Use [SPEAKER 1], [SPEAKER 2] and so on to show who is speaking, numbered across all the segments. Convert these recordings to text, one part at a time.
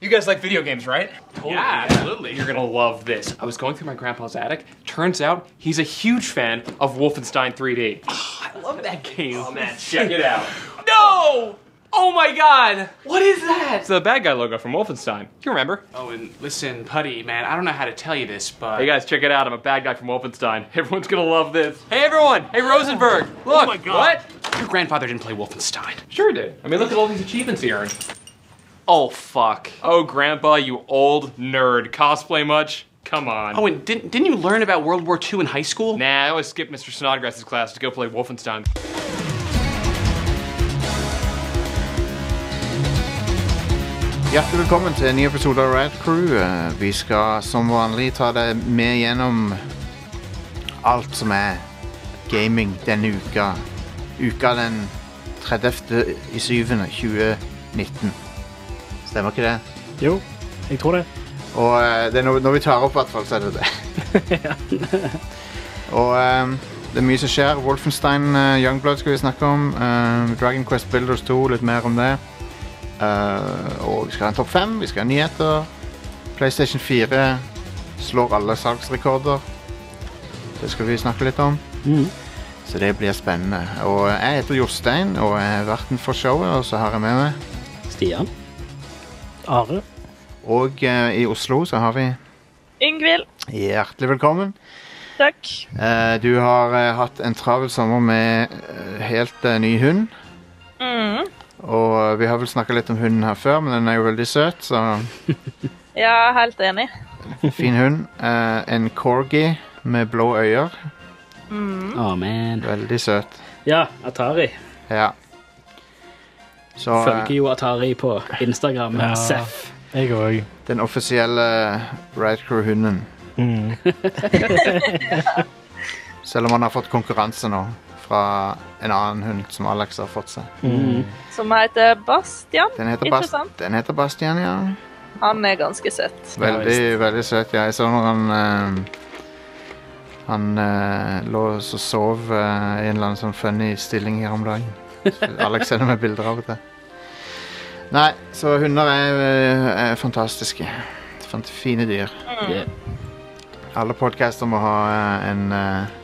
[SPEAKER 1] You guys like video games, right?
[SPEAKER 2] yeah, absolutely.
[SPEAKER 3] You're gonna love this. I was going through my grandpa's attic. Turns out he's a huge fan of Wolfenstein 3D. I love that game.
[SPEAKER 2] Oh man, check it out.
[SPEAKER 3] No! Oh my god!
[SPEAKER 2] What is that?
[SPEAKER 3] It's the bad guy logo from Wolfenstein. You remember?
[SPEAKER 4] Oh, and listen, Putty, man, I don't know how to tell you this, but
[SPEAKER 3] Hey guys, check it out. I'm a bad guy from Wolfenstein. Everyone's gonna love this. Hey everyone! Hey Rosenberg! Look! Oh
[SPEAKER 2] my God.
[SPEAKER 3] What?
[SPEAKER 4] your grandfather didn't play Wolfenstein.
[SPEAKER 3] Sure did. I mean, look at all these achievements he earned. Oh fuck. Oh grandpa, you old nerd. Cosplay much? Come on.
[SPEAKER 4] Oh, and didn't didn't you learn about World War II in high school?
[SPEAKER 3] Nah, I always skip Mr. Snodgrass's class to go play Wolfenstein.
[SPEAKER 5] Hjertelig velkommen til en ny episode av Rad Crew. Eh, Vi skal som vanlig ta deg med gjennom alt som er gaming denne uka. Uka den 30. i 7. 2019. Stemmer ikke det?
[SPEAKER 6] Jo, jeg tror det.
[SPEAKER 5] Og eh, det er når, når vi tar opp i hvert fall, så er det det. Og eh, det er mye som skjer. Wolfenstein eh, Youngblood skal vi snakke om. Eh, Dragon Quest Builders 2, litt mer om det. Eh, og vi skal ha en topp fem, vi skal ha nyheter. PlayStation 4 slår alle salgsrekorder. Det skal vi snakke litt om. Så det blir spennende. Og eh, jeg heter Jostein og jeg er verten for showet, og så har jeg med meg
[SPEAKER 6] Stian. Are.
[SPEAKER 5] Og eh, i Oslo så har vi
[SPEAKER 7] Yngvild,
[SPEAKER 5] Hjertelig velkommen.
[SPEAKER 7] takk.
[SPEAKER 5] Eh, du har eh, hatt en travel sommer med eh, helt eh, ny hund. Og eh, vi har vel snakka litt om hunden her før, men den er jo veldig søt, så
[SPEAKER 7] Ja, helt enig.
[SPEAKER 5] fin hund. Eh, en corgi med blå øyne.
[SPEAKER 6] Oh, man.
[SPEAKER 5] Veldig søt.
[SPEAKER 6] Ja, Atari.
[SPEAKER 5] Ja. Så eh,
[SPEAKER 6] Følger jo Atari på Instagram.
[SPEAKER 8] Ja.
[SPEAKER 6] Seff.
[SPEAKER 8] Jeg òg.
[SPEAKER 5] den offisielle Ride Crew-hunden. Selv om han har fått konkurranse nå fra en annen hund som Alex har fått seg.
[SPEAKER 7] Som heter Bastian.
[SPEAKER 5] Den heter, Bas
[SPEAKER 7] Interessant.
[SPEAKER 5] den heter Bastian, ja.
[SPEAKER 7] Han er ganske søt.
[SPEAKER 5] Veldig, veldig søt. Ja. Jeg så når han eh, Han eh, lå og så sov eh, i en eller annen sånn funny stilling her om dagen. Så Alex sender meg bilder av og til. Nei, så hunder er, eh, er fantastiske. Fant fine dyr.
[SPEAKER 6] Yeah.
[SPEAKER 5] Alle podcaster må ha eh, en eh,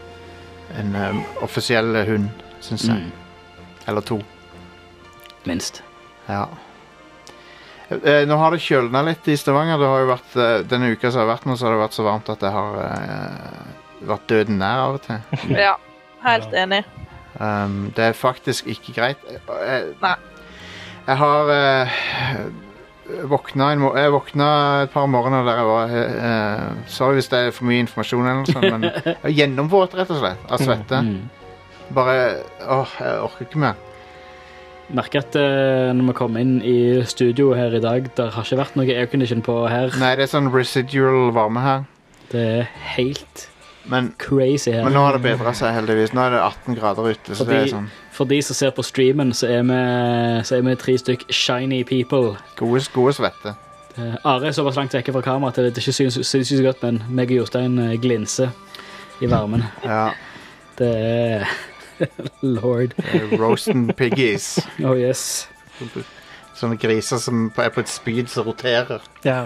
[SPEAKER 5] en eh, offisiell hund, syns jeg.
[SPEAKER 6] Mm.
[SPEAKER 5] Eller to.
[SPEAKER 6] Minst.
[SPEAKER 5] Ja. Eh, nå har det kjølna litt i Stavanger. Det har jo vært, eh, denne uka som har vært nå, så har det vært så varmt at det har eh, vært døden nær av og til.
[SPEAKER 7] Ja, helt enig.
[SPEAKER 5] Um, det er faktisk ikke greit. Eh, Jeg,
[SPEAKER 7] Nei.
[SPEAKER 5] jeg har eh, våkna, en mor- jeg våkna et par morgener der jeg var eh, eh, Sorry hvis det er for mye informasjon, eller noe sånt, men jeg var gjennomvåt, rett og slett, av svette.
[SPEAKER 6] Mm.
[SPEAKER 5] Bare Åh, jeg orker ikke mer.
[SPEAKER 6] Merker at eh, når vi kom inn i studio her i dag, der har ikke vært noe aircondition på her.
[SPEAKER 5] Nei, det er sånn residual varme her.
[SPEAKER 6] Det er helt
[SPEAKER 5] Men
[SPEAKER 6] crazy her.
[SPEAKER 5] Men nå har det bedra seg, heldigvis. Nå er det 18 grader ute. Så det er
[SPEAKER 6] Fordi-
[SPEAKER 5] sånn
[SPEAKER 6] For de som ser på streamen, så er vi, så er vi tre stykk shiny people.
[SPEAKER 5] gode, gode svette.
[SPEAKER 6] Eh, Are er såpass langt vekke fra kamera at det det ikke syns, syns ikke så godt, men meg og Jostein eh, glinser i varmen.
[SPEAKER 5] Ja.
[SPEAKER 6] Det er Lord.
[SPEAKER 5] Roasten piggies.
[SPEAKER 6] Oh yes.
[SPEAKER 5] Sånne griser som er på et speed som roterer.
[SPEAKER 8] Ja.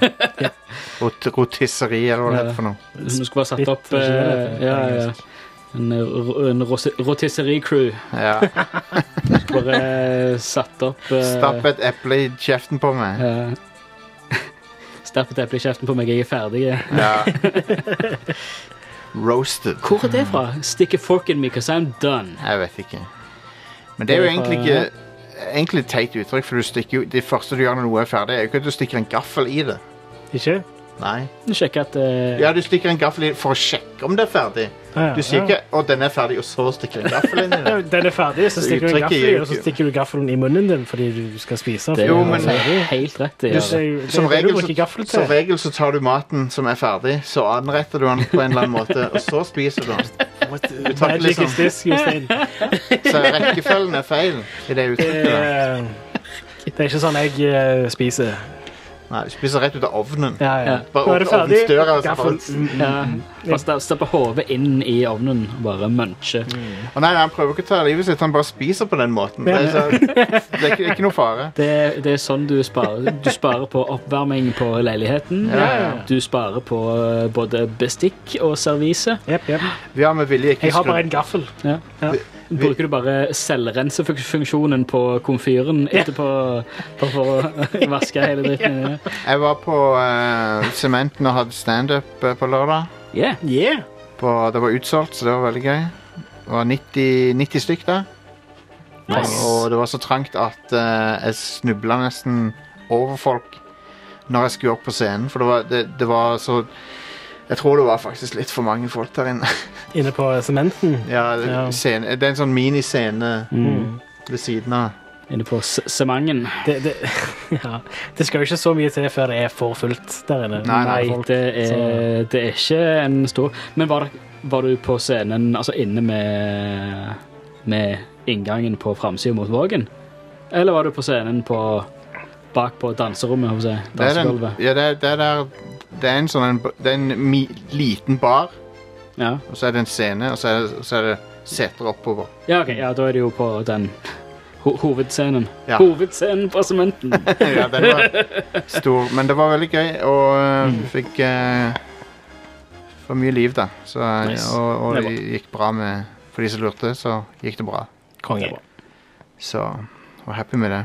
[SPEAKER 5] Rot rotisserier og hva det
[SPEAKER 6] Ja.
[SPEAKER 5] heter for noe.
[SPEAKER 6] Som skulle ha satt
[SPEAKER 8] Litt
[SPEAKER 6] opp eh,
[SPEAKER 8] originale,
[SPEAKER 6] ja, ja. en, eh, ro- en rosi- rotisserie-crew.
[SPEAKER 5] Ja.
[SPEAKER 6] Bare eh, satt opp eh,
[SPEAKER 5] Stapp et eple i kjeften på meg.
[SPEAKER 6] eh, Stapp et eple i kjeften på meg, jeg er ferdig.
[SPEAKER 5] Ja. Roasted.
[SPEAKER 6] Hvor er det fra? Stick a fork in me, because I'm done.
[SPEAKER 5] Jeg vet ikke. Men det er jo
[SPEAKER 6] Det er fra-
[SPEAKER 5] egentlig ikke Egentlig et teit uttrykk, for du stikker jo, det første du gjør når noe er ferdig, er jo ikke at du stikker en gaffel i det.
[SPEAKER 8] Ikke?
[SPEAKER 5] Nei.
[SPEAKER 6] Sjekk at eh,
[SPEAKER 5] Ja, du stikker en gaffel i det for å sjekke om det er ferdig.
[SPEAKER 8] Ja,
[SPEAKER 5] Du sier
[SPEAKER 8] ja.
[SPEAKER 5] ikke 'Å, den er ferdig', og så stikker du en gaffel inn i det.
[SPEAKER 8] Ja, Den er ferdig, så stikker du en
[SPEAKER 5] Uttrykket
[SPEAKER 8] gaffel
[SPEAKER 5] gir
[SPEAKER 8] i,
[SPEAKER 5] jo
[SPEAKER 8] og så
[SPEAKER 5] ikke-
[SPEAKER 8] stikker du gaffelen i munnen din fordi du skal spise.
[SPEAKER 6] Det er
[SPEAKER 5] Jo,
[SPEAKER 6] jo,
[SPEAKER 5] men-
[SPEAKER 6] helt rett. Det,
[SPEAKER 8] Du,
[SPEAKER 6] ja.
[SPEAKER 5] Som
[SPEAKER 8] det
[SPEAKER 5] regel,
[SPEAKER 8] du bruker
[SPEAKER 5] så,
[SPEAKER 8] gaffel
[SPEAKER 5] som
[SPEAKER 8] til.
[SPEAKER 5] regel så tar du maten som er ferdig, så anretter du den på en eller annen måte, og så spiser du den. Du tar ikke
[SPEAKER 8] Magic
[SPEAKER 5] liksom,
[SPEAKER 8] is this, Jostein.
[SPEAKER 5] så rekkefølgen er feil i det
[SPEAKER 8] Det
[SPEAKER 5] uttrykket. der.
[SPEAKER 8] er- det er ikke sånn jeg eh, spiser.
[SPEAKER 5] Nei, du spiser rett ut av ovnen.
[SPEAKER 8] Ja, ja.
[SPEAKER 6] Ja.
[SPEAKER 5] Bare
[SPEAKER 8] Nå er det
[SPEAKER 5] åpne
[SPEAKER 8] ferdig.
[SPEAKER 5] ovnsdøra, og altså, så
[SPEAKER 8] Gaffel.
[SPEAKER 5] bare-
[SPEAKER 8] Mm,
[SPEAKER 6] Ja, bare sta- stappe hodet inn i ovnen og bare munche.
[SPEAKER 5] Å nei, nei, han prøver ikke å ta livet sitt, han bare spiser på den måten. Det
[SPEAKER 8] Ja.
[SPEAKER 5] er, så, det er ikke, ikke noe fare.
[SPEAKER 6] Det, er- det er sånn du sparer. Du sparer på oppvarming på leiligheten. Du sparer på eh, både bestikk og servise.
[SPEAKER 8] Jep, jep.
[SPEAKER 5] Vi har med vilje ikke
[SPEAKER 8] Jeg har bare
[SPEAKER 5] skrudd
[SPEAKER 8] en gaffel.
[SPEAKER 6] Ja.
[SPEAKER 8] Ja.
[SPEAKER 6] Bruker du bare selvrensefunksjonen på komfyren etterpå bare for å vaske hele dritten? Ja.
[SPEAKER 5] Jeg var på eh, Sementen og hadde standup eh, på lørdag.
[SPEAKER 6] Yeah.
[SPEAKER 8] Yeah.
[SPEAKER 5] På, det var utsolgt, så det var veldig gøy. Det var 90, 90 stykk der. Og det var så trangt at eh, jeg snubla nesten over folk når jeg skulle opp på scenen. For det var, det, det var så Jeg tror det var faktisk litt for mange folk der inne.
[SPEAKER 8] Inne på sementen.
[SPEAKER 5] ja, det,
[SPEAKER 8] Ja.
[SPEAKER 5] Scene, det er en sånn miniscene
[SPEAKER 6] Mm.
[SPEAKER 5] ved siden av.
[SPEAKER 6] Inne på se- semangen.
[SPEAKER 8] Det, det, ja. det skal jo ikke så mye til før det er for fullt der inne.
[SPEAKER 5] Nei, nei,
[SPEAKER 8] Folk-
[SPEAKER 6] Det er, det er ikke en stor Men var, det- var du på scenen, altså inne med, med inngangen på framsida mot Vågen? Eller var du på scenen på bak på danserommet? holdt jeg
[SPEAKER 5] Det
[SPEAKER 6] på å si,
[SPEAKER 5] er, den,
[SPEAKER 6] Dansegulvet.
[SPEAKER 5] ja, det, er- det, er der, det er en sånn en, det er en mi, liten bar,
[SPEAKER 6] Ja.
[SPEAKER 5] og så er det en scene, og så er det, så er det seter oppover.
[SPEAKER 6] ja, OK. Ja, da er det jo på den ho hovedscenen.
[SPEAKER 5] Ja.
[SPEAKER 6] Hovedscenen på sementen.
[SPEAKER 5] ja, den var stor. Men det var veldig gøy, og eh,
[SPEAKER 6] Mm.
[SPEAKER 5] vi fikk eh, for mye liv, da. Så, eh,
[SPEAKER 6] Nice.
[SPEAKER 5] Og, og
[SPEAKER 6] Det er
[SPEAKER 5] det gikk bra med For de som lurte, så gikk det bra.
[SPEAKER 8] Konge.
[SPEAKER 5] Så var happy med det.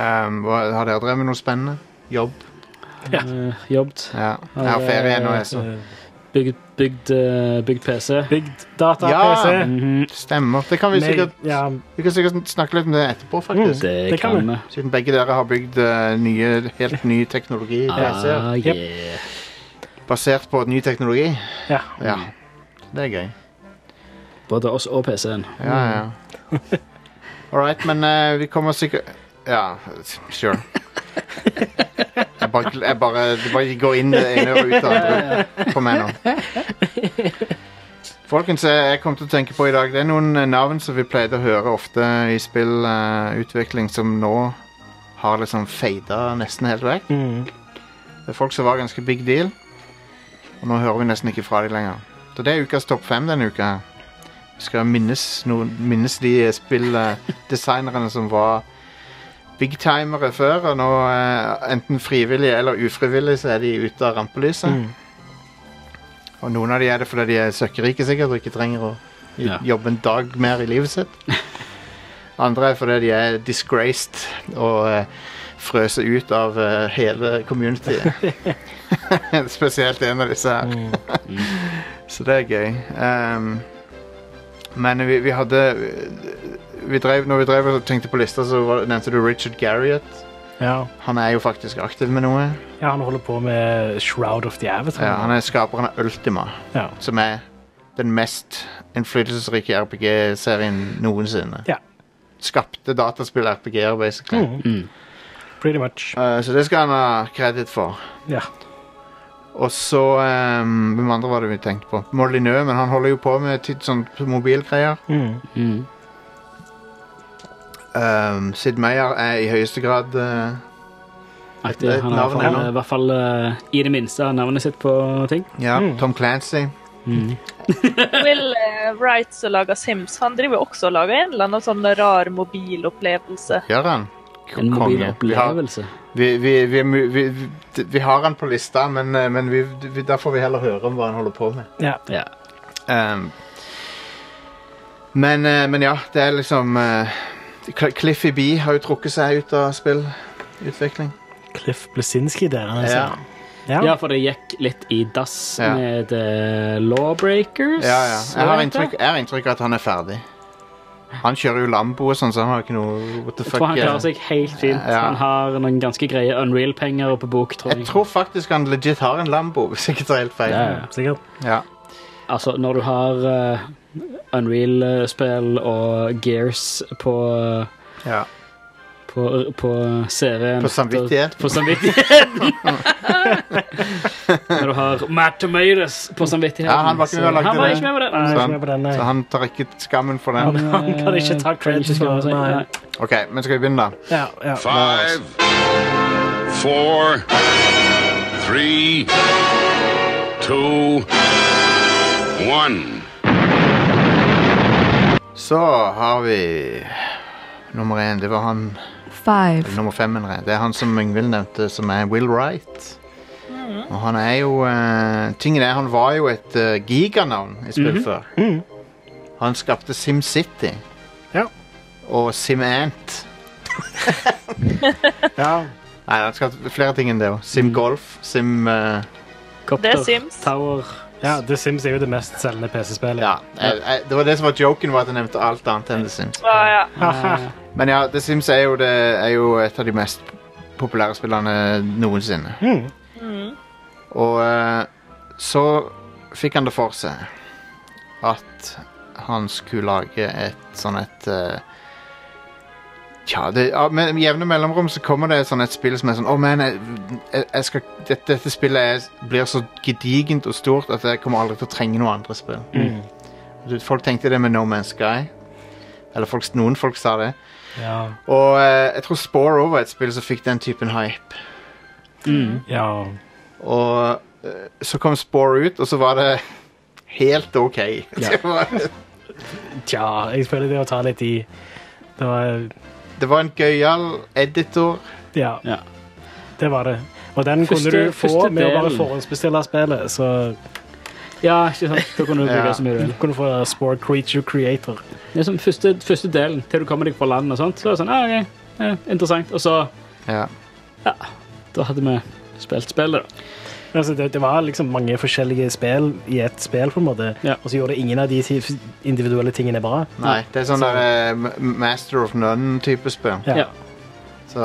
[SPEAKER 5] Ehm, hva, har dere drevet med noe spennende? Jobb?
[SPEAKER 6] Eh, Jobbet.
[SPEAKER 5] Ja. Jeg har ferie nå, jeg, så.
[SPEAKER 6] Bygd, bygd, eh, bygd
[SPEAKER 5] Mm.
[SPEAKER 6] PC.
[SPEAKER 8] Eh, Bygd data,
[SPEAKER 5] Ja.
[SPEAKER 8] PC.
[SPEAKER 6] Mhm.
[SPEAKER 5] Stemmer. Det kan vi
[SPEAKER 8] Meg-
[SPEAKER 5] sikkert,
[SPEAKER 8] ja,
[SPEAKER 5] vi kan sikkert snakke litt om det etterpå, faktisk.
[SPEAKER 6] Det,
[SPEAKER 8] det kan
[SPEAKER 6] kan vi.
[SPEAKER 5] Siden begge dere har bygd eh, nye, helt ny teknologi. PC,
[SPEAKER 6] Ah,
[SPEAKER 8] Jep.
[SPEAKER 6] yeah.
[SPEAKER 5] basert på ny teknologi.
[SPEAKER 8] ja.
[SPEAKER 5] Ja.
[SPEAKER 6] Mm.
[SPEAKER 5] Det er gøy.
[SPEAKER 6] Både oss og PC-en.
[SPEAKER 5] Ja, ja. All right, men eh, vi kommer sikkert Ja, sure. Jeg bare, gl- jeg bare, det bare går inn det ene og ut det andre på meg nå. Folkens, eh, jeg kom til å tenke på i dag Det er noen eh, navn som vi pleide å høre ofte i spillutvikling, som nå har liksom fada nesten helt vekk.
[SPEAKER 8] Mm.
[SPEAKER 5] Det er folk som var ganske big deal. Og nå hører vi nesten ikke fra dem lenger. Så det er ukas topp fem denne uka. her. Vi skal minnes, noen, minnes de spilldesignerne som var bigtimere før, og nå eh, enten frivillig eller ufrivillig så er de ute av rampelyset.
[SPEAKER 8] Mm.
[SPEAKER 5] Og noen av de er det fordi de er søkkerike sikkert og ikke trenger å j-
[SPEAKER 6] Ja.
[SPEAKER 5] jobbe en dag mer i livet sitt. Andre er fordi de er disgraced og eh, frøset ut av eh, hele communityet. Spesielt en av disse her. Så det er gøy. Ehm, men vi, vi hadde vi drev, Når vi drev og tenkte på lista, så var, nevnte du Richard Garriott.
[SPEAKER 8] ja.
[SPEAKER 5] Han er jo faktisk aktiv med noe.
[SPEAKER 8] ja, han holder på med Shroud of the Avatar.
[SPEAKER 5] Ja, han er skaperen av Ultima,
[SPEAKER 8] Ja.
[SPEAKER 5] som er den mest innflytelsesrike RPG-serien noensinne.
[SPEAKER 8] Ja.
[SPEAKER 5] Skapte dataspill-RPG-er, basically.
[SPEAKER 8] Mm. Pretty much.
[SPEAKER 5] Eh, så det skal han ha kreditt for.
[SPEAKER 8] Ja.
[SPEAKER 5] Og så ehm, Hvem andre var det vi tenkte på? Molyneux, men han holder jo på med titt sånn mobilgreier.
[SPEAKER 8] Mm.
[SPEAKER 6] Mhm.
[SPEAKER 5] Um, Sid Meier er i høyeste grad eh,
[SPEAKER 6] Aktig.
[SPEAKER 5] Et- et
[SPEAKER 6] Han har
[SPEAKER 5] navn
[SPEAKER 6] i hvert fall-
[SPEAKER 5] ennå.
[SPEAKER 6] i hvert fall eh, i det minste navnet sitt på ting. Mm.
[SPEAKER 5] ja,
[SPEAKER 8] Mm.
[SPEAKER 5] Tom Clancy.
[SPEAKER 7] Will eh, Wright som lager Sims, han driver jo også og lager en eller annen sånn rar mobilopplevelse.
[SPEAKER 5] Gjør han?
[SPEAKER 6] En
[SPEAKER 5] Konge.
[SPEAKER 6] mobil
[SPEAKER 5] Vi har,
[SPEAKER 6] opplevelse.
[SPEAKER 5] vi, vi, vi, er mu- vi, vi, d- vi har han på lista, men, eh, men vi, vi, da får vi heller høre om hva han holder på med.
[SPEAKER 8] Ja.
[SPEAKER 6] Ja.
[SPEAKER 5] Um, men, eh, men ja, det er liksom eh, Cl- Cliffy B har jo trukket seg ut av spillutvikling.
[SPEAKER 8] Cliff Blesinski der, han altså.
[SPEAKER 5] Ja.
[SPEAKER 8] Ja.
[SPEAKER 6] ja, for det gikk litt i dass
[SPEAKER 5] Ja.
[SPEAKER 6] med eh, Lawbreakers.
[SPEAKER 5] Ja, ja. Jeg har
[SPEAKER 6] var det
[SPEAKER 5] inntrykk,
[SPEAKER 6] det?
[SPEAKER 5] jeg har inntrykk av at han er ferdig. Han kjører jo Lambo og sånn, så han har ikke noe What the
[SPEAKER 6] Jeg tror han
[SPEAKER 5] fuck, eh.
[SPEAKER 6] klarer seg helt fint.
[SPEAKER 5] Ja.
[SPEAKER 6] Han har noen ganske greie Unreal-penger på bok, tror
[SPEAKER 5] Jeg
[SPEAKER 6] jeg.
[SPEAKER 5] tror faktisk han legit har en Lambo, hvis jeg ikke tar helt feil.
[SPEAKER 6] Ja, ja.
[SPEAKER 8] Sikkert.
[SPEAKER 5] Ja.
[SPEAKER 6] Altså, når du har eh, Unreal-spill og Gears på
[SPEAKER 5] Ja.
[SPEAKER 6] på, på CV-en
[SPEAKER 5] På samvittighet.
[SPEAKER 6] På samvittigheten. Når du har Matt Tomatoes på samvittigheten.
[SPEAKER 5] Ja, han var ikke med
[SPEAKER 6] så-
[SPEAKER 5] og lagde
[SPEAKER 6] han var
[SPEAKER 5] det.
[SPEAKER 6] ikke med på det. Nei.
[SPEAKER 8] Jeg er
[SPEAKER 5] Sant.
[SPEAKER 8] ikke med på den, nei.
[SPEAKER 5] Så han tar ikke skammen for
[SPEAKER 8] Han,
[SPEAKER 5] den.
[SPEAKER 8] han kan ikke ta
[SPEAKER 6] Kan
[SPEAKER 8] credit
[SPEAKER 6] ikke
[SPEAKER 8] for
[SPEAKER 6] skrive seg.
[SPEAKER 8] Nei.
[SPEAKER 6] Nei.
[SPEAKER 5] OK, men skal vi begynne, da?
[SPEAKER 8] Ja, ja.
[SPEAKER 9] Five,
[SPEAKER 1] four, three, two, one.
[SPEAKER 5] Så har vi nummer én. Det var han
[SPEAKER 10] Five.
[SPEAKER 5] nummer fem. mener jeg. Det er han som Yngvild nevnte, som er Will Wright. Og han er jo eh, Tingen er, han var jo et eh, giganavn i spill før. Han skapte SimCity.
[SPEAKER 8] Ja.
[SPEAKER 5] Og SimAnt.
[SPEAKER 8] Ja.
[SPEAKER 5] Nei, han skapte flere ting enn det òg. SimGolf. Sim... eh,
[SPEAKER 7] Det er Sims.
[SPEAKER 8] Tower. Ja, The Sims er jo det mest selgende PC-spillet.
[SPEAKER 5] ja. Jeg, jeg, det var det som var joken, var at jeg nevnte alt annet enn The Sims.
[SPEAKER 7] Ja, ja.
[SPEAKER 5] Men ja, The Sims er jo, det, er jo et av de mest populære spillene noensinne.
[SPEAKER 8] Mm.
[SPEAKER 5] Og eh, så fikk han det for seg at han skulle lage et sånn et eh, Tja, det, ja, med jevne mellomrom så kommer det et sånn et spill som er sånn Å, men jeg, jeg, jeg skal, dette, dette spillet er, blir så gedigent og stort at jeg kommer aldri til å trenge noe andre spill. Du, Folk tenkte det med No Man's Sky. Eller folk, noen folk sa det.
[SPEAKER 8] Ja.
[SPEAKER 5] Og eh, jeg tror Spore var et spill som fikk den typen hype.
[SPEAKER 8] ja.
[SPEAKER 5] Og eh, så kom Spore ut, og så var det helt OK. Det, var,
[SPEAKER 8] Tja, jeg føler det å ta litt i Det var
[SPEAKER 5] det var en gøyal editor.
[SPEAKER 8] Ja.
[SPEAKER 11] Ja.
[SPEAKER 8] Det var det. Og den
[SPEAKER 11] Første-
[SPEAKER 8] kunne du få
[SPEAKER 11] første
[SPEAKER 8] med å bare
[SPEAKER 11] delen.
[SPEAKER 8] forhåndsbestille spillet, så
[SPEAKER 11] Ja, ikke sant? Da kunne du bruke
[SPEAKER 5] Ja.
[SPEAKER 11] så mye du
[SPEAKER 8] du
[SPEAKER 11] vil.
[SPEAKER 8] kunne få Spore Creature Creator.
[SPEAKER 11] Det er som første, første delen, til du kommer deg fra land og sånt, så er det sånn, ah, ok, ja, interessant. Og så,
[SPEAKER 5] Ja.
[SPEAKER 11] da hadde vi spilt spillet da.
[SPEAKER 8] Altså, det, det var liksom mange forskjellige spill i ett spill, på en måte.
[SPEAKER 11] Ja.
[SPEAKER 8] Og så gjorde ingen av de ti- individuelle tingene bra.
[SPEAKER 5] Nei, det er sånn der eh, M- Master of None-type spill.
[SPEAKER 8] Ja.
[SPEAKER 11] Ja.
[SPEAKER 5] Så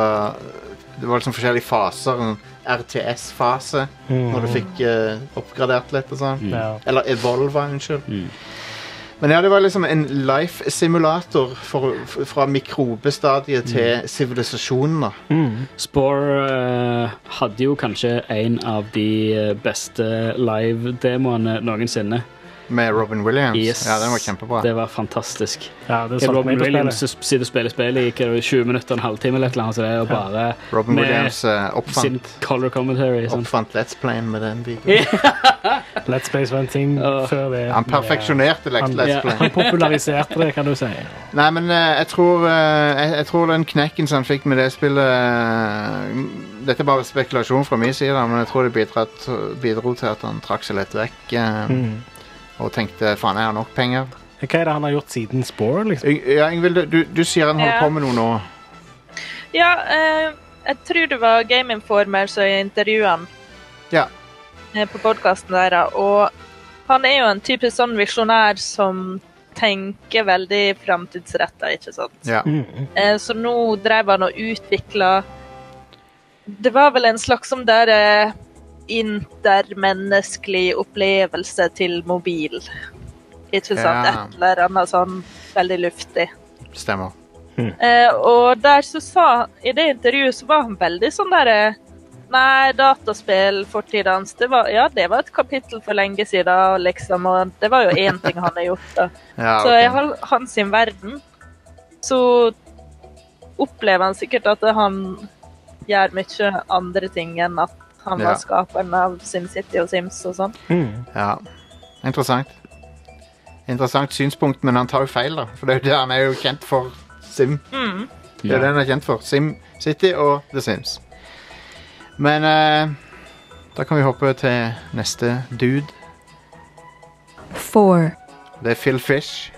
[SPEAKER 5] det var liksom forskjellige faser. En RTS-fase, når du fikk eh, oppgradert litt og
[SPEAKER 6] Mm.
[SPEAKER 5] sånn.
[SPEAKER 8] Ja.
[SPEAKER 5] Eller Evolva, unnskyld. Men ja, det var liksom en life-simulator for- f- fra mikrobestadiet til sivilisasjonen. da.
[SPEAKER 6] Mm.
[SPEAKER 11] Spore eh, hadde jo kanskje en av de eh, beste live-demoene noensinne.
[SPEAKER 5] Med Robin Williams?
[SPEAKER 11] Yes.
[SPEAKER 5] Ja, den var kjempebra.
[SPEAKER 11] Det var fantastisk.
[SPEAKER 8] ja, det solgte
[SPEAKER 11] Robin
[SPEAKER 8] meg på
[SPEAKER 11] Williams
[SPEAKER 8] spillet.
[SPEAKER 11] sitter og spiller spill i hva er det, 20 minutter, en halvtime eller et eller annet, så det er jo bare
[SPEAKER 5] Robin
[SPEAKER 11] med
[SPEAKER 5] Williams eh,
[SPEAKER 11] sin
[SPEAKER 5] oppfant,
[SPEAKER 11] color commentary. Sånn.
[SPEAKER 5] oppfant Let's Playen med den videoen.
[SPEAKER 8] Let's Place var en ting
[SPEAKER 11] Åh.
[SPEAKER 8] før det.
[SPEAKER 5] Han perfeksjonerte Let's,
[SPEAKER 8] Han-
[SPEAKER 5] Let's
[SPEAKER 11] Ja.
[SPEAKER 5] Play.
[SPEAKER 8] Populariserte det, kan du si.
[SPEAKER 5] Nei, men eh, jeg, tror, eh, jeg, jeg tror den knekken som han fikk med det spillet eh, Dette er bare spekulasjon fra min side, da, men jeg tror det bidro, bidro til at han trakk seg litt vekk. eh,
[SPEAKER 11] Mm.
[SPEAKER 5] Og tenkte faen, jeg har nok penger.
[SPEAKER 8] Mm. Hva er det han har gjort siden Spore, liksom?
[SPEAKER 5] Y- Ja, Ingvild, du, du sier han holder
[SPEAKER 7] Ja.
[SPEAKER 5] på med noe nå.
[SPEAKER 7] ja eh, jeg tror det var Game Informer som intervjuet han
[SPEAKER 5] Ja.
[SPEAKER 7] eh, på podkasten deres. Og han er jo en typisk sånn visjonær som tenker veldig framtidsretta, ikke sant?
[SPEAKER 5] Ja.
[SPEAKER 11] Mm.
[SPEAKER 7] Eh, så nå drev han og utvikla Det var vel en slags som der eh, intermenneskelig opplevelse til mobil. Ikke sant?
[SPEAKER 5] Ja.
[SPEAKER 7] Et eller annet sånn veldig luftig.
[SPEAKER 5] Stemmer.
[SPEAKER 7] Eh, og der så sa I det intervjuet så var han veldig sånn derre Nei, dataspill, fortida hans det var, Ja, det var et kapittel for lenge siden, liksom. Og det var jo én ting han har gjort, da.
[SPEAKER 5] Ja,
[SPEAKER 7] Så
[SPEAKER 5] Ah, ok.
[SPEAKER 7] i hal- hans sin verden så opplever han sikkert at han gjør mye andre ting enn at han
[SPEAKER 5] Ja.
[SPEAKER 7] var skaperen av SimCity og Sims og sånn.
[SPEAKER 5] Ja, interessant. Interessant synspunkt, men han tar jo feil, da. For det er jo det han er jo kjent for Sim. Det er det han er kjent for. Sim City og The Sims. Men eh, da kan vi hoppe til neste dude.
[SPEAKER 10] Four.
[SPEAKER 5] Det er Phil Fish.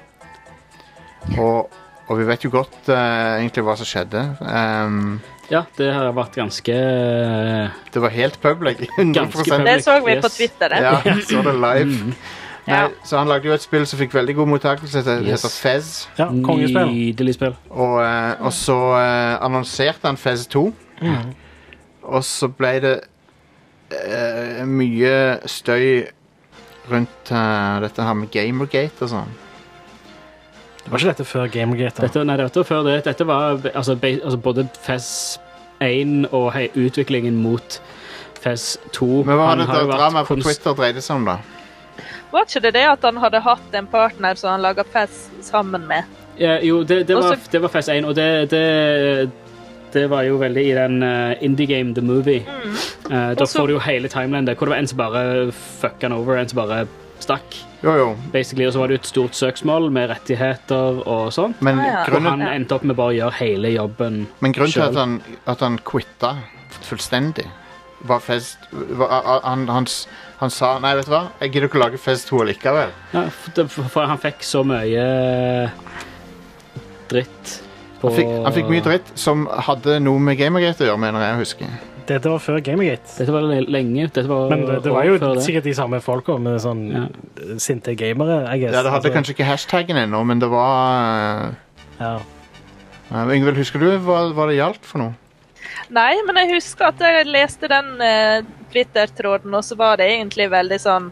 [SPEAKER 5] Og, og vi vet jo godt eh, egentlig hva som skjedde. Ehm,
[SPEAKER 11] Ja, det har vært ganske eh,
[SPEAKER 5] det var helt public. 100
[SPEAKER 11] public. Mm.
[SPEAKER 7] Det så vi
[SPEAKER 11] Yes.
[SPEAKER 7] på Twitter. det.
[SPEAKER 5] Ja, så det live. Nei,
[SPEAKER 7] Ja.
[SPEAKER 5] så han lagde jo et spill som fikk veldig god mottakelse. Det
[SPEAKER 11] Yes.
[SPEAKER 5] heter Fez.
[SPEAKER 8] Ja, kongespill.
[SPEAKER 11] Nydelig spill.
[SPEAKER 5] Og, eh, og så eh, annonserte han Fez 2. Og så ble det eh, mye støy rundt eh, dette her med Gamergate og sånn.
[SPEAKER 8] Det var ikke dette før Gamergate. da.
[SPEAKER 11] Dette, nei, dette var før det. Dette var altså, be- altså, både Fez 1 og hei, utviklingen mot Fez 2.
[SPEAKER 5] Men hva
[SPEAKER 11] Han
[SPEAKER 5] var det
[SPEAKER 11] har jo vært
[SPEAKER 5] dramaet på
[SPEAKER 11] konst-
[SPEAKER 5] Twitter dreide seg om, da?
[SPEAKER 7] Var ikke det det at han hadde hatt en partner som han laga fest sammen med?
[SPEAKER 11] Ja, jo, det, det,
[SPEAKER 7] Og
[SPEAKER 11] var,
[SPEAKER 7] så-
[SPEAKER 11] det var Fez 1, og det, det
[SPEAKER 6] Det var jo veldig i den eh, Indie Game The Movie. Eh, da
[SPEAKER 7] Mm. Og så-
[SPEAKER 6] får du jo hele timelinen der, hvor det var en som bare fucka han over, en som bare stakk.
[SPEAKER 5] Jo, jo,
[SPEAKER 6] Basically, Og så var det jo et stort søksmål med rettigheter og sånn.
[SPEAKER 5] men
[SPEAKER 7] Ah, ja.
[SPEAKER 6] Og
[SPEAKER 5] grunnen,
[SPEAKER 6] han endte opp med bare å gjøre hele jobben.
[SPEAKER 5] men grunnen til at
[SPEAKER 6] Selv.
[SPEAKER 5] han, at han quitta fullstendig, var Fest var, han, han, s- han sa Nei, vet du hva, jeg gidder ikke å lage Fest 2 likevel.
[SPEAKER 6] Ja, for, det- for han fikk så mye eh, dritt på
[SPEAKER 5] Han fikk, han fikk mye dritt som hadde noe med Gamergate å gjøre, mener jeg å huske.
[SPEAKER 8] Dette var før Gamergate.
[SPEAKER 6] Dette var le- lenge. Dette var
[SPEAKER 8] Men det, det var
[SPEAKER 6] år
[SPEAKER 8] jo
[SPEAKER 6] før det.
[SPEAKER 8] sikkert de samme folka med sånn
[SPEAKER 6] Ja.
[SPEAKER 8] sinte gamere, I guess.
[SPEAKER 5] Ja, Det hadde
[SPEAKER 8] Altså,
[SPEAKER 5] kanskje ikke hashtaggen ennå, men det var
[SPEAKER 8] ja.
[SPEAKER 5] uh, Yngvild, husker du hva, hva det gjaldt for noe?
[SPEAKER 7] Nei, men jeg husker at jeg leste den eh, Twitter-tråden, og så var det egentlig veldig sånn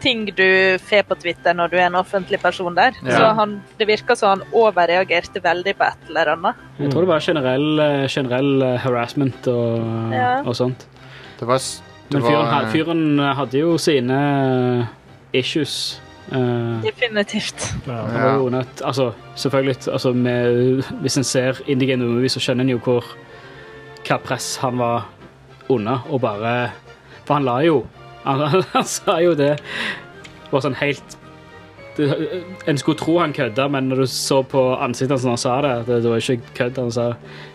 [SPEAKER 7] ting du får på Twitter når du er en offentlig person der.
[SPEAKER 5] Ja.
[SPEAKER 7] Så han, det virka som han overreagerte veldig på et eller annet.
[SPEAKER 6] Jeg tror det var generell, eh, generell eh, harassment og, eh,
[SPEAKER 7] Ja.
[SPEAKER 6] og sånt.
[SPEAKER 5] Det var, s- det
[SPEAKER 6] Men fyren,
[SPEAKER 5] var
[SPEAKER 6] had-
[SPEAKER 5] uh,
[SPEAKER 6] fyren hadde jo sine eh, issues. eh,
[SPEAKER 7] Definitivt.
[SPEAKER 6] Han var jo under et, altså, selvfølgelig, altså, med, hvis en ser Indie Game The Movie, så skjønner en jo hvor, hva press han var under, og bare, for han la jo, han, han sa jo det, var sånn helt, det, en skulle tro han kødda, men når du så på ansiktet hans når han sa det, det, det var ikke kødd, han sa,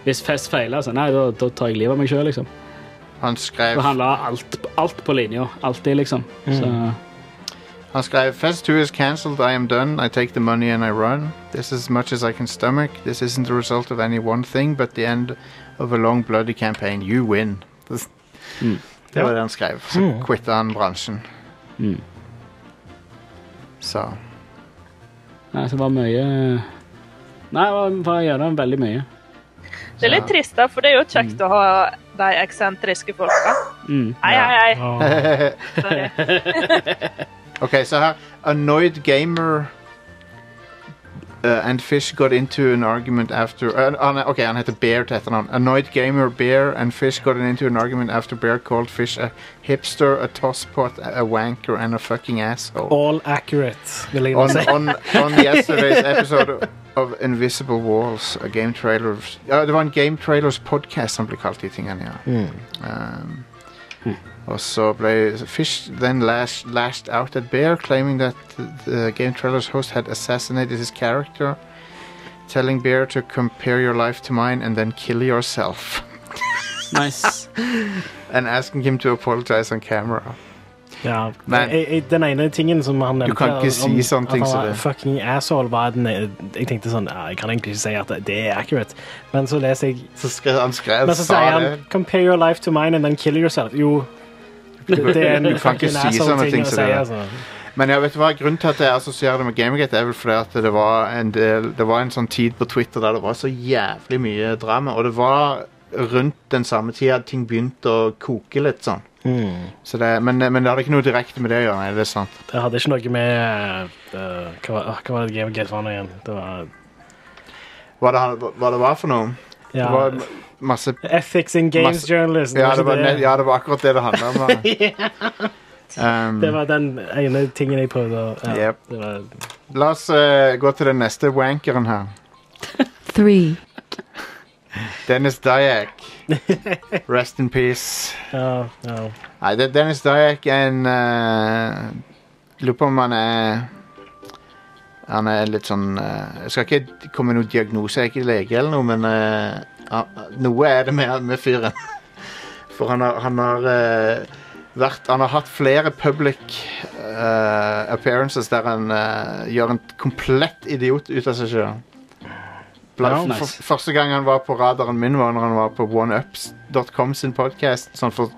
[SPEAKER 6] hvis fest feiler, så nei, da, da tar jeg livet av meg selv, liksom.
[SPEAKER 5] Han skrev
[SPEAKER 6] Og han la alt, alt på linja, alltid, liksom. Så,
[SPEAKER 5] Han skrev Fest 2 is cancelled, I am done, I take the money and I run. This is as much as I can stomach. This isn't the result of any one thing, but the end of a long bloody campaign. You win. Det, det var det han skrev. Så quitta han bransjen.
[SPEAKER 6] Mm.
[SPEAKER 5] Så
[SPEAKER 6] nei, så det var mye, nei, det var, var gjennom veldig mye.
[SPEAKER 7] Det er litt trist, da, for det er jo kjekt å ha de eksentriske folka.
[SPEAKER 6] Mm.
[SPEAKER 7] Hei, hei, hei.
[SPEAKER 8] Ja.
[SPEAKER 7] Sorry.
[SPEAKER 5] OK, så her Annoyed gamer uh, and fish got into an argument after uh, han er- OK, han heter Bear til etternavn. Annoyed gamer Bear and fish got into an argument after Bear called fish a hipster, a tosspot, a wanker and a fucking asshole.
[SPEAKER 8] All accurate, vil jeg nå
[SPEAKER 5] on,
[SPEAKER 8] si.
[SPEAKER 5] on, on yesterday's episode of Invisible Walls, a game trailers ja, Det var en Game Trailers podcast som ble kalt de tingene, ja.
[SPEAKER 6] Mm.
[SPEAKER 5] Um, og så ble Fish then lash, lashed out at Bear, claiming that the Game Trailers host had assassinated his character, telling Bear to compare your life to mine and then kill yourself,
[SPEAKER 6] Nice.
[SPEAKER 5] and asking him to apologize on camera.
[SPEAKER 8] Ja.
[SPEAKER 5] Men-
[SPEAKER 8] jeg, jeg, den ene tingen som han nevnte
[SPEAKER 5] kan ikke si sånne ting
[SPEAKER 8] at
[SPEAKER 5] som
[SPEAKER 8] han var
[SPEAKER 5] det.
[SPEAKER 8] Fucking asshole var den Jeg tenkte sånn ja, Jeg kan egentlig ikke si at det er accurate, men så leser jeg
[SPEAKER 5] Så skrev han skrev,
[SPEAKER 8] Men så
[SPEAKER 5] sa
[SPEAKER 8] sier
[SPEAKER 5] det.
[SPEAKER 8] han Compare your life to mine and then kill yourself. Jo, det er en
[SPEAKER 5] Du kan ikke
[SPEAKER 8] fucking
[SPEAKER 5] si
[SPEAKER 8] asshole
[SPEAKER 5] sånne ting
[SPEAKER 8] ting å
[SPEAKER 5] som
[SPEAKER 8] si,
[SPEAKER 5] det der.
[SPEAKER 8] altså.
[SPEAKER 5] Men jeg vet hva, grunnen til at jeg assosierer det med Gamegate, er vel fordi at det var en del Det var en sånn tid på Twitter der det var så jævlig mye drama, og det var rundt den samme tida at ting begynte å koke litt sånn. Så det, men, men det hadde ikke noe direkte med det å gjøre, nei, det er sant.
[SPEAKER 8] Hmm. Det hadde ikke noe med eh, hva, var- åh, hva var det Game Gate var nå igjen? Det var
[SPEAKER 5] Hva det, han- hva det var for noe? Det
[SPEAKER 8] ja.
[SPEAKER 5] var m- masse
[SPEAKER 8] Ethics in games
[SPEAKER 5] Masse-
[SPEAKER 8] journalist.
[SPEAKER 5] ja det,
[SPEAKER 8] ikke
[SPEAKER 5] var, nett- ja, det var akkurat det det handla om. da. Um,
[SPEAKER 8] det var den ene tingen jeg prøvde å ja,
[SPEAKER 5] Yep.
[SPEAKER 8] det var,
[SPEAKER 5] La oss eh, gå til den neste wankeren her.
[SPEAKER 10] three,
[SPEAKER 5] Dennis Dyack. Rest in peace.
[SPEAKER 8] ja, ja.
[SPEAKER 5] Nei, det, Dennis Dyack er en eh, Lurer på om han er Han er litt sånn eh, Jeg skal ikke komme med noen diagnose, jeg er ikke lege eller noe, men eh, han- noe er det med, med fyren. For han har, han har eh, vært Han har hatt flere public eh, appearances der han eh, gjør en komplett idiot ut av seg sjøl.
[SPEAKER 6] Ja, nice.
[SPEAKER 5] Første gang han var på radaren min, var når han var på oneups.com sin podkast sånn for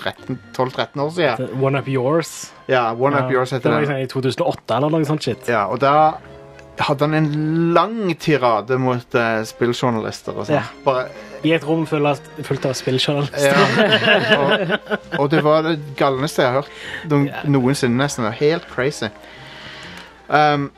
[SPEAKER 5] 13 12-13 år siden.
[SPEAKER 8] The- One Up Yours.
[SPEAKER 5] Ja, One Up
[SPEAKER 8] Ja.
[SPEAKER 5] Yours
[SPEAKER 8] det
[SPEAKER 5] heter
[SPEAKER 8] var
[SPEAKER 5] den.
[SPEAKER 8] liksom i 2008 eller noe sånt shit.
[SPEAKER 5] Ja, og da hadde han en lang tirade mot eh, spilljournalister og sånn.
[SPEAKER 8] Ja.
[SPEAKER 5] Bare,
[SPEAKER 8] I et rom fullt av, fullt av spilljournalister.
[SPEAKER 5] ja. og, og det var det galneste jeg har hørt noen, noensinne, nesten. Det var helt crazy. Um,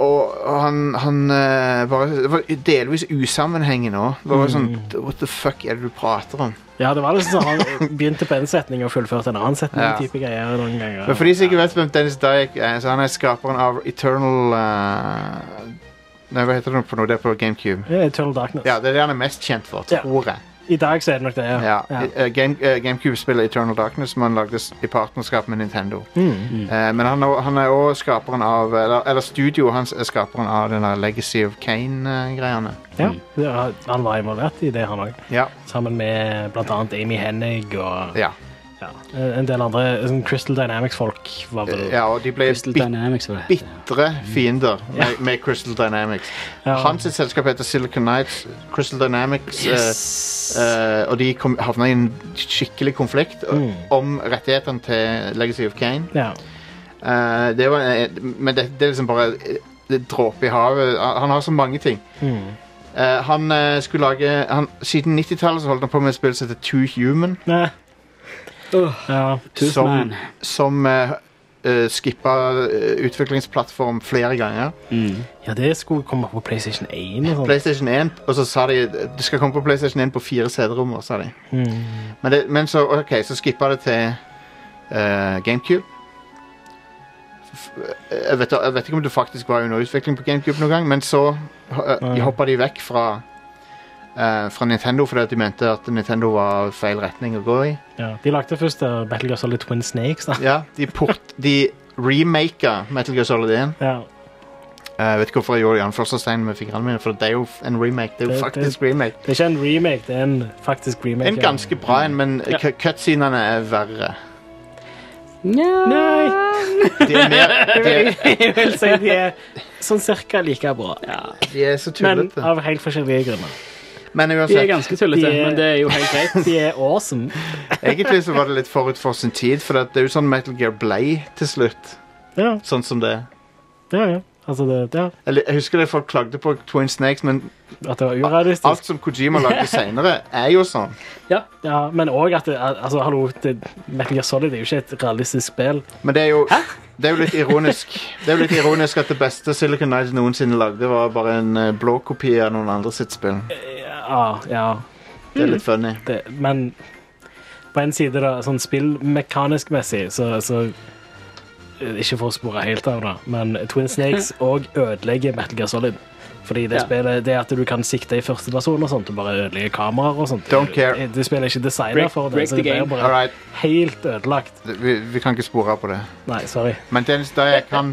[SPEAKER 5] og og han, han eh, bare, Det var delvis usammenhengende òg. Det var sånn
[SPEAKER 8] Mm.
[SPEAKER 5] What the fuck er det du prater om?
[SPEAKER 8] Ja, det var liksom sånn han begynte på en setning og fullførte en annen setning.
[SPEAKER 5] Ja.
[SPEAKER 8] type greier noen ganger.
[SPEAKER 5] Men for de som ikke vet hvem Dennis Dyack er, så han er skaperen av Eternal eh, Nei, hva heter det for noe? Det er på GameCube.
[SPEAKER 8] Ja, Eternal Darkness.
[SPEAKER 5] Ja, det er det han er mest kjent for,
[SPEAKER 8] Ja.
[SPEAKER 5] tror jeg.
[SPEAKER 8] I dag så er det nok det.
[SPEAKER 5] Ja. eh, Game, eh, GameCube-spillet Eternal Darkness som han lagde s- i partnerskap med Nintendo. Eh, men han, er o- han er òg skaperen av Eller, eller studioet hans er skaperen av den der Legacy of Kane-greiene.
[SPEAKER 8] Ja, det var- Han var involvert i det, han òg.
[SPEAKER 5] Ja.
[SPEAKER 8] Sammen med blant annet Amy Hennig og
[SPEAKER 5] Ja.
[SPEAKER 8] ja, en del andre sånn Crystal Dynamics-folk. var vel...
[SPEAKER 5] ja, og de ble
[SPEAKER 11] Crystal
[SPEAKER 5] bit,
[SPEAKER 11] Dynamics, hva det heter.
[SPEAKER 5] bitre fiender med, med Crystal Dynamics.
[SPEAKER 8] Ja.
[SPEAKER 5] Hans sitt selskap heter Silicon Nights. Crystal Dynamics eh, eh, Og de kom, havna i en skikkelig konflikt eh, om rettighetene til Legacy of Kane.
[SPEAKER 8] Ja.
[SPEAKER 5] Eh, det var, eh, men det, det er liksom bare eh, det er dråpe i havet. Han han har så mange ting.
[SPEAKER 8] Mm.
[SPEAKER 5] Eh, han eh, skulle lage han, Siden 90-tallet så holdt han på med et spill som heter Two Human.
[SPEAKER 8] Nei.
[SPEAKER 11] Åh,
[SPEAKER 8] Ja.
[SPEAKER 11] Tooth
[SPEAKER 5] som
[SPEAKER 11] Man.
[SPEAKER 5] som eh, eh, skippa eh, utviklingsplattform flere ganger.
[SPEAKER 11] Mm.
[SPEAKER 8] ja, det skulle komme på PlayStation 1 og sånn.
[SPEAKER 5] PlayStation 1, og så sa de det skal komme på PlayStation 1 på fire CD-rommer, sa de.
[SPEAKER 8] Mm.
[SPEAKER 5] Men, det, men så, ok, så skippa det til eh, GameCube. F- eh, Jeg vet, jeg vet ikke om det faktisk var under utvikling på GameCube noen gang, men så uh, hoppa de vekk fra eh, fra Nintendo fordi at de mente at Nintendo var feil retning å gå i.
[SPEAKER 8] Ja. De lagde først uh, Battle Gear Solid Twin Snakes. Da.
[SPEAKER 5] Ja, De, port, de remaka Metal Gear Solid 1.
[SPEAKER 8] Ja.
[SPEAKER 5] Eh, Jeg vet ikke hvorfor jeg gjorde det i anførselstegn med fingrene mine, for det er jo f- en remake. Det er jo
[SPEAKER 8] Det- det-
[SPEAKER 5] faktisk remake.
[SPEAKER 8] Det er ikke en remake, det er en faktisk remake.
[SPEAKER 5] En
[SPEAKER 8] ja.
[SPEAKER 5] ganske bra en, men cu- cutscenene er verre.
[SPEAKER 8] Nei,
[SPEAKER 5] De er, mer, de er,
[SPEAKER 8] jeg vil si de er sånn cirka like bra.
[SPEAKER 5] de er så
[SPEAKER 8] Men
[SPEAKER 5] tullete.
[SPEAKER 8] av helt forskjellige grunner.
[SPEAKER 5] Men
[SPEAKER 11] De er
[SPEAKER 5] uansett,
[SPEAKER 11] ganske tullete,
[SPEAKER 8] De er-
[SPEAKER 11] men det er jo helt greit.
[SPEAKER 8] De er awesome.
[SPEAKER 5] egentlig så var det litt forut for sin tid, for det er jo sånn Metal Gear ble til slutt.
[SPEAKER 8] Ja,
[SPEAKER 5] Sånn som det.
[SPEAKER 8] ja, ja. Altså, det, ja.
[SPEAKER 5] Eller, jeg husker det folk klagde på Twin Snakes, men
[SPEAKER 8] At det var urealistisk.
[SPEAKER 5] alt som Kojima lagde senere, er jo sånn.
[SPEAKER 8] Ja, men òg at det, altså, hallo, det, Metal Gear Solid er jo ikke et realistisk spill.
[SPEAKER 5] Men det er jo, det er jo litt ironisk Det er jo litt ironisk at det beste Silicon Knights noensinne lagde, var bare en eh, blå kopi av noen andre sitt spill.
[SPEAKER 8] Ja, ja,
[SPEAKER 5] Det er litt funny.
[SPEAKER 8] det, men på en side, da, sånn spillmekanisk-messig, så, så eh, Ikke for å spore helt av, da, men Twin Snakes òg ødelegger Metal Gear Solid. Fordi det
[SPEAKER 11] Ja.
[SPEAKER 8] spillet, det at du kan sikte i første person og sånt, og bare ødelegge kameraer og sånt
[SPEAKER 5] Don't care.
[SPEAKER 8] Det, det spillet er ikke designa
[SPEAKER 11] Break-
[SPEAKER 8] for det,
[SPEAKER 11] break
[SPEAKER 8] så
[SPEAKER 11] the
[SPEAKER 8] det blir
[SPEAKER 11] game.
[SPEAKER 8] bare
[SPEAKER 5] All right.
[SPEAKER 8] helt ødelagt.
[SPEAKER 5] Vi, vi kan ikke spore av på det.
[SPEAKER 8] Nei, sorry.
[SPEAKER 5] Men Dennis Dyack, han,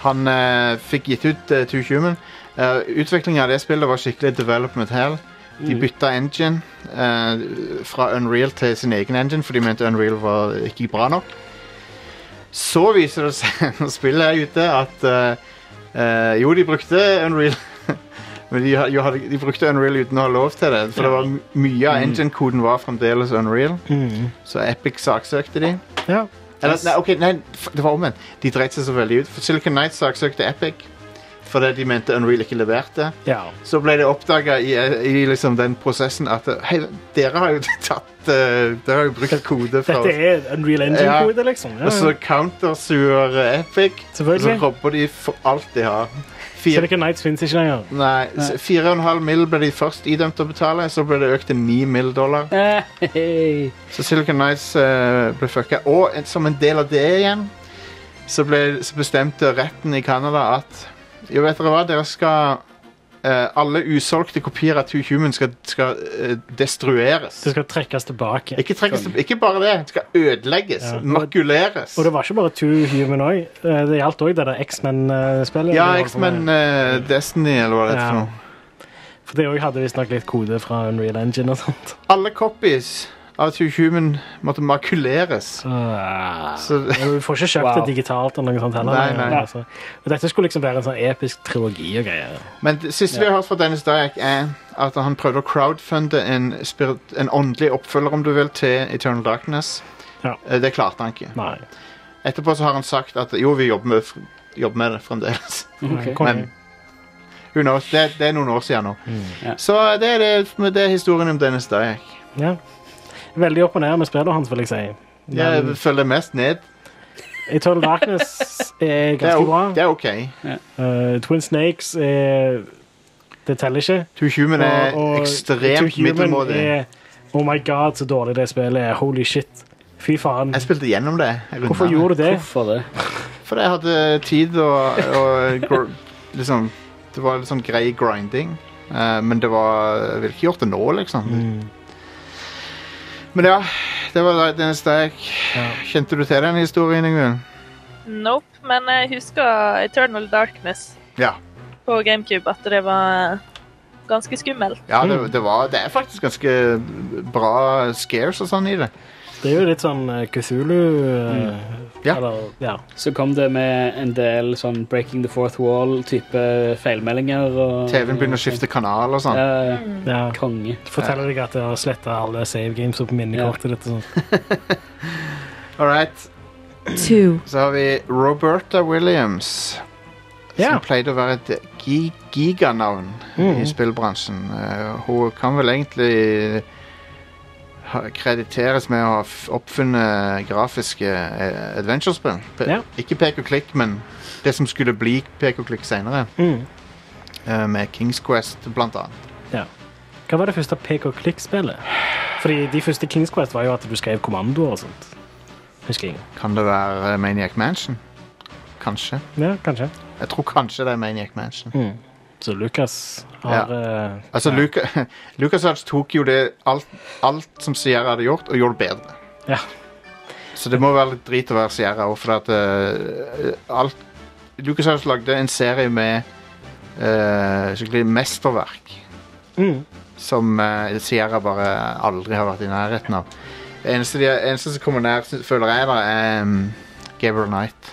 [SPEAKER 5] han eh, fikk gitt ut uh, Two Human. Uh, Utviklingen av det spillet var skikkelig development hell. De bytta engine eh, fra Unreal til sin egen engine, for de mente Unreal var ikke bra nok. Så viser det seg når spillet er ute, at eh, eh, jo, de brukte Unreal. Men de, ha- jo, hadde- de brukte Unreal uten å ha lov til det. For det var m- mye av engine-koden var fremdeles Unreal.
[SPEAKER 11] Mm.
[SPEAKER 5] Så Epic saksøkte de.
[SPEAKER 8] Ja.
[SPEAKER 5] Eller, nei, ok, nei, f- det var omvendt. De dreit seg så veldig ut. For Silicon Knights saksøkte Epic fordi de mente Unreal ikke leverte.
[SPEAKER 8] ja.
[SPEAKER 5] Så ble det oppdaga i, i liksom den prosessen at Hei, dere har jo tatt eh, Dere har jo brukt kode fra
[SPEAKER 8] Dette
[SPEAKER 5] oss.
[SPEAKER 8] er Unreal Engine-kode, liksom. Ja.
[SPEAKER 5] Og så countersuer Epic. Og så
[SPEAKER 8] Selvfølgelig.
[SPEAKER 5] robber de for alt de har. Fire,
[SPEAKER 8] Silicon Nights fins ikke lenger.
[SPEAKER 5] nei, s- fire og en halv mill ble de først idømt å betale. Så ble det økt til ni mill dollar.
[SPEAKER 11] Hei.
[SPEAKER 5] Så Silicon Nights eh, ble fucka. Og en- som en del av det igjen, så, ble, så bestemte retten i Canada at Jo, vet dere hva, dere skal eh, Alle usolgte kopier av Two Human skal, skal eh, destrueres.
[SPEAKER 8] Det skal trekkes tilbake.
[SPEAKER 5] Ikke, trekkes, ikke bare det. Det skal ødelegges.
[SPEAKER 8] Ja.
[SPEAKER 5] Makuleres.
[SPEAKER 8] Og det var ikke bare Two Human òg. Det gjaldt òg det der X-Men-spillet.
[SPEAKER 5] Ja,
[SPEAKER 8] de holdt på med.
[SPEAKER 5] X-Men eh, Destiny, eller hva det heter.
[SPEAKER 8] Ja.
[SPEAKER 5] for noe.
[SPEAKER 8] For det òg hadde visstnok litt kode fra Unreal Engine og sånt.
[SPEAKER 5] Alle copies av Two Human måtte makuleres. Så
[SPEAKER 8] Og du får ikke kjøpt
[SPEAKER 11] Ah, Wow.
[SPEAKER 8] det digitalt eller noe sånt heller.
[SPEAKER 5] Nei, nei.
[SPEAKER 8] Ja, altså. Og dette skulle liksom være en sånn episk trilogi og greier.
[SPEAKER 5] Men det siste vi har hørt fra Dennis Dyack, er at han prøvde å crowdfunde en, spirit, en åndelig oppfølger om du vil, til Eternal Darkness.
[SPEAKER 8] Ja.
[SPEAKER 5] Eh, Det klarte han ikke.
[SPEAKER 8] Nei.
[SPEAKER 5] Etterpå så har han sagt at jo, vi jobber med, fr- jobber med det fremdeles.
[SPEAKER 11] Ok.
[SPEAKER 8] Konge.
[SPEAKER 5] Men who knows? Det, det er noen år siden nå.
[SPEAKER 8] Mm.
[SPEAKER 11] Ja.
[SPEAKER 5] Så det er, det, men det er historien om Dennis Dyack.
[SPEAKER 8] Ja. Veldig opp og ned med spillet hans, vil jeg si.
[SPEAKER 5] Jeg
[SPEAKER 8] Men
[SPEAKER 5] følger mest ned.
[SPEAKER 8] Eternal Darkness er
[SPEAKER 5] Det er,
[SPEAKER 8] ganske
[SPEAKER 5] o-
[SPEAKER 8] bra.
[SPEAKER 5] det er OK.
[SPEAKER 8] Eh, Twin Snakes er Det teller ikke.
[SPEAKER 5] Two Human er
[SPEAKER 8] Og- og To
[SPEAKER 5] ekstremt
[SPEAKER 8] Human
[SPEAKER 5] middelmådig.
[SPEAKER 8] er- Oh my god, så dårlig det spillet er. Holy shit. Fy faen.
[SPEAKER 5] Jeg spilte gjennom det. Jeg rundet
[SPEAKER 8] Hvorfor
[SPEAKER 5] det.
[SPEAKER 8] gjorde du det?
[SPEAKER 11] Hvorfor det?
[SPEAKER 5] Fordi jeg hadde tid og, og gr- liksom Det var litt sånn grei grinding. eh, men det var Jeg ville ikke gjort det nå, liksom. Men ja, det var da- den eneste jeg Kjente du til den historien, Ingvild?
[SPEAKER 7] Nope, men jeg husker Eternal Darkness
[SPEAKER 5] Ja.
[SPEAKER 7] på GameCube, at det var ganske skummelt.
[SPEAKER 5] ja det, det, var, det er faktisk ganske bra scares og sånn i det.
[SPEAKER 8] Det er jo litt sånn eh, Cthulhu eh,
[SPEAKER 5] Ja.
[SPEAKER 8] Eller, ja.
[SPEAKER 11] Så kom det med en del sånn Breaking the Fourth Wall-type feilmeldinger. og...
[SPEAKER 6] Mm.
[SPEAKER 5] TV-en begynner å skifte kanal og sånn.
[SPEAKER 11] Ja, ja.
[SPEAKER 8] ja.
[SPEAKER 11] Konge.
[SPEAKER 8] Forteller deg at jeg har sletta alle save games på minnekortet ditt. og sånn.
[SPEAKER 5] All right.
[SPEAKER 10] two,
[SPEAKER 5] Så har vi Roberta Williams.
[SPEAKER 8] Ja.
[SPEAKER 5] Som pleide å være et gi giganavn
[SPEAKER 8] Mm.
[SPEAKER 5] i spillbransjen. Eh, hun kan vel egentlig ha, krediteres med å ha f- oppfunnet grafiske uh, adventure-spill. Pe-
[SPEAKER 8] Ja.
[SPEAKER 5] Ikke pek og klikk, men det som skulle bli pek og klikk senere.
[SPEAKER 8] Mm.
[SPEAKER 5] Eh, med Kings Quest, blant annet.
[SPEAKER 8] Hva var det første pek-og-klikk-spillet? Fordi de første Kings Quest var jo at du skrev kommandoer og sånt. Husker jeg.
[SPEAKER 5] Kan det være eh, Maniac Mansion? Kanskje.
[SPEAKER 8] Ja, kanskje.
[SPEAKER 5] Jeg tror kanskje det er Maniac Mansion.
[SPEAKER 8] Mm. Så Lucas har eh,
[SPEAKER 5] Altså,
[SPEAKER 8] ja.
[SPEAKER 5] Luca, LucasArts tok jo det alt, alt som Sierra hadde gjort, og gjorde det bedre.
[SPEAKER 8] Ja.
[SPEAKER 5] Så det må være litt drit å være Sierra òg, for at eh, alt LucasArts lagde en serie med eh, skikkelig mesterverk
[SPEAKER 8] Mm.
[SPEAKER 5] som eh, Sierra bare aldri har vært i nærheten av. Det eneste, de, eneste som kommer nær, sy- føler jeg, da, er um, Gabriel Knight.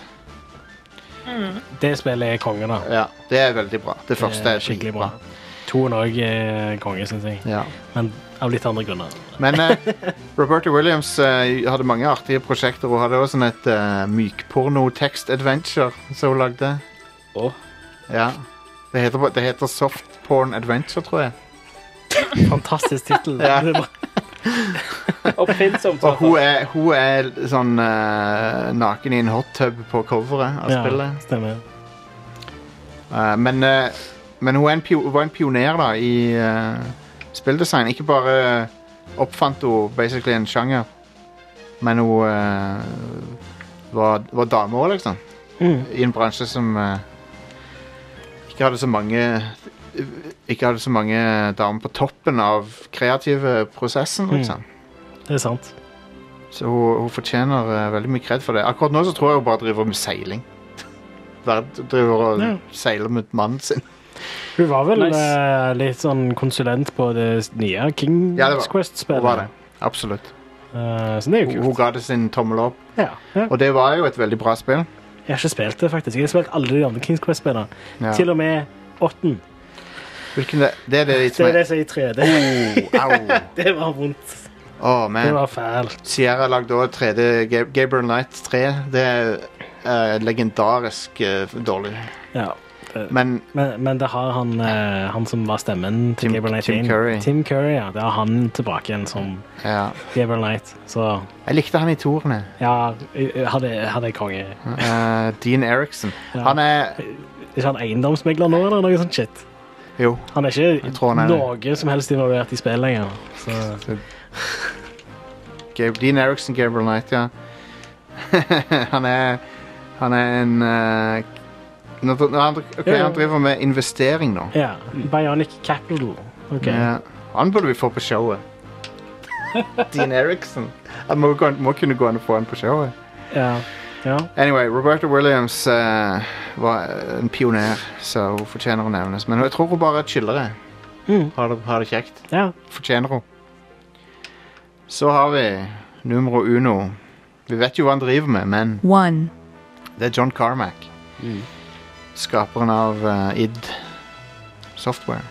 [SPEAKER 8] Det spillet er konge, da.
[SPEAKER 5] Ja, det er veldig bra. Det første
[SPEAKER 8] Det
[SPEAKER 5] er
[SPEAKER 8] skikkelig
[SPEAKER 5] dritbra.
[SPEAKER 8] bra. Toen òg er konge, syns jeg.
[SPEAKER 5] Ja.
[SPEAKER 8] Men av litt andre grunner.
[SPEAKER 5] Men eh, Roberta Williams eh, hadde mange artige prosjekter. Hun hadde også sånn et eh, mykporno-tekst-adventure som hun lagde.
[SPEAKER 11] Åh.
[SPEAKER 5] Ja. Det heter, det heter Soft Porn Adventure, tror jeg.
[SPEAKER 8] Fantastisk tittel.
[SPEAKER 5] Ja.
[SPEAKER 8] Det er bare-
[SPEAKER 11] Oppfinnsomt.
[SPEAKER 5] Og hun er, hun er sånn eh, naken i en hot tub på coveret av
[SPEAKER 8] Ja,
[SPEAKER 5] spillet.
[SPEAKER 8] stemmer.
[SPEAKER 5] Eh, men eh, men hun, er en pio, hun var en pioner da i eh, spilldesign. Ikke bare oppfant hun basically en sjanger, men hun eh, var, var dame òg, liksom.
[SPEAKER 8] Mm.
[SPEAKER 5] I en bransje som eh, ikke hadde så mange ikke hadde så mange damer på toppen av kreative prosessen,
[SPEAKER 8] Mm.
[SPEAKER 5] liksom.
[SPEAKER 8] Det er sant.
[SPEAKER 5] Så hun, hun fortjener eh, veldig mye kred for det. Akkurat nå så tror jeg hun bare driver med seiling. Bare driver og
[SPEAKER 8] Ja.
[SPEAKER 5] seiler med mannen sin.
[SPEAKER 8] Hun var vel
[SPEAKER 11] Nice.
[SPEAKER 8] eh, litt sånn konsulent på det nye Kings
[SPEAKER 5] Ja, det var-
[SPEAKER 8] Quest-spillet.
[SPEAKER 5] Hun var det. Absolutt.
[SPEAKER 8] Eh, så det er jo
[SPEAKER 5] Hun,
[SPEAKER 8] kult.
[SPEAKER 5] hun ga det sin tommel opp.
[SPEAKER 8] Ja. Ja.
[SPEAKER 5] Og det var jo et veldig bra spill.
[SPEAKER 8] Jeg har ikke spilt det, faktisk. Jeg har spilt alle de andre Kings Quest-spillene.
[SPEAKER 5] Ja.
[SPEAKER 8] Til og med åtten.
[SPEAKER 5] Hvilken det, det er det de
[SPEAKER 8] Det er det som er i 3D.
[SPEAKER 5] Oh, au.
[SPEAKER 8] Det var vondt.
[SPEAKER 5] Oh,
[SPEAKER 8] Det
[SPEAKER 5] man.
[SPEAKER 8] var fælt. Sierra.
[SPEAKER 5] Sierra lagde også 3D Ga- Gabriel Knight 3. Det er eh, legendarisk eh, dårlig.
[SPEAKER 8] Ja.
[SPEAKER 5] Men
[SPEAKER 8] Men, men det har han, eh, han som var stemmen til
[SPEAKER 5] Tim-
[SPEAKER 8] Gabriel Knight
[SPEAKER 5] Tim
[SPEAKER 8] inn.
[SPEAKER 5] Curry.
[SPEAKER 8] Tim Curry, ja. Det har han tilbake igjen som
[SPEAKER 5] ja.
[SPEAKER 8] Gabriel Knight. Så
[SPEAKER 5] Jeg likte han i torene.
[SPEAKER 8] ja, hadde, hadde jeg konge.
[SPEAKER 5] Eh, Dean Eriksen.
[SPEAKER 8] Ja.
[SPEAKER 5] Han er
[SPEAKER 8] Er ikke han eiendomsmegler nå, eller noe sånt shit?
[SPEAKER 5] Jo.
[SPEAKER 8] Han er ikke
[SPEAKER 5] Jeg tror han er det.
[SPEAKER 8] noe som helst involvert i spill lenger. Så
[SPEAKER 5] Gab Dean Eriksen, Gabriel Knight, ja. han er Han er en eh, nå dr- nå han, dr- ok,
[SPEAKER 8] Ja, ja.
[SPEAKER 5] han driver med investering nå.
[SPEAKER 8] ja. Bionic Capital. Ok.
[SPEAKER 5] Ja. Han burde vi få på showet. Dean Eriksen. Han må, gå, må kunne gå an å få han på showet.
[SPEAKER 8] Ja. ja.
[SPEAKER 5] Anyway, Roberta Williams eh, var en pioner, så hun fortjener å nevnes. Men jeg tror hun bare chiller det.
[SPEAKER 8] Mm.
[SPEAKER 5] Har det, har det kjekt.
[SPEAKER 8] ja.
[SPEAKER 5] Fortjener hun. Så har vi numero uno. Vi vet jo hva han driver med, men
[SPEAKER 10] one,
[SPEAKER 5] det er John Carmack.
[SPEAKER 8] Mm.
[SPEAKER 5] Skaperen av eh, id Software.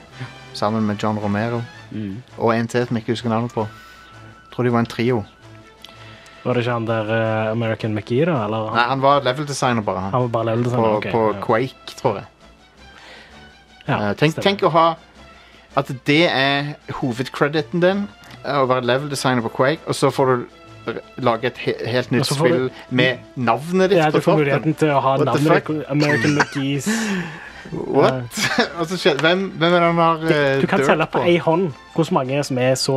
[SPEAKER 5] Sammen med John Romero.
[SPEAKER 11] Mm.
[SPEAKER 5] Og en til som jeg ikke husker navnet på. Tror de var en trio.
[SPEAKER 8] Var det ikke han der eh, American McGee, da? Eller
[SPEAKER 5] Nei,
[SPEAKER 8] han,
[SPEAKER 5] han var level designer, bare. han.
[SPEAKER 8] han var bare level
[SPEAKER 5] På,
[SPEAKER 8] designer? ok,
[SPEAKER 5] på
[SPEAKER 8] ja.
[SPEAKER 5] Quake, tror jeg.
[SPEAKER 8] Ja,
[SPEAKER 5] Eh, tenk,
[SPEAKER 8] stemmer.
[SPEAKER 5] tenk å ha At det er hovedcrediten din. eh, Å være level designer på Quake, og så får du r- lage et he helt nytt
[SPEAKER 8] Og så får
[SPEAKER 5] spill
[SPEAKER 8] du-
[SPEAKER 5] med navnet ditt
[SPEAKER 8] ja,
[SPEAKER 5] på
[SPEAKER 8] du får
[SPEAKER 5] toppen.
[SPEAKER 8] muligheten til å ha
[SPEAKER 5] What the
[SPEAKER 8] navnet
[SPEAKER 5] fuck?
[SPEAKER 8] ditt, American McGees.
[SPEAKER 5] What? Og så skje- hvem, hvem er det han har eh,
[SPEAKER 8] Du kan
[SPEAKER 5] dirt
[SPEAKER 8] telle på
[SPEAKER 5] på?
[SPEAKER 8] ei hånd hvor mange som er så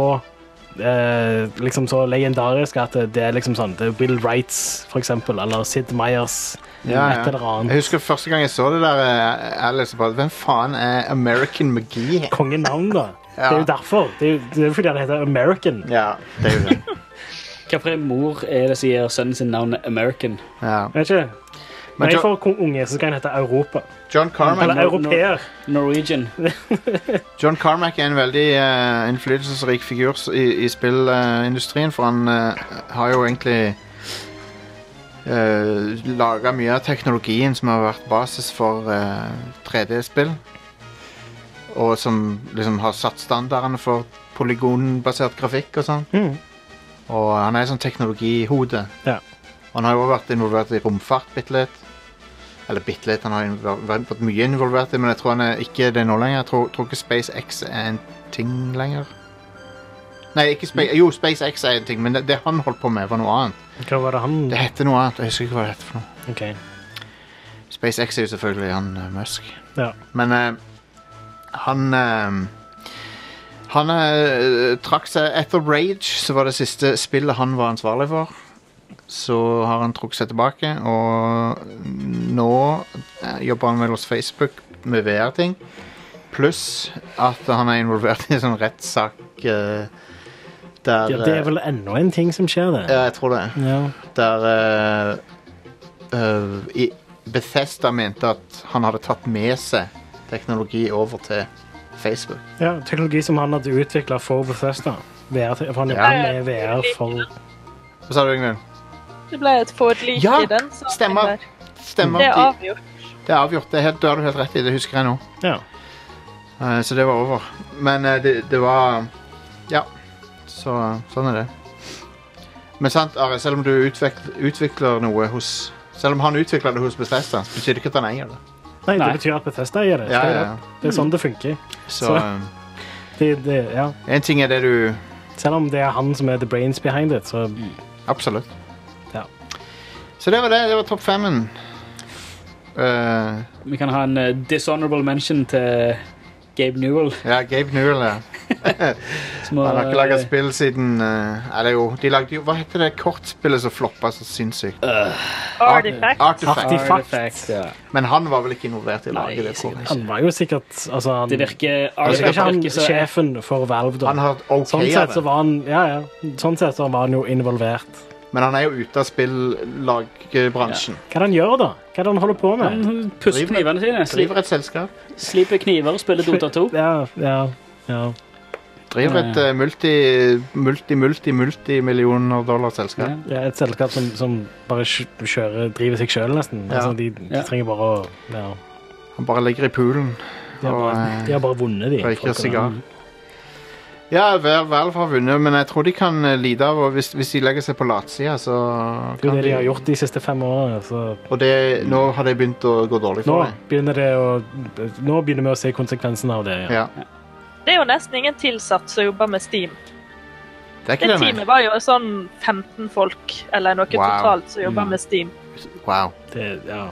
[SPEAKER 8] eh, liksom så legendarisk at det er liksom sånn det er Will Wrights, for eksempel, eller Sid Meyers,
[SPEAKER 5] Ja, ja.
[SPEAKER 8] et eller
[SPEAKER 5] Jeg
[SPEAKER 8] annet.
[SPEAKER 5] husker første gang jeg så det der, eh, Alice, og bare Hvem faen er American McGee?
[SPEAKER 8] Kongenavn, da.
[SPEAKER 5] Ja.
[SPEAKER 8] Det er jo derfor. Det er jo, det er jo fordi han heter American.
[SPEAKER 5] Ja, det er jo det.
[SPEAKER 11] Hvilken mor er det som gir sønnen sin navn American?
[SPEAKER 5] Ja.
[SPEAKER 8] Vet ikke?
[SPEAKER 5] Men
[SPEAKER 8] Når jeg
[SPEAKER 5] Jo-
[SPEAKER 8] får kon- unge, så skal han hete Europa.
[SPEAKER 5] John Carmack,
[SPEAKER 8] Eller
[SPEAKER 11] nå-
[SPEAKER 8] europeer.
[SPEAKER 11] Norwegian.
[SPEAKER 5] John Carmack er en veldig eh, innflytelsesrik figur s- i, i spillindustrien, for han eh, har jo egentlig uh, laga mye av teknologien som har vært basis for eh, 3D-spill. Og som liksom har satt standardene for polygonbasert grafikk og sånn.
[SPEAKER 8] Mhm.
[SPEAKER 5] Og han er sånn teknologihode.
[SPEAKER 8] Ja.
[SPEAKER 5] Og han har jo vært involvert i romfart bitte litt. Eller bitte litt, han har invol- vært vært mye involvert i, men jeg tror han er ikke det nå lenger. Jeg tror, tror ikke SpaceX er en ting lenger. Nei, ikke Spa jo, SpaceX er en ting, men det, det han holdt på med, var noe annet.
[SPEAKER 8] Hva var det han
[SPEAKER 5] Det heter noe annet, jeg husker ikke hva det heter for noe.
[SPEAKER 8] Ok.
[SPEAKER 5] SpaceX er jo selvfølgelig han eh, Musk.
[SPEAKER 8] Ja.
[SPEAKER 5] Men eh, han eh, Han eh, trakk seg etter Rage, som var det siste spillet han var ansvarlig for. Så har han trukket seg tilbake, og nå eh, jobber han vel hos Facebook med VR-ting. Pluss at han er involvert i en sånn rettssak eh, der
[SPEAKER 8] ja, det
[SPEAKER 5] eh,
[SPEAKER 8] er vel enda en ting som skjer, det.
[SPEAKER 5] Ja, jeg tror det
[SPEAKER 8] Ja.
[SPEAKER 5] der eh, eh, i Bethesda mente at han hadde tatt med seg teknologi over til Facebook.
[SPEAKER 8] ja. Teknologi som han hadde utvikla for Bethesda. VR, for han jobber
[SPEAKER 7] Ja.
[SPEAKER 8] med VR for
[SPEAKER 5] Hva sa du, Ingvild?
[SPEAKER 7] Det ble et forlik
[SPEAKER 5] Ja,
[SPEAKER 7] i den saken
[SPEAKER 5] stemmer.
[SPEAKER 7] der.
[SPEAKER 5] Stemmer.
[SPEAKER 7] Det er
[SPEAKER 5] De,
[SPEAKER 7] avgjort.
[SPEAKER 5] det er avgjort. Det er helt, det har du helt rett i. Det husker jeg nå.
[SPEAKER 8] Ja.
[SPEAKER 5] Eh, så det var over. Men eh, det, det var Ja. Så sånn er det. Men sant, Are, selv om du utvikler, utvikler noe hos Selv om han utvikler det hos Bethesda, så betyr det ikke at han eier det.
[SPEAKER 8] Nei, det
[SPEAKER 11] Nei.
[SPEAKER 8] betyr at Bethesda gjør det.
[SPEAKER 5] Ja,
[SPEAKER 8] Det er
[SPEAKER 5] ja,
[SPEAKER 8] det.
[SPEAKER 5] ja.
[SPEAKER 8] Det er sånn det funker.
[SPEAKER 5] Så
[SPEAKER 8] Så-
[SPEAKER 5] eh,
[SPEAKER 8] Det, det, ja.
[SPEAKER 5] en ting er det du
[SPEAKER 8] Selv om det er han som er the brains behind it, så
[SPEAKER 5] Mm. Absolutt.
[SPEAKER 8] Ja.
[SPEAKER 5] Så det var det. Det var topp femmen. Eh,
[SPEAKER 11] Vi kan ha en eh, dishonorable mention til Gabe Newell.
[SPEAKER 5] ja, Gabe Newell, ja.
[SPEAKER 11] Som
[SPEAKER 5] Han har ikke laga
[SPEAKER 11] eh,
[SPEAKER 5] spill siden eh, Eller jo, de lagde jo Hva heter det kortspillet som floppa så sinnssykt?
[SPEAKER 7] Artifact.
[SPEAKER 5] Artifact.
[SPEAKER 11] Artifact. Ja.
[SPEAKER 5] Men han var vel ikke involvert i å lage
[SPEAKER 11] Nei,
[SPEAKER 5] det? tror
[SPEAKER 11] sikkert
[SPEAKER 5] jeg.
[SPEAKER 8] han var jo sikkert altså, han,
[SPEAKER 11] Det virker
[SPEAKER 8] Er ikke han
[SPEAKER 11] Artifact virker så
[SPEAKER 8] sjefen for Valve, da?
[SPEAKER 5] Han har et OK
[SPEAKER 8] sånn sett
[SPEAKER 5] av
[SPEAKER 8] så
[SPEAKER 5] det,
[SPEAKER 8] var han Ja, ja. Sånn sett så var han jo involvert.
[SPEAKER 5] men han er jo ute av spillagbransjen.
[SPEAKER 8] Hva er det han gjør, da? Hva er det han holder på med?
[SPEAKER 11] Han puster
[SPEAKER 5] Driver-
[SPEAKER 11] knivene sine.
[SPEAKER 5] Driver
[SPEAKER 11] sli-
[SPEAKER 5] et selskap.
[SPEAKER 11] Sliper kniver og spiller Dota 2.
[SPEAKER 8] Ja, ja, ja.
[SPEAKER 11] Ja,
[SPEAKER 5] Driver et eh, multi, multi, multi, multimillioner dollar-selskap.
[SPEAKER 8] Det er et selskap som, som bare kj- kjører, driver seg sjøl, nesten.
[SPEAKER 5] Ja.
[SPEAKER 8] Altså, de, de
[SPEAKER 11] Ja.
[SPEAKER 8] trenger bare å ja.
[SPEAKER 5] Han bare ligger i poolen
[SPEAKER 8] de, har
[SPEAKER 5] og
[SPEAKER 8] bare,
[SPEAKER 5] eh,
[SPEAKER 8] de har bare vunnet, de.
[SPEAKER 5] røyker
[SPEAKER 8] folkene.
[SPEAKER 5] sigar. Mm. Ja, Val- Valve har vunnet, men jeg tror de kan eh, lide av å- hvis, hvis de legger seg på latsida, så
[SPEAKER 8] Det er jo
[SPEAKER 5] kan
[SPEAKER 8] det de har gjort de siste fem årene. Så
[SPEAKER 5] Og det, nå har det begynt å gå dårlig
[SPEAKER 8] nå
[SPEAKER 5] for dem.
[SPEAKER 8] begynner det å Nå begynner vi å se konsekvensene av det. Ja.
[SPEAKER 5] Ja.
[SPEAKER 7] Det er jo nesten ingen tilsatt som jobber med Steam.
[SPEAKER 5] Det er
[SPEAKER 7] Det
[SPEAKER 5] ikke det,
[SPEAKER 7] teamet var jo sånn 15 folk, eller noe
[SPEAKER 5] Wow.
[SPEAKER 7] totalt, som jobber med Steam.
[SPEAKER 5] nei. Wow.
[SPEAKER 8] Det, ja.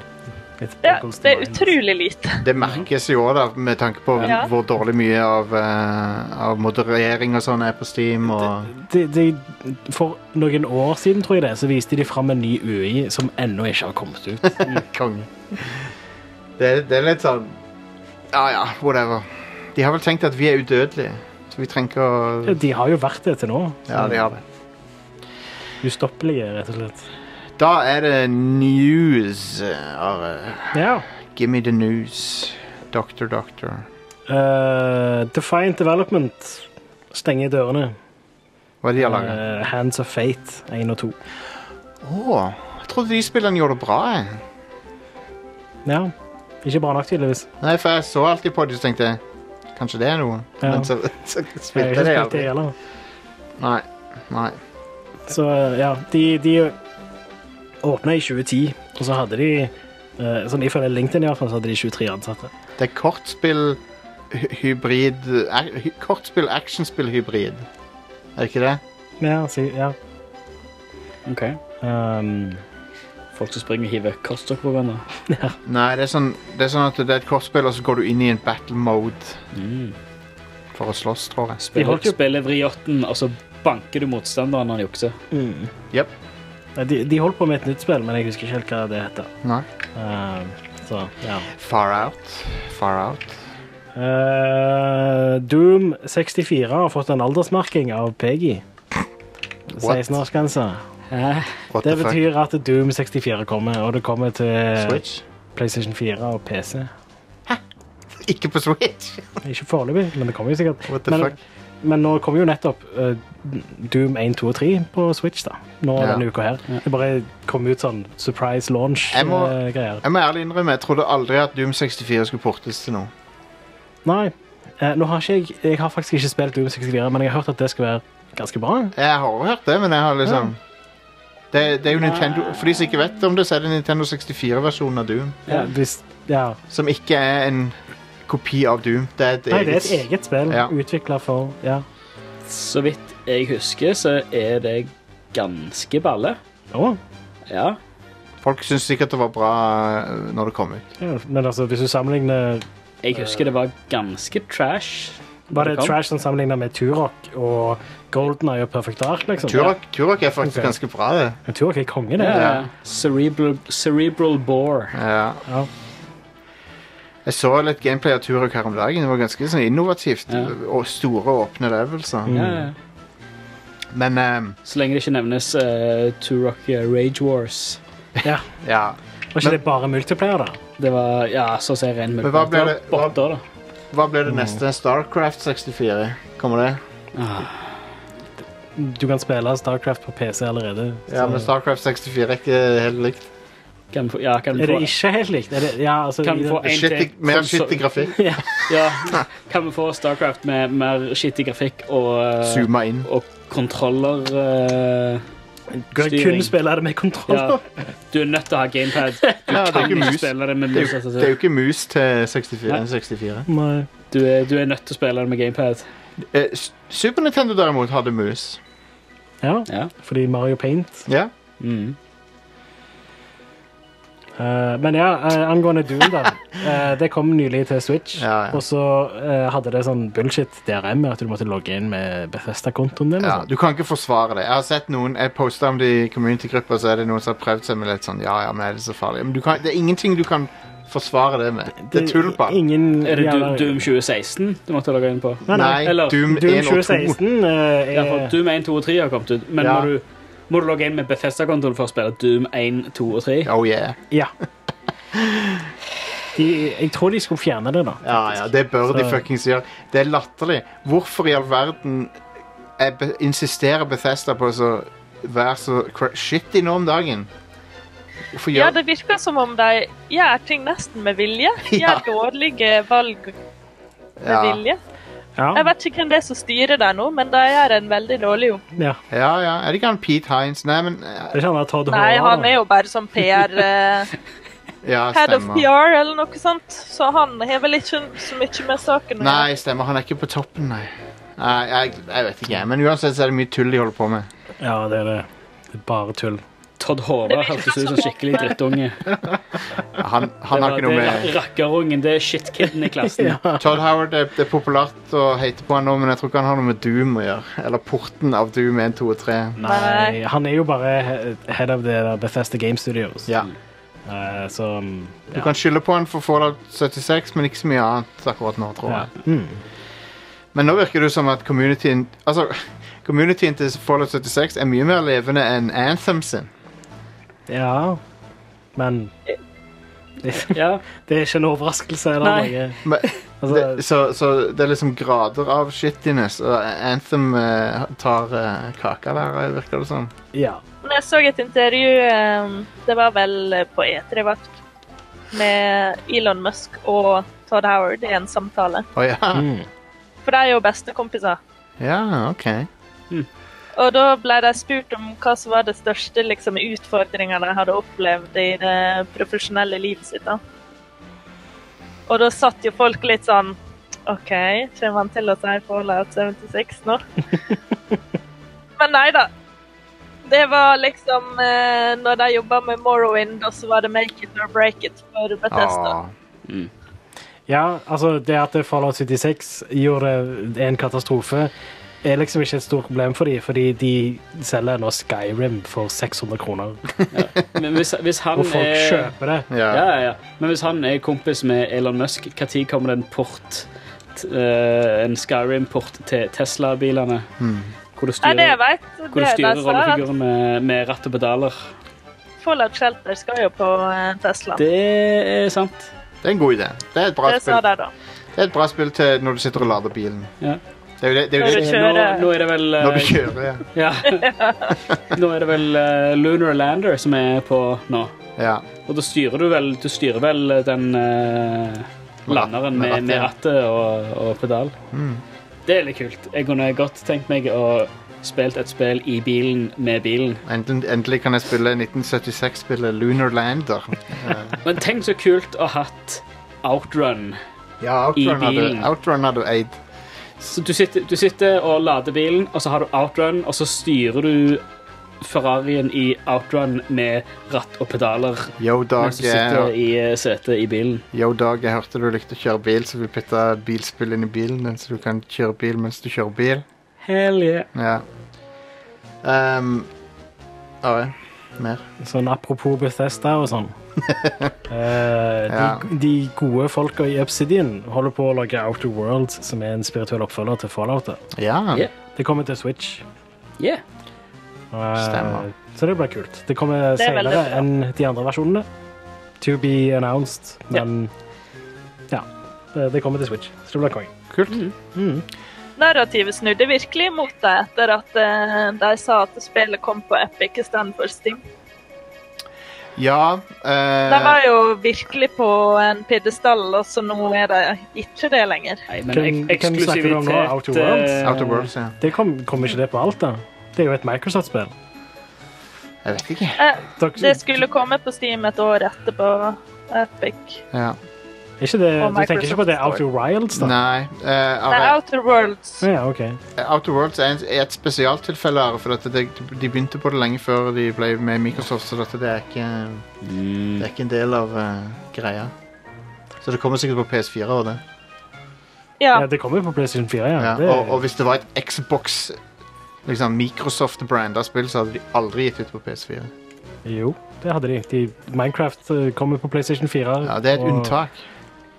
[SPEAKER 8] It's
[SPEAKER 7] Det,
[SPEAKER 8] boggles the
[SPEAKER 7] det er
[SPEAKER 8] mind.
[SPEAKER 7] utrolig lite.
[SPEAKER 5] Det merkes jo òg, med tanke på
[SPEAKER 7] Ja.
[SPEAKER 5] hvor dårlig mye av, eh, av moderering og sånn er på Steam. Og,
[SPEAKER 8] de, de, For noen år siden, tror jeg det, så viste de fram en ny UI som ennå ikke har kommet ut.
[SPEAKER 5] Konge. Det, det er litt sånn Ja ja, whatever. De har vel tenkt at vi er udødelige, så vi trenger ikke å
[SPEAKER 8] De har jo vært det til nå.
[SPEAKER 5] Ja, de har det.
[SPEAKER 8] Ustoppelige, rett og slett.
[SPEAKER 5] Da er det news, Are.
[SPEAKER 8] Ja.
[SPEAKER 5] Give me the news. Doctor, doctor.
[SPEAKER 8] Eh, Defiant Development stenger dørene.
[SPEAKER 5] Hva er det de har laga?
[SPEAKER 8] Eh, Hands of Fate 1 og 2. Eh.
[SPEAKER 5] Åh, jeg trodde de spillene gjorde det bra. Jeg.
[SPEAKER 8] Ja. Ikke bra nok, tydeligvis.
[SPEAKER 5] Nei, for jeg så alltid på det, så tenkte jeg Kanskje det er noe?
[SPEAKER 8] Ja.
[SPEAKER 5] Men så, så
[SPEAKER 8] Jeg har
[SPEAKER 5] spilte
[SPEAKER 8] ikke
[SPEAKER 5] jeg det
[SPEAKER 8] spilt det
[SPEAKER 5] aldri.
[SPEAKER 8] heller.
[SPEAKER 5] Nei. Nei.
[SPEAKER 8] Så eh, ja, de, de åpna i 2010, og så hadde de eh, sånn Ifølge LinkedIn i hvert fall, så hadde de 23 ansatte.
[SPEAKER 5] Det er kortspill hy- hybrid ac- hy- Kortspill actionspill hybrid. Er det ikke det?
[SPEAKER 8] Ja, si, ja.
[SPEAKER 11] Ok.
[SPEAKER 8] Um,
[SPEAKER 11] Folk som springer og hiver kortstokk på hverandre.
[SPEAKER 5] Nei, det er, sånn, det er sånn at det er et kortspill, og så går du inn i en battle mode for å slåss, tror jeg.
[SPEAKER 8] De
[SPEAKER 11] Spiller,
[SPEAKER 8] holdt jo-
[SPEAKER 11] spiller vriotten, og så
[SPEAKER 6] banker du motstanderen når han jukser.
[SPEAKER 5] Jep.
[SPEAKER 8] Nei, De, de holdt på med et nytt spill, men jeg husker ikke helt hva det heter.
[SPEAKER 5] Nei.
[SPEAKER 8] Eh, så, ja.
[SPEAKER 5] Far out. Far out.
[SPEAKER 8] Eh, Doom 64 har fått en aldersmerking av Peggy.
[SPEAKER 5] What?
[SPEAKER 8] 16-årsgrense.
[SPEAKER 6] Hæ?
[SPEAKER 5] What
[SPEAKER 8] Det
[SPEAKER 5] the fuck?
[SPEAKER 8] betyr at Doom 64 kommer, og det kommer til
[SPEAKER 5] Switch?
[SPEAKER 8] PlayStation 4 og PC.
[SPEAKER 5] Ikke på Switch!
[SPEAKER 8] Ikke foreløpig, men det kommer jo sikkert.
[SPEAKER 5] What the
[SPEAKER 8] men,
[SPEAKER 5] fuck?
[SPEAKER 8] men nå kommer jo nettopp eh, Doom 1, 2 og 3 på Switch da. Nå
[SPEAKER 5] Ja.
[SPEAKER 8] denne uka her. Det bare kom ut sånn surprise eh,
[SPEAKER 5] Jeg må-
[SPEAKER 8] launch-greier.
[SPEAKER 5] Jeg må ærlig innrømme, jeg trodde aldri at Doom 64 skulle portes til noe.
[SPEAKER 8] Nei, eh, nå har ikke jeg, jeg har faktisk ikke spilt Doom 64, men jeg har hørt at det skal være ganske bra.
[SPEAKER 5] Jeg har jo hørt det, men jeg har liksom det, det er jo Nintendo For de som ikke vet om det, så er det Nintendo 64-versjonen av Doom.
[SPEAKER 8] Ja, Eh, hvis, ja.
[SPEAKER 5] Som ikke er en kopi av Doom. Det er et
[SPEAKER 8] Nei, det er et
[SPEAKER 5] eget
[SPEAKER 8] eget spill
[SPEAKER 5] Ja.
[SPEAKER 8] utviklet for, ja.
[SPEAKER 6] Så vidt jeg husker, så er det ganske balle.
[SPEAKER 8] Åh,
[SPEAKER 6] Ja.
[SPEAKER 5] Folk syns sikkert det var bra øh, når det kom ut.
[SPEAKER 8] ja, men altså, hvis du sammenligner
[SPEAKER 6] Jeg husker det var ganske trash.
[SPEAKER 8] Var
[SPEAKER 6] Det
[SPEAKER 8] det
[SPEAKER 6] kan.
[SPEAKER 8] trash som sammenlignet med Turok og GoldenEye og Perfect Dark, liksom?
[SPEAKER 5] Turok, Turok er faktisk
[SPEAKER 8] Ok.
[SPEAKER 5] ganske bra, det.
[SPEAKER 8] Ja. Turok er konge, det.
[SPEAKER 6] Ja. Cerebral, cerebral bore.
[SPEAKER 5] Ja.
[SPEAKER 8] Ja.
[SPEAKER 5] Jeg så litt gameplay av Turok her om dagen. Det var ganske sånn innovativt.
[SPEAKER 6] Ja.
[SPEAKER 5] Og store, åpne levelser.
[SPEAKER 8] Mm.
[SPEAKER 6] Ja, ja.
[SPEAKER 5] Men ehm,
[SPEAKER 6] Så lenge det ikke nevnes eh, Turok eh, Rage Wars.
[SPEAKER 8] Ja.
[SPEAKER 5] ja.
[SPEAKER 8] Var ikke det bare multiplayer, da?
[SPEAKER 6] Det var ja, så å si ren
[SPEAKER 5] Men hva ble det- hva-
[SPEAKER 6] Botter, da.
[SPEAKER 5] Hva blir det neste? Starcraft 64? Kommer det?
[SPEAKER 8] Du kan spille Starcraft på PC allerede.
[SPEAKER 5] Ja,
[SPEAKER 8] så-
[SPEAKER 5] men Starcraft 64 er ikke helt likt.
[SPEAKER 6] Kan vi få, ja, kan
[SPEAKER 8] er
[SPEAKER 6] vi
[SPEAKER 8] det
[SPEAKER 6] få,
[SPEAKER 8] ikke helt likt? Er det, ja, altså,
[SPEAKER 6] kan
[SPEAKER 8] i
[SPEAKER 6] vi
[SPEAKER 8] den-
[SPEAKER 6] få en
[SPEAKER 5] Shitty,
[SPEAKER 6] til?
[SPEAKER 5] mer
[SPEAKER 6] Konsol-
[SPEAKER 5] skittig grafikk.
[SPEAKER 6] Ja, ja. Kan vi få Starcraft med mer skittig grafikk og, eh,
[SPEAKER 5] Zooma inn.
[SPEAKER 6] og kontroller eh,
[SPEAKER 8] Du kan
[SPEAKER 6] styring.
[SPEAKER 8] kun spille det med kontroll.
[SPEAKER 6] ja. Du er nødt til å ha gamepad. Du
[SPEAKER 5] Ja, det er
[SPEAKER 6] kan
[SPEAKER 5] ikke
[SPEAKER 6] ikke
[SPEAKER 5] mus.
[SPEAKER 6] spille det med
[SPEAKER 5] Det er,
[SPEAKER 6] mus.
[SPEAKER 5] jo,
[SPEAKER 6] altså.
[SPEAKER 5] det er jo ikke mus til 64.
[SPEAKER 6] Nei.
[SPEAKER 5] 64.
[SPEAKER 8] Nei.
[SPEAKER 6] Du, er, du er nødt til å spille det med gamepad.
[SPEAKER 5] Eh, S- Super Nintendo derimot hadde mus.
[SPEAKER 8] Ja,
[SPEAKER 6] Ja.
[SPEAKER 8] fordi Mario Paint.
[SPEAKER 5] Ja.
[SPEAKER 6] Mm.
[SPEAKER 8] Eh, men ja, eh, angående Doom, da. Eh, det kom nylig til Switch,
[SPEAKER 5] Ja, ja.
[SPEAKER 8] og så eh, hadde det sånn bullshit DRM, at du måtte logge inn med Bethesda-kontoen din. og
[SPEAKER 5] ja.
[SPEAKER 8] sånn.
[SPEAKER 5] Du kan ikke forsvare det. Jeg har sett noen, jeg postet om det i community-gruppa, så er det noen som har prøvd seg med litt sånn Ja, ja, men er det så farlig? Men du kan, det er ingenting du kan forsvare det med. Det er tull bare.
[SPEAKER 8] Ingen
[SPEAKER 6] Er det
[SPEAKER 8] jævla-
[SPEAKER 6] Du- Doom 2016 du måtte logge inn på?
[SPEAKER 8] Nei, nei.
[SPEAKER 5] Nei,
[SPEAKER 6] Eller
[SPEAKER 5] Doom
[SPEAKER 8] Doom
[SPEAKER 5] 1 og 2.
[SPEAKER 8] 2016 eh,
[SPEAKER 6] Ja, for
[SPEAKER 8] er
[SPEAKER 6] Doom 1, 2 og 3 har kommet ut, men
[SPEAKER 5] Ja.
[SPEAKER 6] må, du, må du logge inn med Bethesda-kontoen for å spille Doom 1, 2 og 3?
[SPEAKER 5] Oh yeah.
[SPEAKER 8] Ja. De, jeg tror de skulle fjerne det, da.
[SPEAKER 5] Ja, ja, det bør de
[SPEAKER 8] Så-
[SPEAKER 5] fuckings gjøre. Det er latterlig. Hvorfor i all verden er Be- insisterer Bethesda på å så- være så cra- shitty nå om dagen? Hvorfor
[SPEAKER 7] Ja,
[SPEAKER 5] gjør
[SPEAKER 7] det virker som om de gjør ting nesten med vilje.
[SPEAKER 5] Ja.
[SPEAKER 7] Gjør dårlige valg med
[SPEAKER 5] Ja.
[SPEAKER 7] vilje. Jeg
[SPEAKER 8] Ja.
[SPEAKER 7] vet ikke hvem det er som styrer der nå, men de gjør en veldig dårlig jobb.
[SPEAKER 8] ja.
[SPEAKER 5] Ja, ja. Er det ikke han Pete Hines? Nei, men eh,
[SPEAKER 8] Det er ikke han der Todd
[SPEAKER 7] Nei,
[SPEAKER 8] Howard,
[SPEAKER 7] han
[SPEAKER 8] da.
[SPEAKER 7] er jo bare som PR eh,
[SPEAKER 5] Ja,
[SPEAKER 7] Head of
[SPEAKER 5] stemmer.
[SPEAKER 7] PR eller noe sånt, så han har vel ikke så mye med saken å gjøre.
[SPEAKER 5] Nei, stemmer. Han er ikke på toppen, nei. Nei, jeg, jeg vet ikke. jeg. Men uansett så er det mye tull de holder på med.
[SPEAKER 8] Ja, det er det. Det er bare tull.
[SPEAKER 6] Todd Håvard hørtes ut som skikkelig drittunge.
[SPEAKER 5] Han, han har ikke noe
[SPEAKER 6] det er
[SPEAKER 5] med
[SPEAKER 6] ra- rakkerungen, det er shitkiden i klassen.
[SPEAKER 5] Todd Howard det, det er populært å hate på han nå, men jeg tror ikke han har noe med Doom å gjøre. Eller porten av Doom 1, 2 og 3.
[SPEAKER 7] eh,
[SPEAKER 8] Nei, Eh, han er jo bare he- head of det der Bethesda Game Studios.
[SPEAKER 5] Ja.
[SPEAKER 8] Eh, så
[SPEAKER 5] Du kan skylde på han for Fallout 76, men ikke så mye annet akkurat nå, tror
[SPEAKER 8] ja.
[SPEAKER 5] jeg. Men nå virker det jo som at communityen Altså, communityen til Fallout 76 er mye mer levende enn Anthem sin.
[SPEAKER 8] ja. Men
[SPEAKER 6] Ja.
[SPEAKER 8] det er ikke en overraskelse eller
[SPEAKER 6] Nei.
[SPEAKER 8] noe.
[SPEAKER 5] Men, det,
[SPEAKER 8] Altså,
[SPEAKER 5] så, så det er liksom grader av shittiness, og Anthem eh, tar eh, kaka der, eh, virker det som.
[SPEAKER 8] ja.
[SPEAKER 7] Men jeg så et intervju, eh, det var vel på E3, vakt, med Elon Musk og Todd Howard i en samtale.
[SPEAKER 5] Å ja.
[SPEAKER 7] For de er jo bestekompiser.
[SPEAKER 5] Ja, OK.
[SPEAKER 7] Og da ble de spurt om hva som var det største liksom, utfordringa de hadde opplevd i det profesjonelle livet sitt. da. Og da satt jo folk litt sånn OK, kommer han til å si Fallout 76 nå? Men nei da. Det var liksom eh, Når de jobba med Morrowind, og så var det make it or break it for Bethesda.
[SPEAKER 5] Ah.
[SPEAKER 8] ja, altså, det at Fallout 76 gjorde en katastrofe er liksom ikke et stort problem for dem, fordi de selger nå Skyrim for 600 kroner.
[SPEAKER 11] Men hvis, hvis han
[SPEAKER 8] Og folk
[SPEAKER 11] er
[SPEAKER 8] kjøper det.
[SPEAKER 11] ja,
[SPEAKER 5] Ja.
[SPEAKER 11] ja, ja. Men hvis han er kompis med Elon Musk, når kommer det en port t- eh, En Skyrim-port til Tesla-bilene? Hvor du
[SPEAKER 7] Nei,
[SPEAKER 6] Ah,
[SPEAKER 7] det jeg
[SPEAKER 11] styrer,
[SPEAKER 7] vet,
[SPEAKER 11] hvor
[SPEAKER 7] det
[SPEAKER 11] du
[SPEAKER 7] jeg
[SPEAKER 11] styrer
[SPEAKER 7] leser, er sånn
[SPEAKER 11] rollefiguren med, med ratt og pedaler.
[SPEAKER 7] at Fallout Shelter skal jo på eh, Tesla. Det,
[SPEAKER 11] Det er sant.
[SPEAKER 5] Det er en god idé. Det er et bra
[SPEAKER 7] sa
[SPEAKER 5] spill,
[SPEAKER 7] de, da.
[SPEAKER 5] det er et bra spill til når du sitter og lader bilen.
[SPEAKER 11] Ja.
[SPEAKER 5] Det er jo det, det, er jo
[SPEAKER 7] Når
[SPEAKER 11] Eh, Nå,
[SPEAKER 5] det
[SPEAKER 7] du
[SPEAKER 11] nå er
[SPEAKER 7] kjører.
[SPEAKER 11] det vel eh,
[SPEAKER 5] når du kjører. Ja.
[SPEAKER 11] ja. Nå er det vel eh, Lunar Lander som er på nå.
[SPEAKER 5] Ja.
[SPEAKER 11] Og da styrer du vel, du styrer vel den eh, landeren
[SPEAKER 5] med
[SPEAKER 11] med, med
[SPEAKER 5] rattet, ja.
[SPEAKER 11] rattet og, og pedal.
[SPEAKER 5] Mm.
[SPEAKER 11] Det er litt kult. Jeg kunne godt tenkt meg å spilt et spill i bilen med bilen.
[SPEAKER 5] Endelig, endelig kan jeg spille 1976-spillet Lunar Lander.
[SPEAKER 11] Men tenk så kult å ha hatt Outrun.
[SPEAKER 5] Ja,
[SPEAKER 11] I
[SPEAKER 5] Outrun hadde,
[SPEAKER 11] bilen.
[SPEAKER 5] Outrun hadde eid.
[SPEAKER 11] Så du sitter, du sitter og lader bilen, og så har du Outrun, og så styrer du Ferrarien i Outrun med ratt og pedaler
[SPEAKER 5] Yo, Dag,
[SPEAKER 11] mens du sitter
[SPEAKER 5] jeg,
[SPEAKER 11] i eh, setet i bilen.
[SPEAKER 5] yo, Dag, jeg hørte du likte å kjøre bil, så vi putta bilspill inn i bilen din, så du kan kjøre bil mens du kjører bil.
[SPEAKER 11] Hell yeah.
[SPEAKER 5] Ja. Um, ja, mer.
[SPEAKER 8] Sånn apropos Bethesda og sånn. Eh, de,
[SPEAKER 5] Ja.
[SPEAKER 8] de gode folka i Obsidian holder på å lage Outer Worlds, som er en spirituell oppfølger til Falloutet.
[SPEAKER 5] Ja.
[SPEAKER 11] Ja.
[SPEAKER 8] Det kommer til Switch.
[SPEAKER 11] Yeah.
[SPEAKER 8] Eh,
[SPEAKER 5] Stemmer.
[SPEAKER 8] Så det blir kult. Det kommer
[SPEAKER 7] Det er veldig
[SPEAKER 8] senere
[SPEAKER 7] bra.
[SPEAKER 8] enn de andre versjonene. To be announced, men ja. Det, det kommer til Switch, så det blir konge.
[SPEAKER 5] Kult.
[SPEAKER 7] Narrativet snudde virkelig mot deg etter at eh, de sa at spillet kom på Epic istedenfor Steam.
[SPEAKER 5] Ja
[SPEAKER 7] De
[SPEAKER 5] eh,
[SPEAKER 7] var jo virkelig på en pidestall, og så nå er de ikke det lenger.
[SPEAKER 11] Nei, men
[SPEAKER 8] Hvem-
[SPEAKER 11] ek
[SPEAKER 8] hvem snakker du om nå?
[SPEAKER 11] eksklusivitet
[SPEAKER 8] Outer Worlds?
[SPEAKER 11] eh,
[SPEAKER 5] Outer Worlds, ja.
[SPEAKER 8] Det kom, kommer ikke det på alt, da. Det er jo et Microsoft-spill.
[SPEAKER 5] Jeg vet ikke.
[SPEAKER 7] Eh,
[SPEAKER 8] Dere-
[SPEAKER 7] Det skulle komme på Steam et år etterpå Epic.
[SPEAKER 5] Ja.
[SPEAKER 8] er ikke det,
[SPEAKER 7] Og
[SPEAKER 8] du tenker ikke på det
[SPEAKER 7] Microsoft
[SPEAKER 8] Outer Wilds, da?
[SPEAKER 5] Nei. eh,
[SPEAKER 7] Det er
[SPEAKER 5] Are-
[SPEAKER 7] Outer Worlds.
[SPEAKER 8] Ja, ok.
[SPEAKER 5] Eh, Outer Worlds er en- er et spesialtilfelle, Are, for at det, de begynte på det lenge før de ble med Microsoft, så dette, det, er ikke, det er ikke en del av eh, greia. Så det kommer sikkert på PS4 og det.
[SPEAKER 7] Ja,
[SPEAKER 8] Ja, det kommer jo på PlayStation 4, ja.
[SPEAKER 5] Ja,
[SPEAKER 8] det,
[SPEAKER 5] og, og hvis det var et Xbox liksom Microsoft-branda spill, så hadde de aldri gitt ut på PS4.
[SPEAKER 8] Jo, det hadde de. de Minecraft eh, kommer på PlayStation 4.
[SPEAKER 5] Ja, Det er et
[SPEAKER 8] og,
[SPEAKER 5] unntak.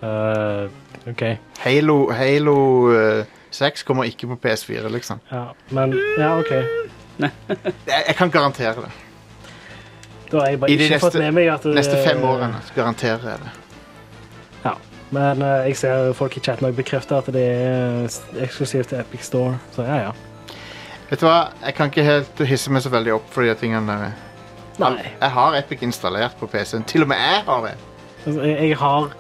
[SPEAKER 8] eh, OK.
[SPEAKER 5] Halo, Halo eh, 6 kommer ikke på PS4, liksom.
[SPEAKER 8] Ja, men Ja, OK.
[SPEAKER 5] Jeg, jeg kan garantere det.
[SPEAKER 8] Da har jeg bare
[SPEAKER 5] I de
[SPEAKER 8] ikke fått
[SPEAKER 5] neste-
[SPEAKER 8] med meg at eh, det-
[SPEAKER 5] Neste fem årene så garanterer jeg det.
[SPEAKER 8] Ja. Men eh, jeg ser folk i chatten også bekrefter at det er eksklusivt til Epic Store. Så ja, ja.
[SPEAKER 5] Vet du hva, jeg kan ikke helt hisse meg så veldig opp for de tingene der.
[SPEAKER 8] Nei.
[SPEAKER 5] Jeg har Epic installert på PC-en. Til og med jeg har det.
[SPEAKER 8] Altså, jeg, jeg har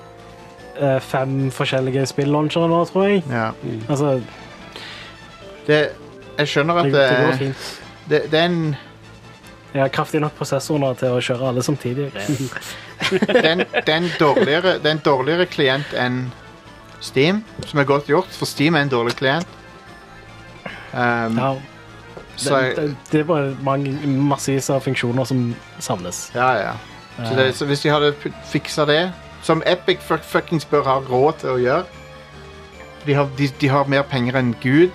[SPEAKER 8] eh, fem forskjellige spill-launchere nå, tror jeg.
[SPEAKER 5] Ja.
[SPEAKER 8] Altså,
[SPEAKER 5] Det, jeg skjønner at
[SPEAKER 8] det,
[SPEAKER 5] det,
[SPEAKER 8] det går
[SPEAKER 5] er-
[SPEAKER 8] fint.
[SPEAKER 5] det, det er en
[SPEAKER 8] Jeg har kraftig nok prosessor nå til å kjøre alle samtidig.
[SPEAKER 5] det er en, det er en, dårligere, det er en dårligere klient enn Steam, som er godt gjort, for Steam er en dårlig klient. Um,
[SPEAKER 8] Ja,
[SPEAKER 5] så
[SPEAKER 8] det,
[SPEAKER 5] jeg,
[SPEAKER 8] det, det er bare mange, massevis av funksjoner som savnes.
[SPEAKER 5] ja, ja. Så, det, så hvis de hadde pu- fiksa det, som Epic fuck- fuckings bør ha råd til å gjøre De har, de, de har mer penger enn Gud.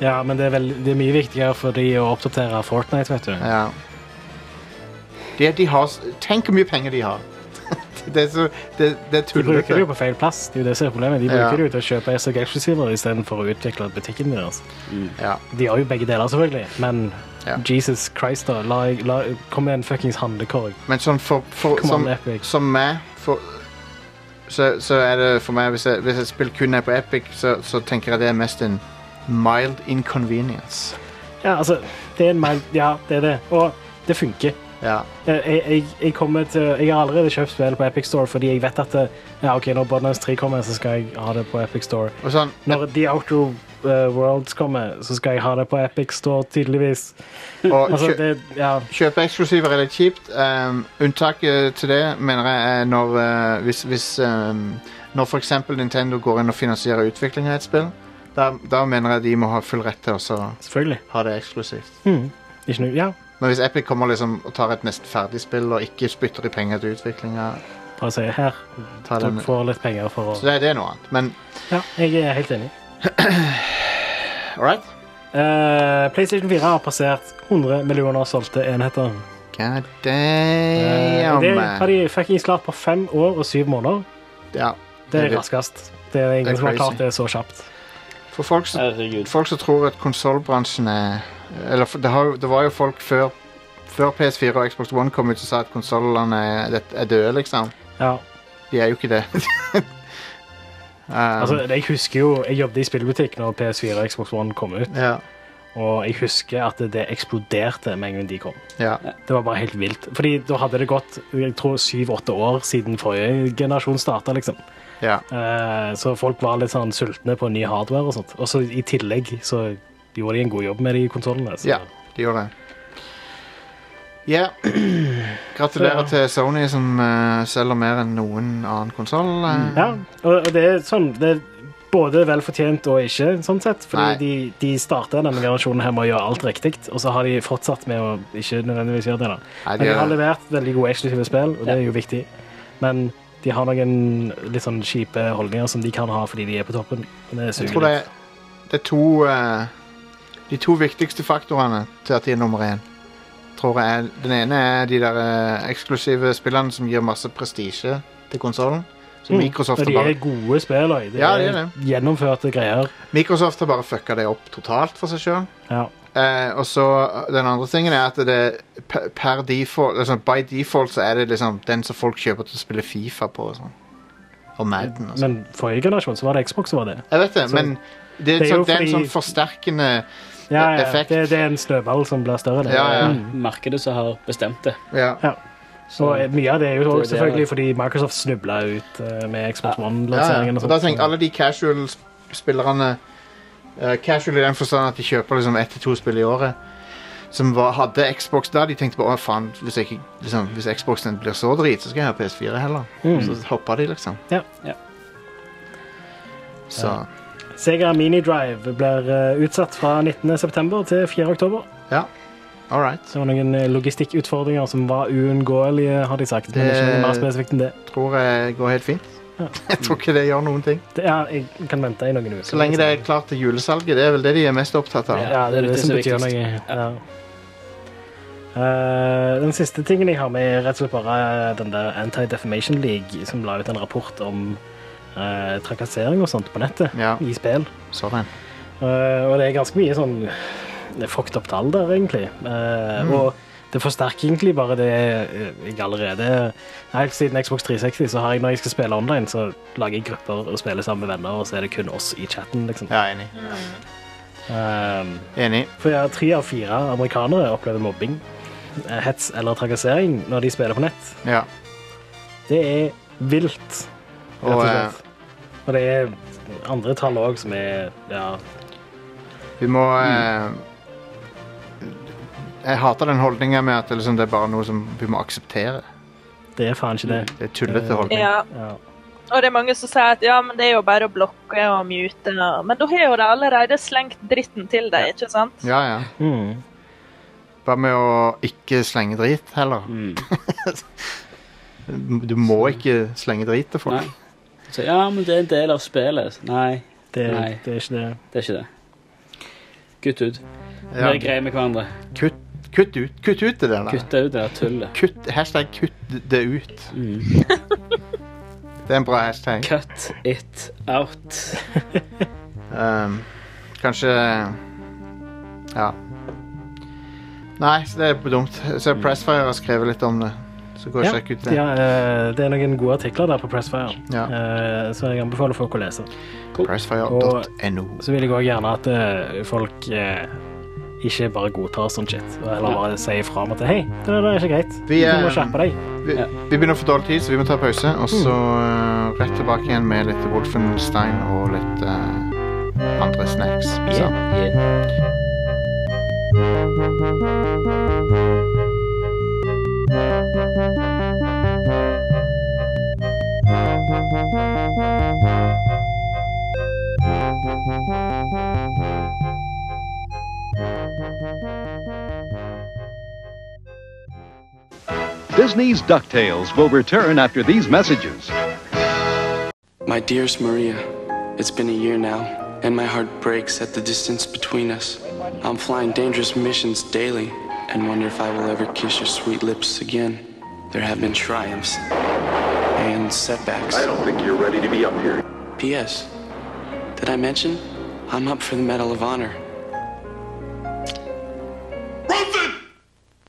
[SPEAKER 8] Ja, men det er, vel, det er mye viktigere for de å oppdatere Fortnite, vet du.
[SPEAKER 5] Ja. De, de har, s- tenk hvor mye penger de har. det er så Det, det er
[SPEAKER 8] De bruker det jo
[SPEAKER 5] tullete.
[SPEAKER 8] på feil plass. Det er jo det som er problemet. De
[SPEAKER 5] Ja.
[SPEAKER 8] bruker det jo til å kjøpe SOG eksklusiver istedenfor å utvikle butikken deres.
[SPEAKER 5] Ja.
[SPEAKER 8] De har jo begge deler, selvfølgelig, men
[SPEAKER 5] Ja.
[SPEAKER 8] Jesus Christ, da. La, la, kom med en fuckings handlekorg.
[SPEAKER 5] Men sånn for, for
[SPEAKER 8] Come on,
[SPEAKER 5] som,
[SPEAKER 8] Epic.
[SPEAKER 5] som meg for, så, så er det for meg Hvis, jeg, hvis et spill kun er på Epic, så, så tenker jeg det er mest en mild inconvenience.
[SPEAKER 8] Ja, altså, det er en mild Ja, det er det. Og det funker.
[SPEAKER 5] Ja.
[SPEAKER 8] Eh, Jeg, jeg, jeg, kommer til, jeg har allerede kjøpt spill på Epic Store fordi jeg vet at det, ja, ok, når Borderlands 3 kommer, så skal jeg ha det på Epic Store.
[SPEAKER 5] Og sånn
[SPEAKER 8] Når The Outer eh, Worlds kommer, så skal jeg ha det på Epic Store, tydeligvis.
[SPEAKER 5] og
[SPEAKER 8] Altså,
[SPEAKER 5] kjø,
[SPEAKER 8] det, ja,
[SPEAKER 5] Kjøpe eksklusiver er litt kjipt. Um, unntaket til det mener jeg er når eh, Hvis, hvis um, Når f.eks. Nintendo går inn og finansierer utvikling av et spill, da, da mener jeg de må ha full rett til også å
[SPEAKER 8] selvfølgelig.
[SPEAKER 5] ha det eksklusivt.
[SPEAKER 8] Ikke noe, ja,
[SPEAKER 5] Men hvis Epic kommer liksom og tar et nesten ferdig spill og ikke spytter de penger til utviklinga
[SPEAKER 8] bare si her.
[SPEAKER 5] ta den-
[SPEAKER 8] Dere får litt penger for å
[SPEAKER 5] Så det, det er noe annet. Men
[SPEAKER 8] Ja, jeg er helt enig.
[SPEAKER 5] All right?
[SPEAKER 8] Eh, PlayStation 4 har passert 100 millioner solgte enheter.
[SPEAKER 5] God
[SPEAKER 8] Eh,
[SPEAKER 5] damn.
[SPEAKER 8] det har de fuckings klart på fem år og syv måneder.
[SPEAKER 5] ja.
[SPEAKER 8] Det
[SPEAKER 5] Det
[SPEAKER 8] er
[SPEAKER 5] er-
[SPEAKER 8] raskest. Det er
[SPEAKER 5] det er
[SPEAKER 8] ingen som har
[SPEAKER 5] crazy.
[SPEAKER 8] klart det så kjapt.
[SPEAKER 5] For folk som
[SPEAKER 4] Herregud.
[SPEAKER 5] folk som tror at konsollbransjen er Eller for- det, har, jo- det var jo folk før, før PS4 og Xbox One kom ut som sa at konsollene er, det- er døde, liksom.
[SPEAKER 8] Ja.
[SPEAKER 5] De er jo ikke det. um,
[SPEAKER 8] Altså, jeg husker jo, jeg jobbet i spillbutikk når PS4 og Xbox One kom ut,
[SPEAKER 5] Um, ja,
[SPEAKER 8] og jeg husker at det eksploderte med en gang de kom.
[SPEAKER 5] ja,
[SPEAKER 8] Det var bare helt vilt. Fordi da hadde det gått jeg tror, syv-åtte år siden forrige generasjon starta. Liksom.
[SPEAKER 5] ja.
[SPEAKER 8] Eh, så folk var litt sånn sultne på ny hardware og sånt. Og så i tillegg så gjorde de en god jobb med de konsollene. så-
[SPEAKER 5] Ja, de gjorde det. Ja. Gratulerer til Sony, som eh, selger mer enn noen annen Eh, konsoll.
[SPEAKER 8] Mm. Ja, og og det er sånn det er både velfortjent og ikke, sånn sett. Fordi
[SPEAKER 5] Nei.
[SPEAKER 8] de, de starta denne generasjonen her med å gjøre alt riktig, og så har de fortsatt med å ikke nødvendigvis gjøre det. da.
[SPEAKER 5] Nei,
[SPEAKER 8] Men
[SPEAKER 5] de
[SPEAKER 8] de har
[SPEAKER 5] er,
[SPEAKER 8] levert veldig gode eksklusive spill, og det er jo viktig. Men de har noen litt sånn kjipe holdninger som de kan ha fordi de er på toppen. Og det
[SPEAKER 5] jeg
[SPEAKER 8] suger
[SPEAKER 5] tror det,
[SPEAKER 8] litt.
[SPEAKER 5] er- det er to eh, De to viktigste faktorene til at de er nummer én. Tror jeg. er- Den ene er de der eh, eksklusive spillene som gir masse prestisje til konsollen. Så
[SPEAKER 8] Mm.
[SPEAKER 5] Microsoft, har
[SPEAKER 8] Og de er
[SPEAKER 5] bare,
[SPEAKER 8] gode spill, og det
[SPEAKER 5] Ja, de er
[SPEAKER 8] er gjennomførte greier.
[SPEAKER 5] Microsoft har bare fucka det opp totalt for seg sjøl.
[SPEAKER 8] Ja.
[SPEAKER 5] Eh, og så eh, Den andre tingen er at det per- per default altså By default så er det liksom den som folk kjøper til å spille Fifa på. Og, sånn. og Madden. Og sånn.
[SPEAKER 8] Men forrige generasjon så var det Xbox som var det.
[SPEAKER 5] Jeg vet det,
[SPEAKER 8] så-
[SPEAKER 5] men det er,
[SPEAKER 8] det er
[SPEAKER 5] sånn,
[SPEAKER 8] jo
[SPEAKER 5] det er en
[SPEAKER 8] fordi-
[SPEAKER 5] sånn forsterkende
[SPEAKER 8] Ja, ja,
[SPEAKER 5] Effekt.
[SPEAKER 8] det, det er en snøball som blir større. Det. Mm.
[SPEAKER 5] Ja, ja.
[SPEAKER 11] Markedet som har bestemt det.
[SPEAKER 5] Ja,
[SPEAKER 11] Så,
[SPEAKER 8] Så mye av det er jo
[SPEAKER 11] Det er
[SPEAKER 8] også
[SPEAKER 11] det.
[SPEAKER 8] selvfølgelig fordi Microsoft snubla ut eh, med Xbox
[SPEAKER 5] ja, ja.
[SPEAKER 8] One-lanseringen.
[SPEAKER 5] Så da tenker jeg alle de casual-spillerne eh, Casual i den forstand at de kjøper liksom ett til to spill i året. Som var, hadde Xbox da. De tenkte bare, å faen, hvis, jeg, ikke- liksom, hvis Xboxen blir så drit, så skal jeg ha PS4 heller.
[SPEAKER 8] Mm.
[SPEAKER 5] Så hoppa de, liksom.
[SPEAKER 8] Ja.
[SPEAKER 11] Ja.
[SPEAKER 5] Så
[SPEAKER 8] Sega Mini Drive blir eh, utsatt fra 19.9. til 4.10.
[SPEAKER 5] all right.
[SPEAKER 8] Så det var noen eh, logistikkutfordringer som var uunngåelige, har de sagt. Men
[SPEAKER 5] Det-
[SPEAKER 8] ikke noe mer spesifikt enn det.
[SPEAKER 5] tror jeg går helt fint. Jeg tror ikke det gjør noen ting.
[SPEAKER 8] det ja, jeg kan vente i noen uker.
[SPEAKER 5] Så lenge det er klart til julesalget. Det er vel det de er mest opptatt av.
[SPEAKER 8] Ja, det er det
[SPEAKER 11] Det er
[SPEAKER 8] som
[SPEAKER 11] det
[SPEAKER 8] betyr
[SPEAKER 11] viktigste.
[SPEAKER 8] noe. Ja. Eh, den siste tingen jeg har med, er rett og slett bare den der Anti-Defamation League, som la ut en rapport om eh, trakassering og sånt på nettet
[SPEAKER 5] Ja.
[SPEAKER 8] i spill.
[SPEAKER 5] Så den.
[SPEAKER 8] Eh, og det er ganske mye sånn det er fucked up tall der, egentlig. Eh,
[SPEAKER 5] Mm.
[SPEAKER 8] Og det forsterker egentlig bare det eh, jeg allerede Helt siden Xbox 360 så har jeg når jeg skal spille online, så lager jeg grupper og spiller sammen med venner, og så er det kun oss i chatten, liksom.
[SPEAKER 5] Ja, enig.
[SPEAKER 8] Eh,
[SPEAKER 5] Enig.
[SPEAKER 8] for ja, tre av fire amerikanere opplever mobbing, eh, hets eller trakassering når de spiller på nett.
[SPEAKER 5] Ja.
[SPEAKER 8] Det er vilt, rett
[SPEAKER 5] Og
[SPEAKER 8] og
[SPEAKER 5] eh,
[SPEAKER 8] slett. Og det er andre tall òg som er Ja.
[SPEAKER 5] vi må eh, Jeg hater den holdninga med at det liksom, det er bare noe som vi må akseptere.
[SPEAKER 8] Det er faen ikke det.
[SPEAKER 5] Det er tullete holdning.
[SPEAKER 7] Ja.
[SPEAKER 8] Ja.
[SPEAKER 7] Og det er mange som sier at ja, men det er jo bare å blokke og mute. Men da har jo de allerede slengt dritten til deg, ikke sant?
[SPEAKER 5] Ja, ja.
[SPEAKER 8] Mm.
[SPEAKER 5] Bare med å ikke slenge drit, heller. Du må ikke slenge drit til folk.
[SPEAKER 11] Nei. så ja, men det er en del av spillet. Nei,
[SPEAKER 8] Det,
[SPEAKER 11] Nei.
[SPEAKER 8] det er ikke det.
[SPEAKER 11] det er ikke det. Kutt ut.
[SPEAKER 5] Ja.
[SPEAKER 11] Vær greie med hverandre.
[SPEAKER 5] Kutt, kutt, ut, kutt ut det der.
[SPEAKER 11] Kutt ut det der tullet.
[SPEAKER 5] Kutt, hashtag 'kutt det ut'.
[SPEAKER 11] Mm.
[SPEAKER 5] Det er en bra hashtag.
[SPEAKER 11] Cut it out.
[SPEAKER 5] Ehm, kanskje Ja. Nei, så det er dumt. Jeg ser Pressfire har skrevet litt om det. Så gå og
[SPEAKER 8] Ja,
[SPEAKER 5] sjekk ut det.
[SPEAKER 8] ja, eh, det er noen gode artikler der på Pressfire,
[SPEAKER 5] Ja.
[SPEAKER 8] eh, så jeg anbefaler folk å lese.
[SPEAKER 5] Pressfire.no.
[SPEAKER 8] Så vil jeg òg gjerne at eh, folk eh, ikke bare godtar sånn shit, og heller bare sier ifra om at hei, det der er ikke greit.
[SPEAKER 5] Vi,
[SPEAKER 8] du må
[SPEAKER 5] eh,
[SPEAKER 8] skjerpe deg.
[SPEAKER 5] Vi, vi begynner å få dårlig tid, så vi må ta pause. Og så eh, rett tilbake igjen med litt Wolfenstein og litt eh, andre snacks. Så.
[SPEAKER 12] Disney's DuckTales will return after these messages.
[SPEAKER 13] My dearest Maria, it's been a year now, and and my heart breaks at the distance between us. I'm flying dangerous missions daily and wonder if I will ever kiss your sweet lips again. There have been triumphs and setbacks.
[SPEAKER 14] I don't think you're ready to be up here.
[SPEAKER 13] P.S. Did I mention? I'm up for the Medal of Honor.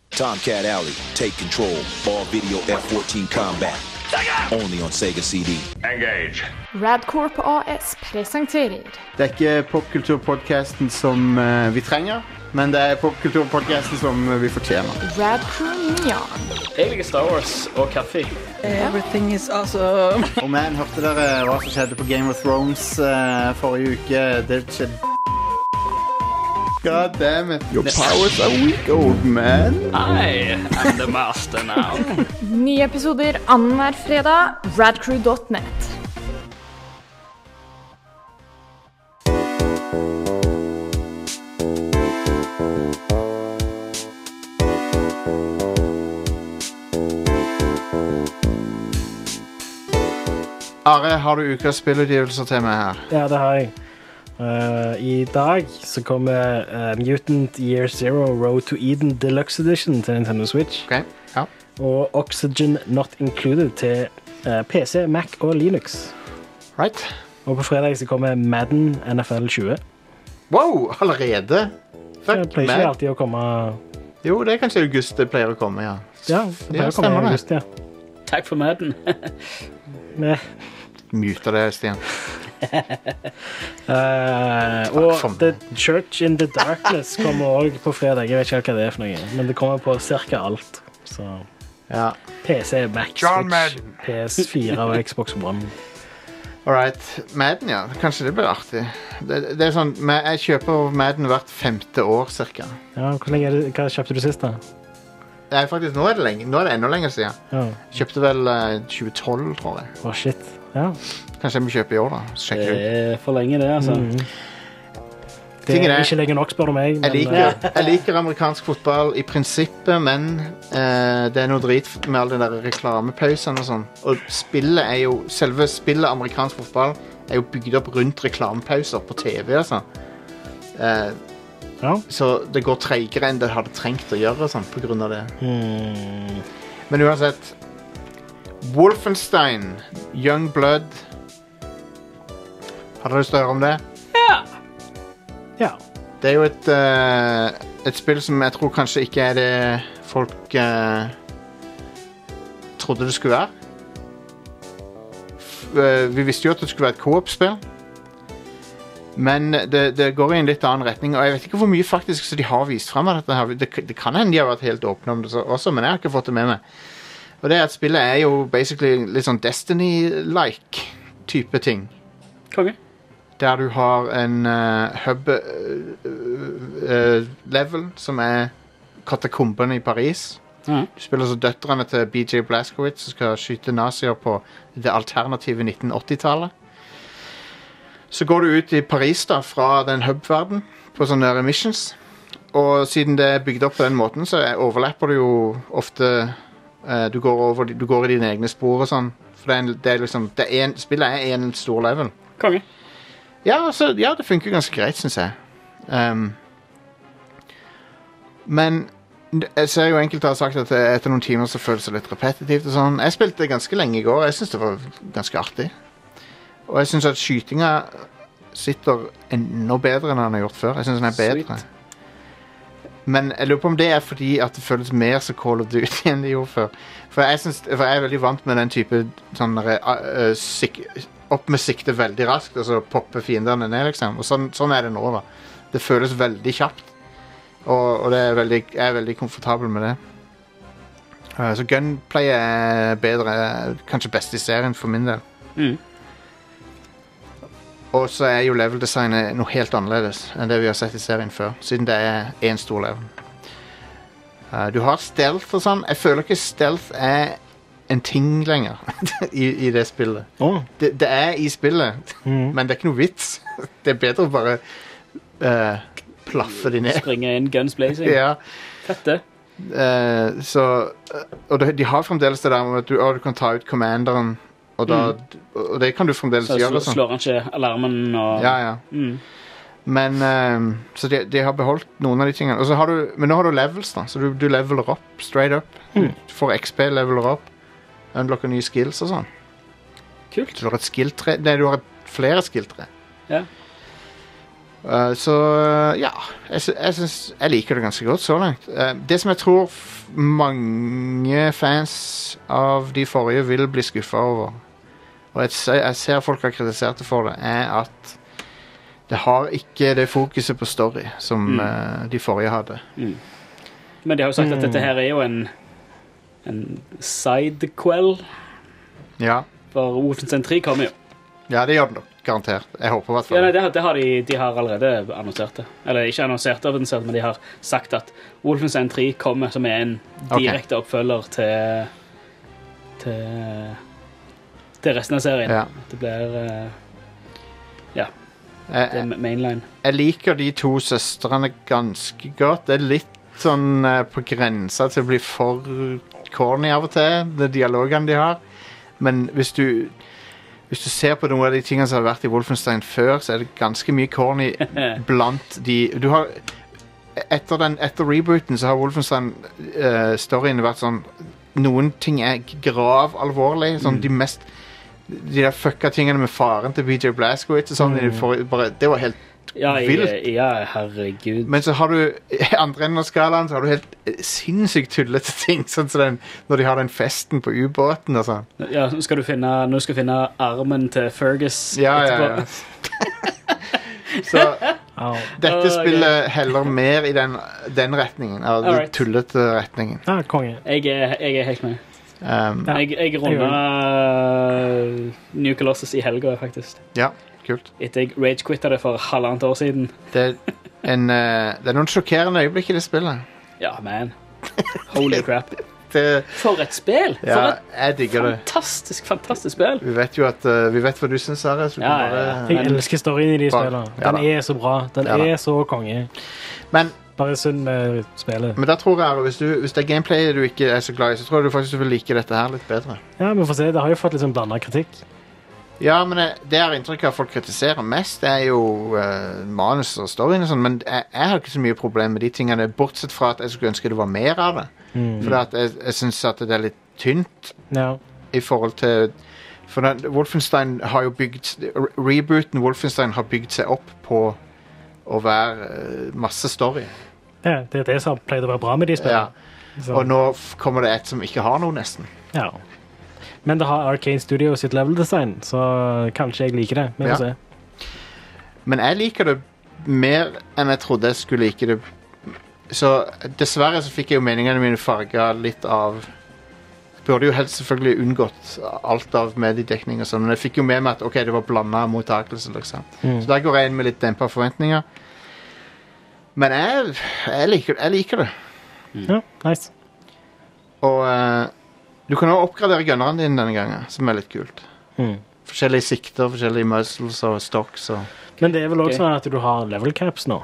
[SPEAKER 15] Tomcat Alley, Take Control, all video F-14 combat. Only on Sega CD. Engage.
[SPEAKER 16] Radcorp AS presenterer
[SPEAKER 5] Det er ikke popkulturpodkasten som eh, vi trenger, men det er popkulturpodkasten som eh, vi fortjener.
[SPEAKER 16] Radcrew Neon.
[SPEAKER 6] Jeg liker Star Wars og kaffe.
[SPEAKER 5] Everything is altså, awesome. Og man, hørte dere hva som skjedde på Game of Thrones eh, forrige uke? Det skjedde God damn it. Your powers are weak, old man.
[SPEAKER 6] I am the master now.
[SPEAKER 16] Nye episoder annenhver fredag. Radcrew.net.
[SPEAKER 5] Are, har du ukas spillutgivelser til meg her?
[SPEAKER 8] Ja, det har jeg. Eh, I dag så kommer eh, Mutant Year Zero Road to Eden Deluxe Edition til Nintendo Switch. Og Oxygen Not Included til eh, PC, Mac og Linux.
[SPEAKER 5] Right.
[SPEAKER 8] Og på fredag så kommer Madden NFL 20.
[SPEAKER 5] Wow, allerede? Fuck,
[SPEAKER 8] det pleier
[SPEAKER 5] Madden.
[SPEAKER 8] ikke alltid å komme
[SPEAKER 5] Jo, det er kanskje i august det pleier å komme, ja.
[SPEAKER 8] Ja, det pleier å komme i
[SPEAKER 5] stemmer det.
[SPEAKER 8] august, ja.
[SPEAKER 11] Takk for maten.
[SPEAKER 8] Nei.
[SPEAKER 5] Muter det, Stian.
[SPEAKER 8] Eh, og The Church in the Darkness kommer òg på fredag. Jeg vet ikke helt hva det er for noe, men det kommer på ca. alt. Så PC, Mac,
[SPEAKER 5] John
[SPEAKER 8] Switch, PS4 og Xbox One.
[SPEAKER 5] All right. Madden, ja. Kanskje det blir artig. Det, det er sånn, ma- Jeg kjøper Madden hvert femte år, cirka.
[SPEAKER 8] Ja, hvor lenge er det, hva kjøpte du sist, da?
[SPEAKER 5] Nei, faktisk, nå er det, lenge, nå er det enda lenger siden.
[SPEAKER 8] Ja.
[SPEAKER 5] Kjøpte vel eh, 2012, tror jeg.
[SPEAKER 8] Å, shit. Ja.
[SPEAKER 5] Kanskje jeg må kjøpe i år, da.
[SPEAKER 8] Eh,
[SPEAKER 5] Så sjekker jeg ut.
[SPEAKER 11] Det er for lenge, det, altså.
[SPEAKER 8] Mhm. Det
[SPEAKER 5] Tingen
[SPEAKER 8] er
[SPEAKER 5] er-
[SPEAKER 8] ikke lenge nok, spør du meg.
[SPEAKER 5] Jeg liker, jeg liker amerikansk fotball i prinsippet, men eh, det er noe drit med alle de der reklamepausene og sånn. Og spillet er jo, selve spillet amerikansk fotball er jo bygd opp rundt reklamepauser på TV og sånn. Eh, Så det går treigere enn det hadde trengt å gjøre og sånn, på grunn av det. Men uansett Wolfenstein, Young Blood Har dere lyst til å høre om det?
[SPEAKER 8] Ja.
[SPEAKER 5] Det er jo et, eh, et spill som jeg tror kanskje ikke er det folk eh, trodde det skulle være. F eh, vi visste jo at det skulle være et co-op-spill. Men det, det går i en litt annen retning, og jeg vet ikke hvor mye faktisk så de har vist frem av dette. her. Det, det kan hende de har vært helt åpne om det så- også, men jeg har ikke fått det med meg. Og det er at spillet er jo basically litt sånn Destiny-like type ting.
[SPEAKER 11] Konge.
[SPEAKER 5] Der du har en eh, hub eh, eh, level som er katakombene i Paris.
[SPEAKER 11] Mhm.
[SPEAKER 5] Du spiller så døtrene til BJ Blazkowicz som skal skyte nazier på det alternative 1980-tallet. Så går du ut i Paris da, fra den hub-verden på sånne der missions. Og siden det er bygd opp på den måten, så er- overlapper du jo ofte eh, du, går over, du går i dine egne spor og sånn. For det er, en, det er liksom det er en, Spillet er en stor level.
[SPEAKER 11] Konge.
[SPEAKER 5] Ja, altså, ja det funker ganske greit, syns jeg. Ehm, men jeg ser jo enkelte har sagt at eh, etter noen timer så føles det litt repetitivt. og sånn. Jeg spilte ganske lenge i går. Jeg syns det var ganske artig. Og jeg syns at skytinga sitter enda bedre enn den har gjort før. Jeg synes den er bedre. Men jeg lurer på om det er fordi at det føles mer som Call of Duty enn det gjorde før. For jeg, synes, for jeg er veldig vant med den type sånn derre, eh, eh, sik opp med sikte veldig raskt, og så popper fiendene ned, liksom. Og sånn, sånn er det nå, da. Det føles veldig kjapt. Og, og det er veldig, jeg er veldig komfortabel med det. Eh, Så gunplay er bedre, kanskje best i serien for min del.
[SPEAKER 11] Mm.
[SPEAKER 5] Og så er jo level-designet noe helt annerledes enn det vi har sett i serien før, siden det er én stor level. Eh, du har stealth og sånn. Jeg føler ikke stealth er en ting lenger i, i det spillet. Det, det er i spillet, men det er ikke noe vits. Det er bedre å bare eh, plaffe de ned.
[SPEAKER 11] Springe inn guns blazing.
[SPEAKER 5] Ja.
[SPEAKER 11] Fett, det.
[SPEAKER 5] Eh, så, eh, og det- de har fremdeles det der med at du, å, du kan ta ut commanderen Og, da,
[SPEAKER 11] Mm.
[SPEAKER 5] og det kan du fremdeles
[SPEAKER 11] Så
[SPEAKER 5] gjøre.
[SPEAKER 11] sl-
[SPEAKER 5] sånn.
[SPEAKER 11] slår han ikke alarmen og
[SPEAKER 5] Ja, ja.
[SPEAKER 11] Mm.
[SPEAKER 5] Men ehm, Så de, de har beholdt noen av de tingene. Og så har du, men nå har du levels, da, så du, du leveler opp straight up.
[SPEAKER 11] Mm.
[SPEAKER 5] Du får XP, leveler opp, unlocker nye skills og sånn. Kult. Så du har et skilltre Nei, du har et, flere skilltre.
[SPEAKER 11] Ja.
[SPEAKER 5] Eh, så ja jeg, sy- jeg, syns, jeg liker det ganske godt så langt. Eh, det som jeg tror f mange fans av de forrige vil bli skuffa over, og jeg, se- jeg ser folk har kritisert det for det, er at det har ikke det fokuset på story som
[SPEAKER 11] Mm.
[SPEAKER 5] eh, de forrige hadde.
[SPEAKER 11] Men de har jo sagt
[SPEAKER 5] Mm.
[SPEAKER 11] at dette her er jo en, en sidequel,
[SPEAKER 5] Ja,
[SPEAKER 11] for Wolfenstein 3 kommer jo.
[SPEAKER 5] ja det gjør det nok. Garantert. Jeg håper i hvert
[SPEAKER 11] Ja,
[SPEAKER 5] fall.
[SPEAKER 11] nei, det, har- det har de, de har allerede annonsert det. Eller ikke annonsert det, annonsert, men de har sagt at Wolfenstein 3 kommer, som er en
[SPEAKER 5] Ok.
[SPEAKER 11] direkte oppfølger til til, til resten av serien.
[SPEAKER 5] Ja.
[SPEAKER 11] At Det blir eh, Ja.
[SPEAKER 5] Jeg-
[SPEAKER 11] Det er mainline.
[SPEAKER 5] jeg liker de to søstrene ganske godt. Det er litt sånn eh, på grensa til å bli for corny av og til, de dialogene de har. Men hvis du hvis du ser på noen av de tingene som har vært i Wolfenstein før, så er det ganske mye corny blant de Du har Etter, den, etter rebooten så har Wolfenstein-storyen vært sånn Noen ting er grav alvorlig. Sånn de mest De der fucka tingene med faren til BJ Blazkowicz og sånn. i de forrige- bare, det var helt
[SPEAKER 11] Ja,
[SPEAKER 5] vilt.
[SPEAKER 11] jeg, ja, herregud.
[SPEAKER 5] Men så har du i andre enden av skalaen så har du helt eh, sinnssykt tullete ting. Sånn som den, når de har den festen på ubåten og sånn.
[SPEAKER 11] Ja, nå skal du finne, nå skal du finne armen til Fergus
[SPEAKER 5] Ja, ja, ja. Så
[SPEAKER 11] Åh,
[SPEAKER 5] dette
[SPEAKER 11] ok.
[SPEAKER 5] spillet heller mer i den, den retningen. Av den
[SPEAKER 11] Alright.
[SPEAKER 5] tullete retningen.
[SPEAKER 8] Ja, konge.
[SPEAKER 11] Jeg er, jeg er helt med.
[SPEAKER 5] Um,
[SPEAKER 11] Jeg, jeg runda eh, New Colossus i helga, faktisk.
[SPEAKER 5] Ja, kult.
[SPEAKER 11] Etter jeg ragequitta det for halvannet år siden.
[SPEAKER 5] Det er, en, eh, det er noen sjokkerende øyeblikk i det spillet.
[SPEAKER 11] Ja, man. Holy crap.
[SPEAKER 5] Det,
[SPEAKER 11] For et spill! For
[SPEAKER 5] ja,
[SPEAKER 11] et
[SPEAKER 5] jeg digger det.
[SPEAKER 11] fantastisk, fantastisk spill.
[SPEAKER 5] Vi vet jo at, eh, vi vet hva du syns, Are. så du
[SPEAKER 11] Ja,
[SPEAKER 5] kan
[SPEAKER 11] ja, ja.
[SPEAKER 5] bare-
[SPEAKER 8] Jeg elsker storyen i de
[SPEAKER 5] Bare-
[SPEAKER 8] spillene.
[SPEAKER 5] Ja
[SPEAKER 8] Den
[SPEAKER 5] da.
[SPEAKER 8] er så bra. Den
[SPEAKER 5] Ja da.
[SPEAKER 8] er så konge.
[SPEAKER 5] Men-
[SPEAKER 8] Bare synd med spillet.
[SPEAKER 5] Men da tror jeg, Are, hvis, du, hvis det er gameplay du ikke er så glad i, så tror jeg du faktisk du vil like dette her litt bedre.
[SPEAKER 8] Ja, vi får se. Det har jo fått litt sånn blanda kritikk.
[SPEAKER 5] Ja, men jeg, det jeg har inntrykk av at folk kritiserer mest, det er jo eh, manus og storyen og sånn, men jeg, jeg har ikke så mye problem med de tingene, bortsett fra at jeg skulle ønske det var mer av det.
[SPEAKER 8] Mm.
[SPEAKER 5] For at jeg, jeg syns at det er litt tynt
[SPEAKER 8] Ja.
[SPEAKER 5] i forhold til For den, Wolfenstein har jo bygd re- Rebooten Wolfenstein har bygd seg opp på å være eh, masse story.
[SPEAKER 8] Ja, det er det som pleide å være bra med de
[SPEAKER 5] Ja.
[SPEAKER 8] spillene. Så-
[SPEAKER 5] Og nå f- kommer det et som ikke har noe, nesten.
[SPEAKER 8] Ja. Men det har Arcane Studio sitt level-design, så kanskje jeg liker det. Vi får
[SPEAKER 5] Ja.
[SPEAKER 8] se.
[SPEAKER 5] Men jeg liker det mer enn jeg trodde jeg skulle like det. Så dessverre så fikk jeg jo meningene mine farga litt av Burde jo helst selvfølgelig unngått alt av mediedekning og sånn, men jeg fikk jo med meg at ok, det var blanda mottakelse, liksom.
[SPEAKER 8] Mm.
[SPEAKER 5] Så der går jeg inn med litt dempa forventninger. Men jeg, jeg, liker, jeg liker det.
[SPEAKER 8] Ja, nice.
[SPEAKER 5] Og eh, du kan også oppgradere gunneren din denne gangen, som er litt kult.
[SPEAKER 8] Mm.
[SPEAKER 5] Forskjellige sikter, forskjellige muzzles og stocks og
[SPEAKER 8] Men det er vel òg
[SPEAKER 5] Ok.
[SPEAKER 8] sånn at du har level caps nå.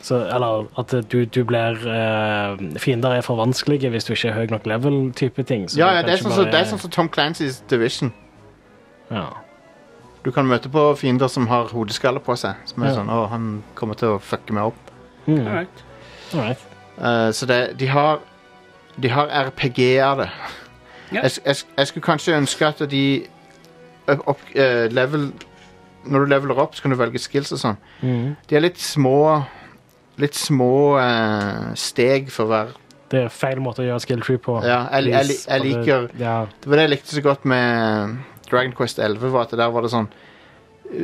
[SPEAKER 8] Så, eller at du, du blir eh, Fiender er for vanskelige hvis du ikke er høy nok level-type ting. så
[SPEAKER 5] Ja,
[SPEAKER 8] du
[SPEAKER 5] ja, det er
[SPEAKER 8] kanskje
[SPEAKER 5] sånn som
[SPEAKER 8] bare-
[SPEAKER 5] det er sånn som Tom Clancy's Division.
[SPEAKER 8] Ja.
[SPEAKER 5] Du kan møte på fiender som har hodeskalle på seg. Som er
[SPEAKER 8] Ja.
[SPEAKER 5] sånn, å, han kommer til å fucke meg opp.
[SPEAKER 8] Mm.
[SPEAKER 11] All right.
[SPEAKER 8] All right.
[SPEAKER 5] Eh, så det, de har De har RPG-er det.
[SPEAKER 11] Ja.
[SPEAKER 5] Jeg, sk- jeg, sk- jeg skulle kanskje ønske at de opp, opp- eh, level, Når du leveler opp, så kan du velge skills og sånn.
[SPEAKER 8] Mm.
[SPEAKER 5] De er litt små Litt små eh, steg for hver
[SPEAKER 8] Det er feil måte å gjøre skill tree på.
[SPEAKER 5] Ja, jeg, jeg, jeg, jeg
[SPEAKER 8] Please,
[SPEAKER 5] liker
[SPEAKER 8] bare- Ja.
[SPEAKER 5] Det var det jeg likte så godt med Dragon Quest 11, var at der var det sånn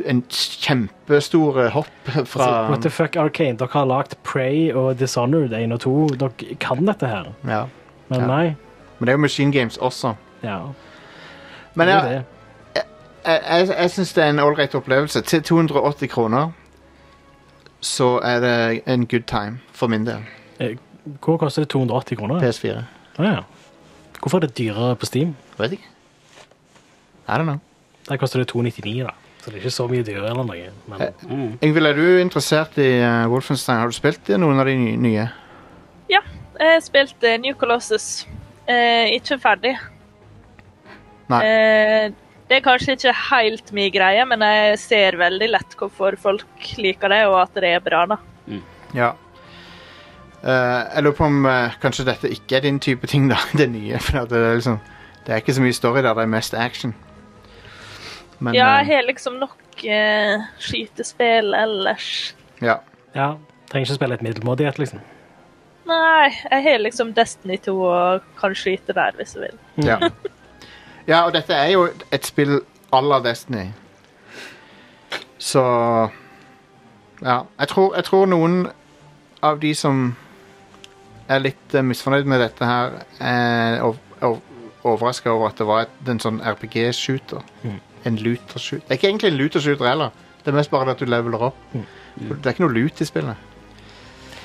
[SPEAKER 5] en kjempestore hopp fra
[SPEAKER 8] Altså, what the fuck, Arcane? Dere har lagd Prey og Dishonored 1 og 2. Dere kan dette her.
[SPEAKER 5] ja.
[SPEAKER 8] Men
[SPEAKER 5] Ja.
[SPEAKER 8] nei.
[SPEAKER 5] Men det er jo Machine Games også.
[SPEAKER 8] Ja.
[SPEAKER 5] Men
[SPEAKER 8] Det er
[SPEAKER 5] jeg, jeg,
[SPEAKER 8] det.
[SPEAKER 5] jeg, jeg syns det er en ålreit opplevelse. Til 280 kroner så er det en good time for min del.
[SPEAKER 8] Hvor Eh, koster det 280 kroner?
[SPEAKER 5] PS4.
[SPEAKER 8] Å ja. Hvorfor er det dyrere på Steam?
[SPEAKER 5] Vet ikke. I don't know.
[SPEAKER 8] Der koster det 299, da. Så det er ikke så mye dyrere eller noe. Men
[SPEAKER 5] Eh.
[SPEAKER 8] mm.
[SPEAKER 5] Ingvild, er du interessert i eh, Wolfenstein? Har du spilt i noen av de ny- nye?
[SPEAKER 7] Ja, jeg spilte New Colossus. Eh, ikke ferdig.
[SPEAKER 5] Nei.
[SPEAKER 7] Eh, Det er kanskje ikke helt min greie, men jeg ser veldig lett hvorfor folk liker det, og at det er bra, da.
[SPEAKER 5] Ja. Eh, jeg lurer på om eh, kanskje dette ikke er din type ting, da. Det nye. For at det er liksom Det er ikke så mye story der, det er mest action. Men
[SPEAKER 7] ja,
[SPEAKER 5] eh,
[SPEAKER 7] jeg har liksom nok eh, skytespill ellers.
[SPEAKER 5] ja.
[SPEAKER 8] Ja, Trenger ikke spille et middelmådighet, liksom.
[SPEAKER 7] Nei, jeg har liksom Destiny 2 og kan skyte der hvis jeg vil.
[SPEAKER 5] ja. Ja, og dette er jo et spill à la Destiny. Så Ja. Jeg tror, jeg tror noen av de som er litt eh, misfornøyd med dette her, er ov ov overraska over at det var et, en sånn RPG-shooter.
[SPEAKER 8] Mhm.
[SPEAKER 5] En looter-shooter. Det er ikke egentlig en looter-shooter heller. Det er mest bare det at du leveler opp.
[SPEAKER 8] Mm.
[SPEAKER 5] Det er ikke noe lut i spillet.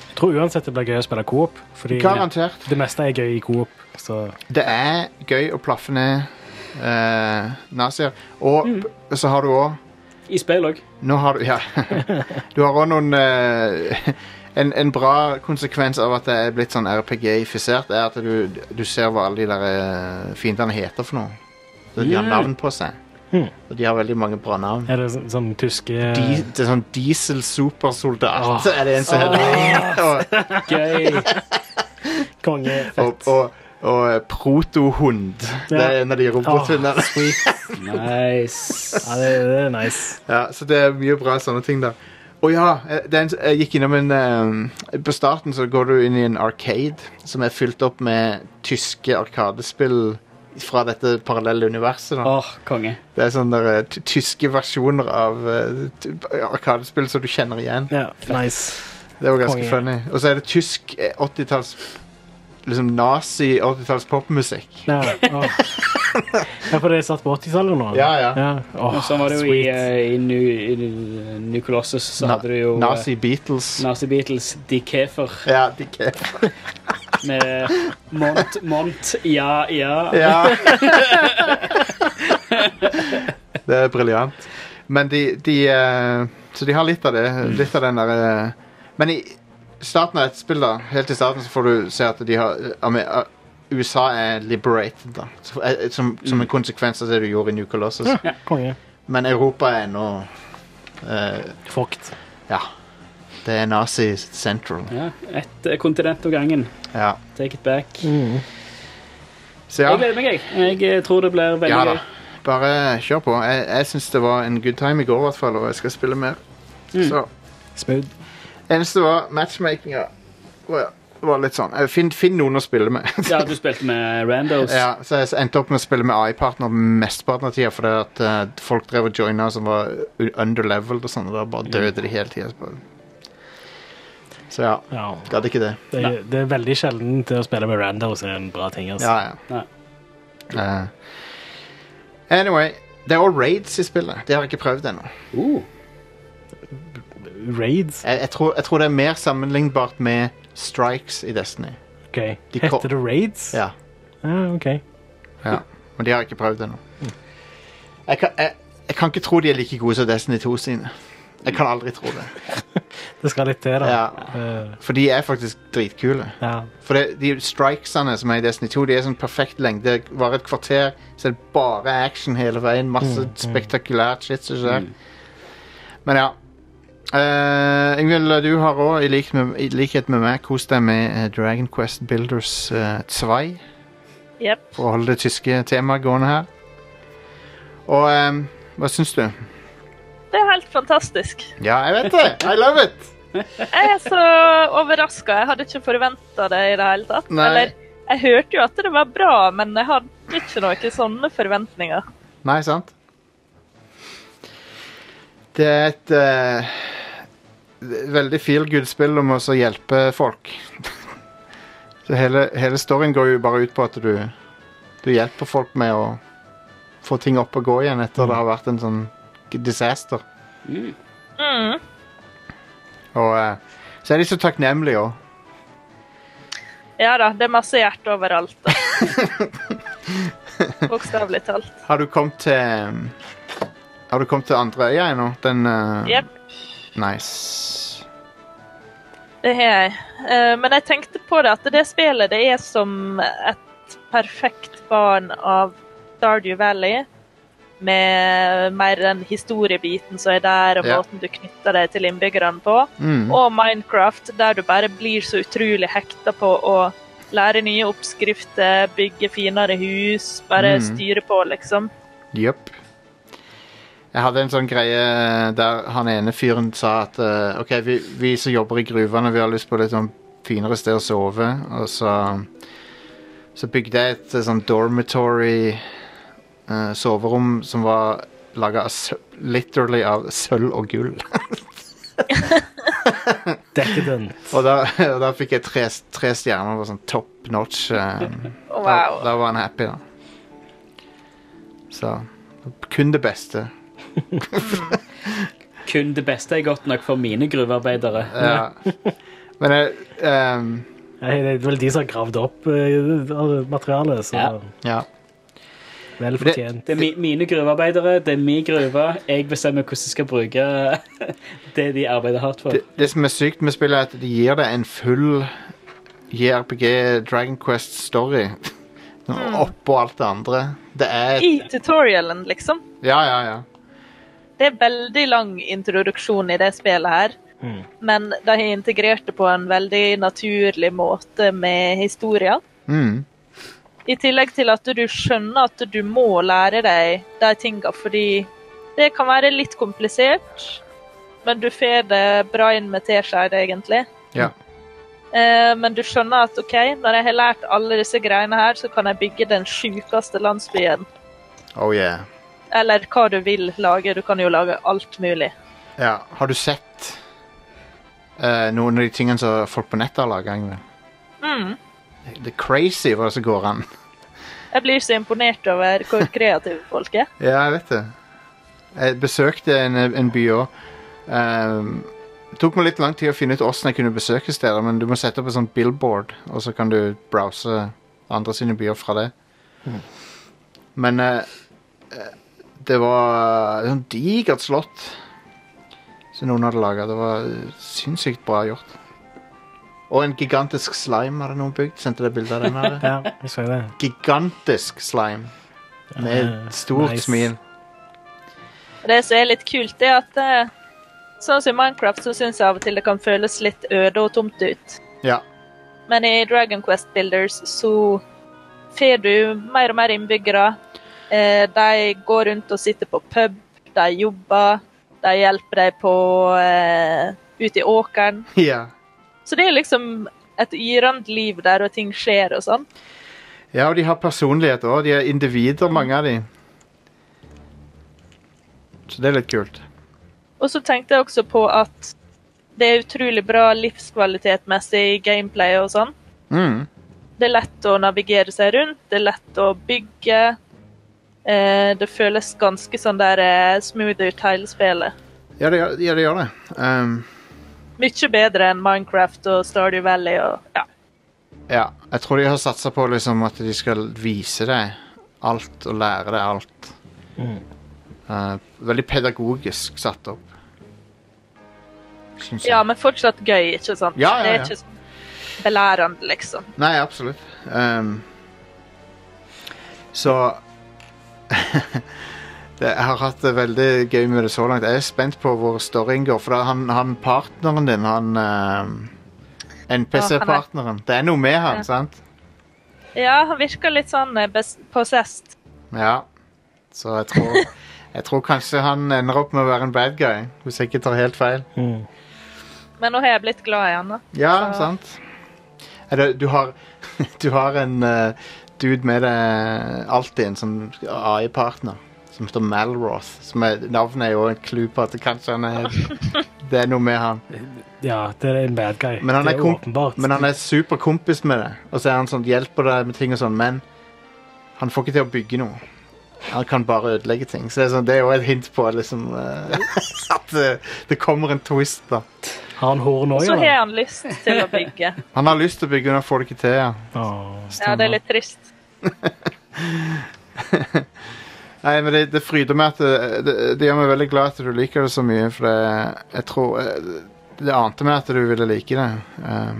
[SPEAKER 8] Jeg tror uansett det blir gøy å spille coop, fordi
[SPEAKER 5] Garantert.
[SPEAKER 8] det meste er gøy i coop. Så
[SPEAKER 5] Det er gøy å plaffe ned eh, nazier. Og p- så har du òg
[SPEAKER 11] I spill òg.
[SPEAKER 5] Nå har du Ja. Du har òg noen eh, en, en bra konsekvens av at det er blitt sånn RPG-ifisert, er at du, du ser hva alle de der eh, fiendene heter for noe. Så de har
[SPEAKER 8] Ja. Hm.
[SPEAKER 5] navn på seg. Og de har veldig mange bra navn.
[SPEAKER 8] er det sånn, sånn tyske
[SPEAKER 5] Di det er sånn diesel-supersoldat,
[SPEAKER 8] Åh.
[SPEAKER 5] er det en som heter. Og,
[SPEAKER 8] Gøy. Konge.
[SPEAKER 5] og, og, og protohund. Det er en av de robotfilmene.
[SPEAKER 11] nice.
[SPEAKER 8] Ja, det, det er nice.
[SPEAKER 5] Ja, så det er mye bra sånne ting der. Å ja, eh, det er en, jeg gikk innom en eh, På starten så går du inn i en arcade som er fylt opp med tyske arkadespill fra dette parallelle universet. Da.
[SPEAKER 11] Åh, konge.
[SPEAKER 5] Det er sånne der, eh, ty- tyske versjoner av eh, ty- arkadespill som du kjenner igjen.
[SPEAKER 8] Ja, nice.
[SPEAKER 5] Det var ganske
[SPEAKER 8] Konge.
[SPEAKER 5] funny. Og så er det tysk eh, 80-talls Liksom nazi 80-talls popmusikk.
[SPEAKER 8] Ja, åh. ja, for det er satt på 80-tallet nå? eller?
[SPEAKER 5] Ja, ja.
[SPEAKER 8] Åh,
[SPEAKER 11] Og sånn var det jo i,
[SPEAKER 8] sweet.
[SPEAKER 11] eh, i, New, i eh, New Colossus, så
[SPEAKER 5] Na-
[SPEAKER 11] hadde du jo eh,
[SPEAKER 5] Nazi Beatles.
[SPEAKER 11] Nazi Beatles, Dick Hefer
[SPEAKER 5] Ja, de kan-
[SPEAKER 11] med Mont, Mont, ja, ja.
[SPEAKER 5] Ja. Det er briljant. Men de, de eh, Så de har litt av det. Litt av den der eh, Men i starten av et spill, da, helt i starten, så får du se at de har eh, Amer- eh, USA er liberated, da. Så, eh, Som, som en konsekvens av det du gjorde i New Colossus.
[SPEAKER 8] Ja, konge.
[SPEAKER 5] Men Europa er ennå eh,
[SPEAKER 8] Fucked.
[SPEAKER 5] Ja. Det er Nazi Central.
[SPEAKER 11] ja et eh, kontinent om gangen.
[SPEAKER 5] Ja.
[SPEAKER 11] Take it back.
[SPEAKER 5] Så ja.
[SPEAKER 11] Jeg gleder meg, jeg. Jeg eh, tror det blir veldig
[SPEAKER 5] Ja da.
[SPEAKER 11] gøy.
[SPEAKER 5] Bare kjør på. Jeg, jeg syns det var en good time i går, i hvert fall, og jeg skal spille mer. Så
[SPEAKER 8] Smooth.
[SPEAKER 5] Eneste var matchmakinga. Var, var litt sånn eh, Finn, finn noen å spille med.
[SPEAKER 11] Ja, du spilte med Randos.
[SPEAKER 5] ja, så jeg endte opp med å spille med AI-partner mesteparten av tida fordi at eh, folk drev og joina som var u- underleveled og sånn, og da bare døde de hele tida. Så ja.
[SPEAKER 8] Ja.
[SPEAKER 5] Gadd ikke det.
[SPEAKER 8] Det, er- det er veldig sjelden til å spille med randos er en bra ting. Altså.
[SPEAKER 5] Ja, ja.
[SPEAKER 11] Nei.
[SPEAKER 5] Eh, anyway, det er også raids i spillet. Det har jeg ikke prøvd ennå.
[SPEAKER 11] Uh,
[SPEAKER 8] Raids?
[SPEAKER 5] Jeg, jeg, tror- jeg tror det er mer sammenlignbart med strikes i Destiny.
[SPEAKER 8] OK.
[SPEAKER 5] De kom-
[SPEAKER 8] Heter det raids?
[SPEAKER 5] Ja,
[SPEAKER 8] Ja, OK.
[SPEAKER 5] ja. Men de har jeg ikke prøvd ennå. Jeg, kan- jeg, jeg kan ikke tro de er like gode som Destiny 2 sine. Jeg kan aldri tro det.
[SPEAKER 8] Det skal litt til, da.
[SPEAKER 5] Ja,
[SPEAKER 8] Eh,
[SPEAKER 5] for de er faktisk dritkule.
[SPEAKER 8] ja.
[SPEAKER 5] For det, de strikesene som er i Destiny 2, de er sånn perfekt lengde. Det varer et kvarter, så er det bare action hele veien. Masse spektakulært shit som skjer. Men ja. Eh, Ingvild, du har òg, i, lik med- i likhet med meg, kost deg med eh, Dragon Quest Builders uh, 2.
[SPEAKER 7] Jepp.
[SPEAKER 5] For å holde det tyske temaet gående her. Og ehm, hva syns du?
[SPEAKER 7] Det er helt fantastisk.
[SPEAKER 5] Ja, jeg vet det! I love it!
[SPEAKER 7] Jeg er så overraska. Jeg hadde ikke forventa det i det hele tatt.
[SPEAKER 5] Nei.
[SPEAKER 7] Eller, jeg hørte jo at det var bra, men jeg hadde ikke noen sånne forventninger.
[SPEAKER 5] Nei, sant? Det er et eh, veldig feel good-spill om å så hjelpe folk. så hele, hele storyen går jo bare ut på at du, du hjelper folk med å få ting opp og gå igjen etter det har vært en sånn disaster.
[SPEAKER 7] Mm.
[SPEAKER 5] Og eh, så er de så takknemlige òg.
[SPEAKER 7] Ja da, det er masse hjerte overalt. da. Bokstavelig talt.
[SPEAKER 5] Har du kommet til eh, Har du kommet til andre øya ennå? Den eh,
[SPEAKER 7] Jepp,
[SPEAKER 5] Nice.
[SPEAKER 7] det har jeg. Eh, Men jeg tenkte på det at det spillet det er som et perfekt barn av Stardew Valley, med mer den historiebiten som er der, og
[SPEAKER 17] Ja.
[SPEAKER 7] måten du knytter deg til innbyggerne på.
[SPEAKER 17] Mm.
[SPEAKER 7] Og Minecraft, der du bare blir så utrolig hekta på å lære nye oppskrifter, bygge finere hus, bare
[SPEAKER 5] Mm.
[SPEAKER 7] styre på, liksom.
[SPEAKER 5] Jepp. Jeg hadde en sånn greie der han ene fyren sa at eh, OK, vi, vi som jobber i gruvene, vi har lyst på litt sånn finere sted å sove, og så Så bygde jeg et eh, sånn dormitory eh, soverom som var laga literally av sølv og gull.
[SPEAKER 8] Decadent.
[SPEAKER 5] og da, og da fikk jeg tre, tre stjerner. Det var sånn top notch. eh, da,
[SPEAKER 7] Wow.
[SPEAKER 5] da var han happy, da. Så kun det beste.
[SPEAKER 11] Kun det beste er godt nok for mine gruvearbeidere.
[SPEAKER 5] Ja. Men øh, jeg
[SPEAKER 8] Nei, Det er vel de som har gravd opp eh, materialet, så
[SPEAKER 11] Ja.
[SPEAKER 8] vel fortjent.
[SPEAKER 11] Det er mi, mine gruvearbeidere, det er min gruve. Jeg bestemmer hvordan jeg skal bruke det de arbeider hardt for.
[SPEAKER 5] det, det som er sykt med spillet, er at de gir deg en full JRPG Dragon Quest-story.
[SPEAKER 7] Mm.
[SPEAKER 5] Oppå alt det andre. Det er
[SPEAKER 7] I tutorialen, liksom.
[SPEAKER 5] Ja, ja, ja.
[SPEAKER 7] Det er veldig lang introduksjon i det spillet her. Men de har integrert det på en veldig naturlig måte med historien.
[SPEAKER 5] Mm.
[SPEAKER 7] I tillegg til at du skjønner at du må lære deg de tinga, fordi det kan være litt komplisert, men du får det bra inn med teskjeer, egentlig.
[SPEAKER 5] Ja.
[SPEAKER 7] Eh, Men du skjønner at OK, når jeg har lært alle disse greiene her, så kan jeg bygge den sjukeste landsbyen.
[SPEAKER 5] Oh yeah.
[SPEAKER 7] Eller hva du vil lage. Du kan jo lage alt mulig.
[SPEAKER 5] Ja. Har du sett eh, noen av de tingene som folk på nettet har laga?
[SPEAKER 7] Mm.
[SPEAKER 5] Det er crazy hva som går an.
[SPEAKER 7] Jeg blir så imponert over hvor kreative folk er.
[SPEAKER 5] Ja, jeg vet det. Jeg besøkte en, en by òg. det tok meg litt lang tid å finne ut åssen jeg kunne besøke steder, men du må sette opp en sånn billboard, og så kan du browse andre sine byer fra det.
[SPEAKER 18] Mhm.
[SPEAKER 5] Men eh, eh, det var et sånt digert slott som noen hadde laga. Det var sinnssykt bra gjort. Og en gigantisk slime hadde noen bygd. Sendte deg bilde av den? her?
[SPEAKER 8] Ja, jeg så det.
[SPEAKER 5] Gigantisk slime. Med
[SPEAKER 8] Eh,
[SPEAKER 5] et stort
[SPEAKER 8] nice.
[SPEAKER 5] smil.
[SPEAKER 7] Det som er litt kult, er at eh, sånn som i Minecraft, så syns jeg av og til det kan føles litt øde og tomt ut.
[SPEAKER 5] Ja.
[SPEAKER 7] Men i Dragon Quest Builders så får du mer og mer innbyggere. Eh, de går rundt og sitter på pub, de jobber, de hjelper deg på eh, ute i åkeren.
[SPEAKER 5] Ja.
[SPEAKER 7] Så det er liksom et yrende liv der, og ting skjer og sånn.
[SPEAKER 5] ja, og de har personlighet òg. De er individer, mange av de. Så det er litt kult.
[SPEAKER 7] Og så tenkte jeg også på at det er utrolig bra livskvalitetmessig gameplay og sånn.
[SPEAKER 5] Mm.
[SPEAKER 7] Det er lett å navigere seg rundt, det er lett å bygge. Eh, det føles ganske sånn der eh, smooth ut hele spillet.
[SPEAKER 5] Ja, det gjør, ja, det, gjør det. Ehm,
[SPEAKER 7] Mye bedre enn Minecraft og Stardew Valley og ja.
[SPEAKER 5] ja. Jeg tror de har satsa på liksom at de skal vise deg alt og lære deg alt. Eh, veldig pedagogisk satt opp. Syns jeg.
[SPEAKER 7] ja, men fortsatt gøy, ikke sant?
[SPEAKER 5] Ja, ja,
[SPEAKER 7] Det
[SPEAKER 5] ja.
[SPEAKER 7] er ikke sånn belærende, liksom.
[SPEAKER 5] Nei, absolutt. Ehm, så det, Jeg har hatt det veldig gøy med det så langt. Jeg er spent på hvor storyen går. For da, han, han partneren din, han ehm, NPC-partneren Det er noe med han,
[SPEAKER 7] Ja.
[SPEAKER 5] sant?
[SPEAKER 7] Ja, han virker litt sånn eh, bes- possessed.
[SPEAKER 5] Ja. Så jeg tror, jeg tror kanskje han ender opp med å være en bad guy, hvis jeg ikke tar helt feil.
[SPEAKER 7] Men nå har jeg blitt glad i han, da.
[SPEAKER 5] Ja, sant. Eller, du har, du har en eh, dude med deg alltid, en sånn AI-partner, som heter Malroth. Som er, navnet er jo en clue på at det kanskje han er Det er noe med han.
[SPEAKER 8] Ja, det er en bad guy.
[SPEAKER 5] Men han
[SPEAKER 8] det
[SPEAKER 5] er,
[SPEAKER 8] er
[SPEAKER 5] kom-
[SPEAKER 8] åpenbart.
[SPEAKER 5] men han er superkompis med deg, og så er han sånn, hjelper deg med ting og sånn, men han får ikke til å bygge noe. Han kan bare ødelegge ting. Så det er, sånn, det er jo et hint på liksom, eh, at det, det kommer en twist, da.
[SPEAKER 8] Har han horn
[SPEAKER 7] Og så har han lyst til å bygge.
[SPEAKER 5] Han har lyst til å bygge, men han får det ikke til. Ja.
[SPEAKER 7] Ja, det er litt trist.
[SPEAKER 5] Nei, men det, det fryder meg at det, det, det gjør meg veldig glad at du liker det så mye, for det, jeg tror eh, Det ante meg at du ville like det. Um,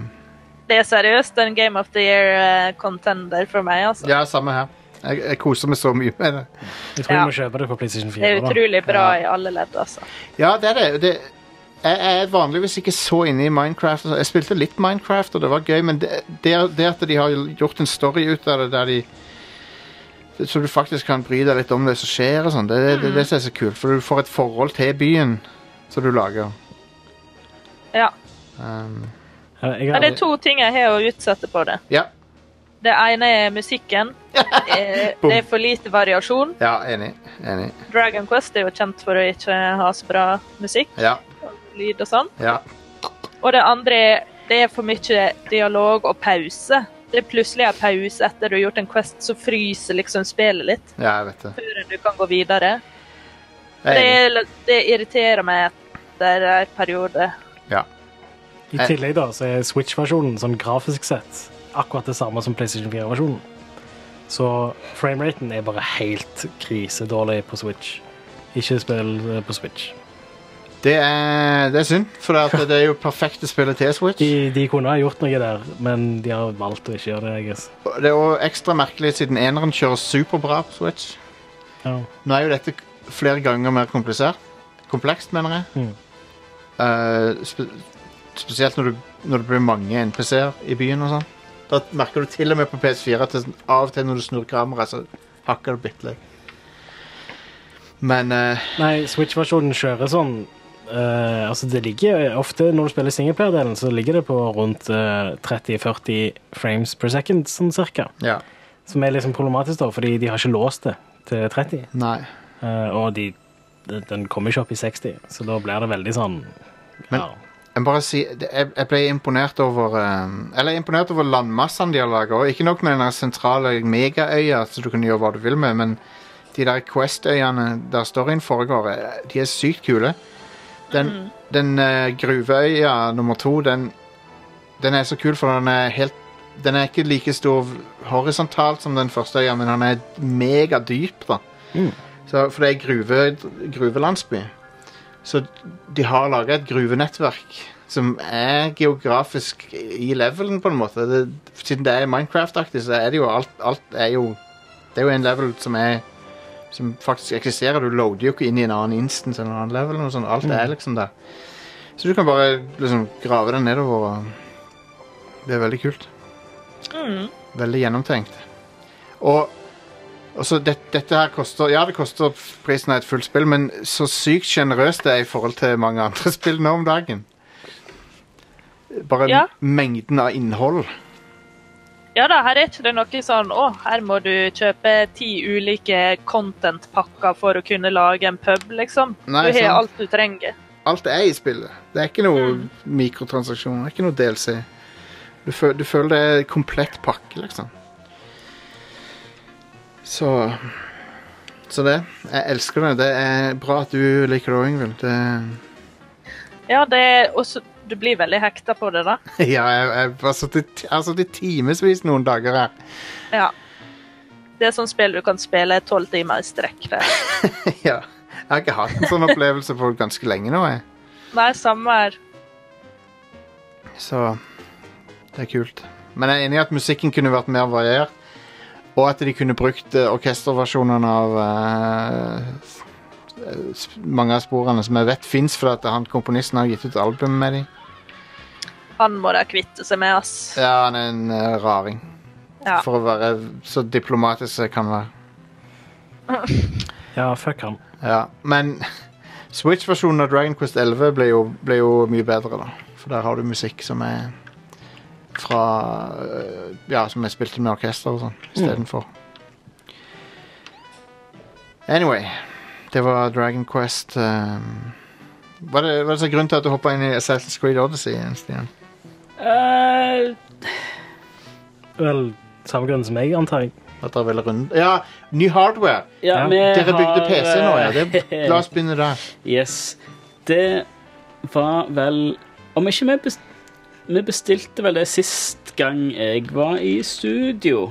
[SPEAKER 7] Det er seriøst en Game of the Year eh, contender for meg, altså.
[SPEAKER 5] ja, samme her. Jeg, jeg koser meg så mye med det.
[SPEAKER 8] Jeg tror vi må kjøpe det på PlayStation 4.
[SPEAKER 7] Det er
[SPEAKER 8] da.
[SPEAKER 7] utrolig bra i alle ledd, altså.
[SPEAKER 5] Ja, det er det. det jeg jeg er vanligvis ikke så inne i Minecraft. Jeg spilte litt Minecraft, og det var gøy, men det, det, det at de har gjort en story ut av det der de Så du faktisk kan bry deg litt om det som skjer, og sånn, det er det, det som er så kult. For du får et forhold til byen som du lager.
[SPEAKER 7] Ja.
[SPEAKER 5] Um,
[SPEAKER 7] ja det er to ting jeg har å utsette på det.
[SPEAKER 5] Ja.
[SPEAKER 7] Det ene er musikken. Eh,
[SPEAKER 5] Boom.
[SPEAKER 7] Det er for lite variasjon.
[SPEAKER 5] ja, enig. Enig.
[SPEAKER 7] Dragon Quest er jo kjent for å ikke ha så bra musikk,
[SPEAKER 5] Ja.
[SPEAKER 7] lyd og sånn.
[SPEAKER 5] ja.
[SPEAKER 7] Og det andre er det er for mye dialog og pause. Det er plutselig en pause etter du har gjort en quest, så fryser liksom spillet litt.
[SPEAKER 5] Ja, jeg vet det.
[SPEAKER 7] Før du kan gå videre.
[SPEAKER 5] Jeg
[SPEAKER 7] Det,
[SPEAKER 5] er enig.
[SPEAKER 7] det irriterer meg etter en periode.
[SPEAKER 5] Ja.
[SPEAKER 8] I tillegg da, så er Switch-versjonen sånn grafisk sett akkurat det samme som PlayStation 4-versjonen. Så frameraten er bare helt krisedårlig på Switch. Ikke spill eh, på Switch.
[SPEAKER 5] Det er, det er synd, for at det er jo perfekte spillet til Switch.
[SPEAKER 8] De, de kunne ha gjort noe der, men de har valgt å ikke gjøre det. jeg guess.
[SPEAKER 5] Det er jo ekstra merkelig siden eneren kjører superbra på Switch.
[SPEAKER 8] Ja.
[SPEAKER 5] Nå er jo dette k- flere ganger mer komplisert. Komplekst, mener jeg.
[SPEAKER 8] Mm.
[SPEAKER 5] Eh, spe spesielt når, du, når det blir mange NPC-er i byen og sånn. Da merker du til og med på PS4 at det, sånn- av og til når du snur kameraet, så hakker det bitte litt. Men eh,
[SPEAKER 8] Nei, Switch-versjonen kjører sånn eh, Altså, det ligger ofte når du spiller singleplayer-delen, så ligger det på rundt eh, 30-40 frames per second, sånn cirka.
[SPEAKER 5] Ja.
[SPEAKER 8] Som er liksom problematisk, da, fordi de har ikke låst det til 30.
[SPEAKER 5] Nei.
[SPEAKER 8] Eh, og de, de- den kommer ikke opp i 60, så da blir det veldig sånn
[SPEAKER 5] Men
[SPEAKER 8] ja.
[SPEAKER 5] jeg må bare si, det- jeg, jeg ble imponert over eh, Eller jeg er imponert over landmassene de har laga. Og ikke nok med den der sentrale megaøya, så du kan gjøre hva du vil med, men de der Quest-øyene der storyen foregår, eh, de er sykt kule. Den, den eh, gruveøya nummer to, den, den er så kul, for den er helt Den er ikke like stor horisontalt som den første øya, men den er megadyp, da. Så, for det er gruve, gruvelandsby. Så de har laga et gruvenettverk som er geografisk i levelen, på en måte. Det, siden det er Minecraft-aktig, så er det jo alt, alt er jo Det er jo en level som er som faktisk eksisterer. Du loader jo ikke inn i en annen instance eller en annen level. Og sånn. Alt er
[SPEAKER 8] Mm.
[SPEAKER 5] liksom der. Så du kan bare liksom grave den nedover. Og det er veldig kult.
[SPEAKER 7] Mm.
[SPEAKER 5] Veldig gjennomtenkt. Og og så det, dette her koster Ja, det koster prisen av et fullt spill, men så sykt sjenerøst det er i forhold til mange andre spill nå om dagen. Bare
[SPEAKER 7] Ja.
[SPEAKER 5] mengden av innhold.
[SPEAKER 7] Ja da, her er ikke det noe sånn å, her må du kjøpe ti ulike content-pakker for å kunne lage en pub, liksom.
[SPEAKER 5] Nei,
[SPEAKER 7] du
[SPEAKER 5] sant.
[SPEAKER 7] har alt du trenger.
[SPEAKER 5] Alt er i spillet. Det er ikke noe mikrotransaksjoner, ikke noe DLC. Du, fø- du føler det er komplett pakke, liksom. Så Så det. Jeg elsker det. Det er bra at du liker det òg, Ingvild. Det
[SPEAKER 7] Ja, det er også Du blir veldig hekta på det, da.
[SPEAKER 5] Ja, jeg, jeg har sittet altså, i timevis noen dager her.
[SPEAKER 7] Ja. Det er sånn spill du kan spille tolv timer i strekk. Det.
[SPEAKER 5] ja. Jeg har ikke hatt en sånn opplevelse på ganske lenge nå, jeg.
[SPEAKER 7] Nei, samme her.
[SPEAKER 5] Så det er kult. Men jeg er enig i at musikken kunne vært mer variert. Og at de kunne brukt eh, orkesterversjonene av eh, s- eh, s- mange av sporene som jeg vet fins, fordi at han komponisten har gitt ut album med dem.
[SPEAKER 7] Han må da kvitte seg med, ass.
[SPEAKER 5] Ja, han er en eh, raring.
[SPEAKER 7] Ja.
[SPEAKER 5] For å være så diplomatisk som jeg kan være.
[SPEAKER 8] ja, fuck han.
[SPEAKER 5] Ja, men Switch-versjonen av Dragon Quest 11 ble jo, ble jo mye bedre, da. For der har du musikk som er fra øh, Ja, som er spilt med orkester og sånn
[SPEAKER 6] Mm.
[SPEAKER 5] istedenfor. Anyway, det var Dragon Quest ehm. Hva er det, hva er det som er grunnen til at du hoppa inn i Assassin's Creed Odyssey? Stian?
[SPEAKER 8] Eh, Vel, samme grunn som meg, antar jeg.
[SPEAKER 5] At dere ville runde Ja, ny hardware!
[SPEAKER 6] Ja, vi
[SPEAKER 5] Dere bygde
[SPEAKER 6] har,
[SPEAKER 5] PC nå, ja. Det,
[SPEAKER 6] eh,
[SPEAKER 5] la oss begynne der.
[SPEAKER 6] Yes. Det var vel Om ikke vi bestilte Vi bestilte vel det sist gang jeg var i studio.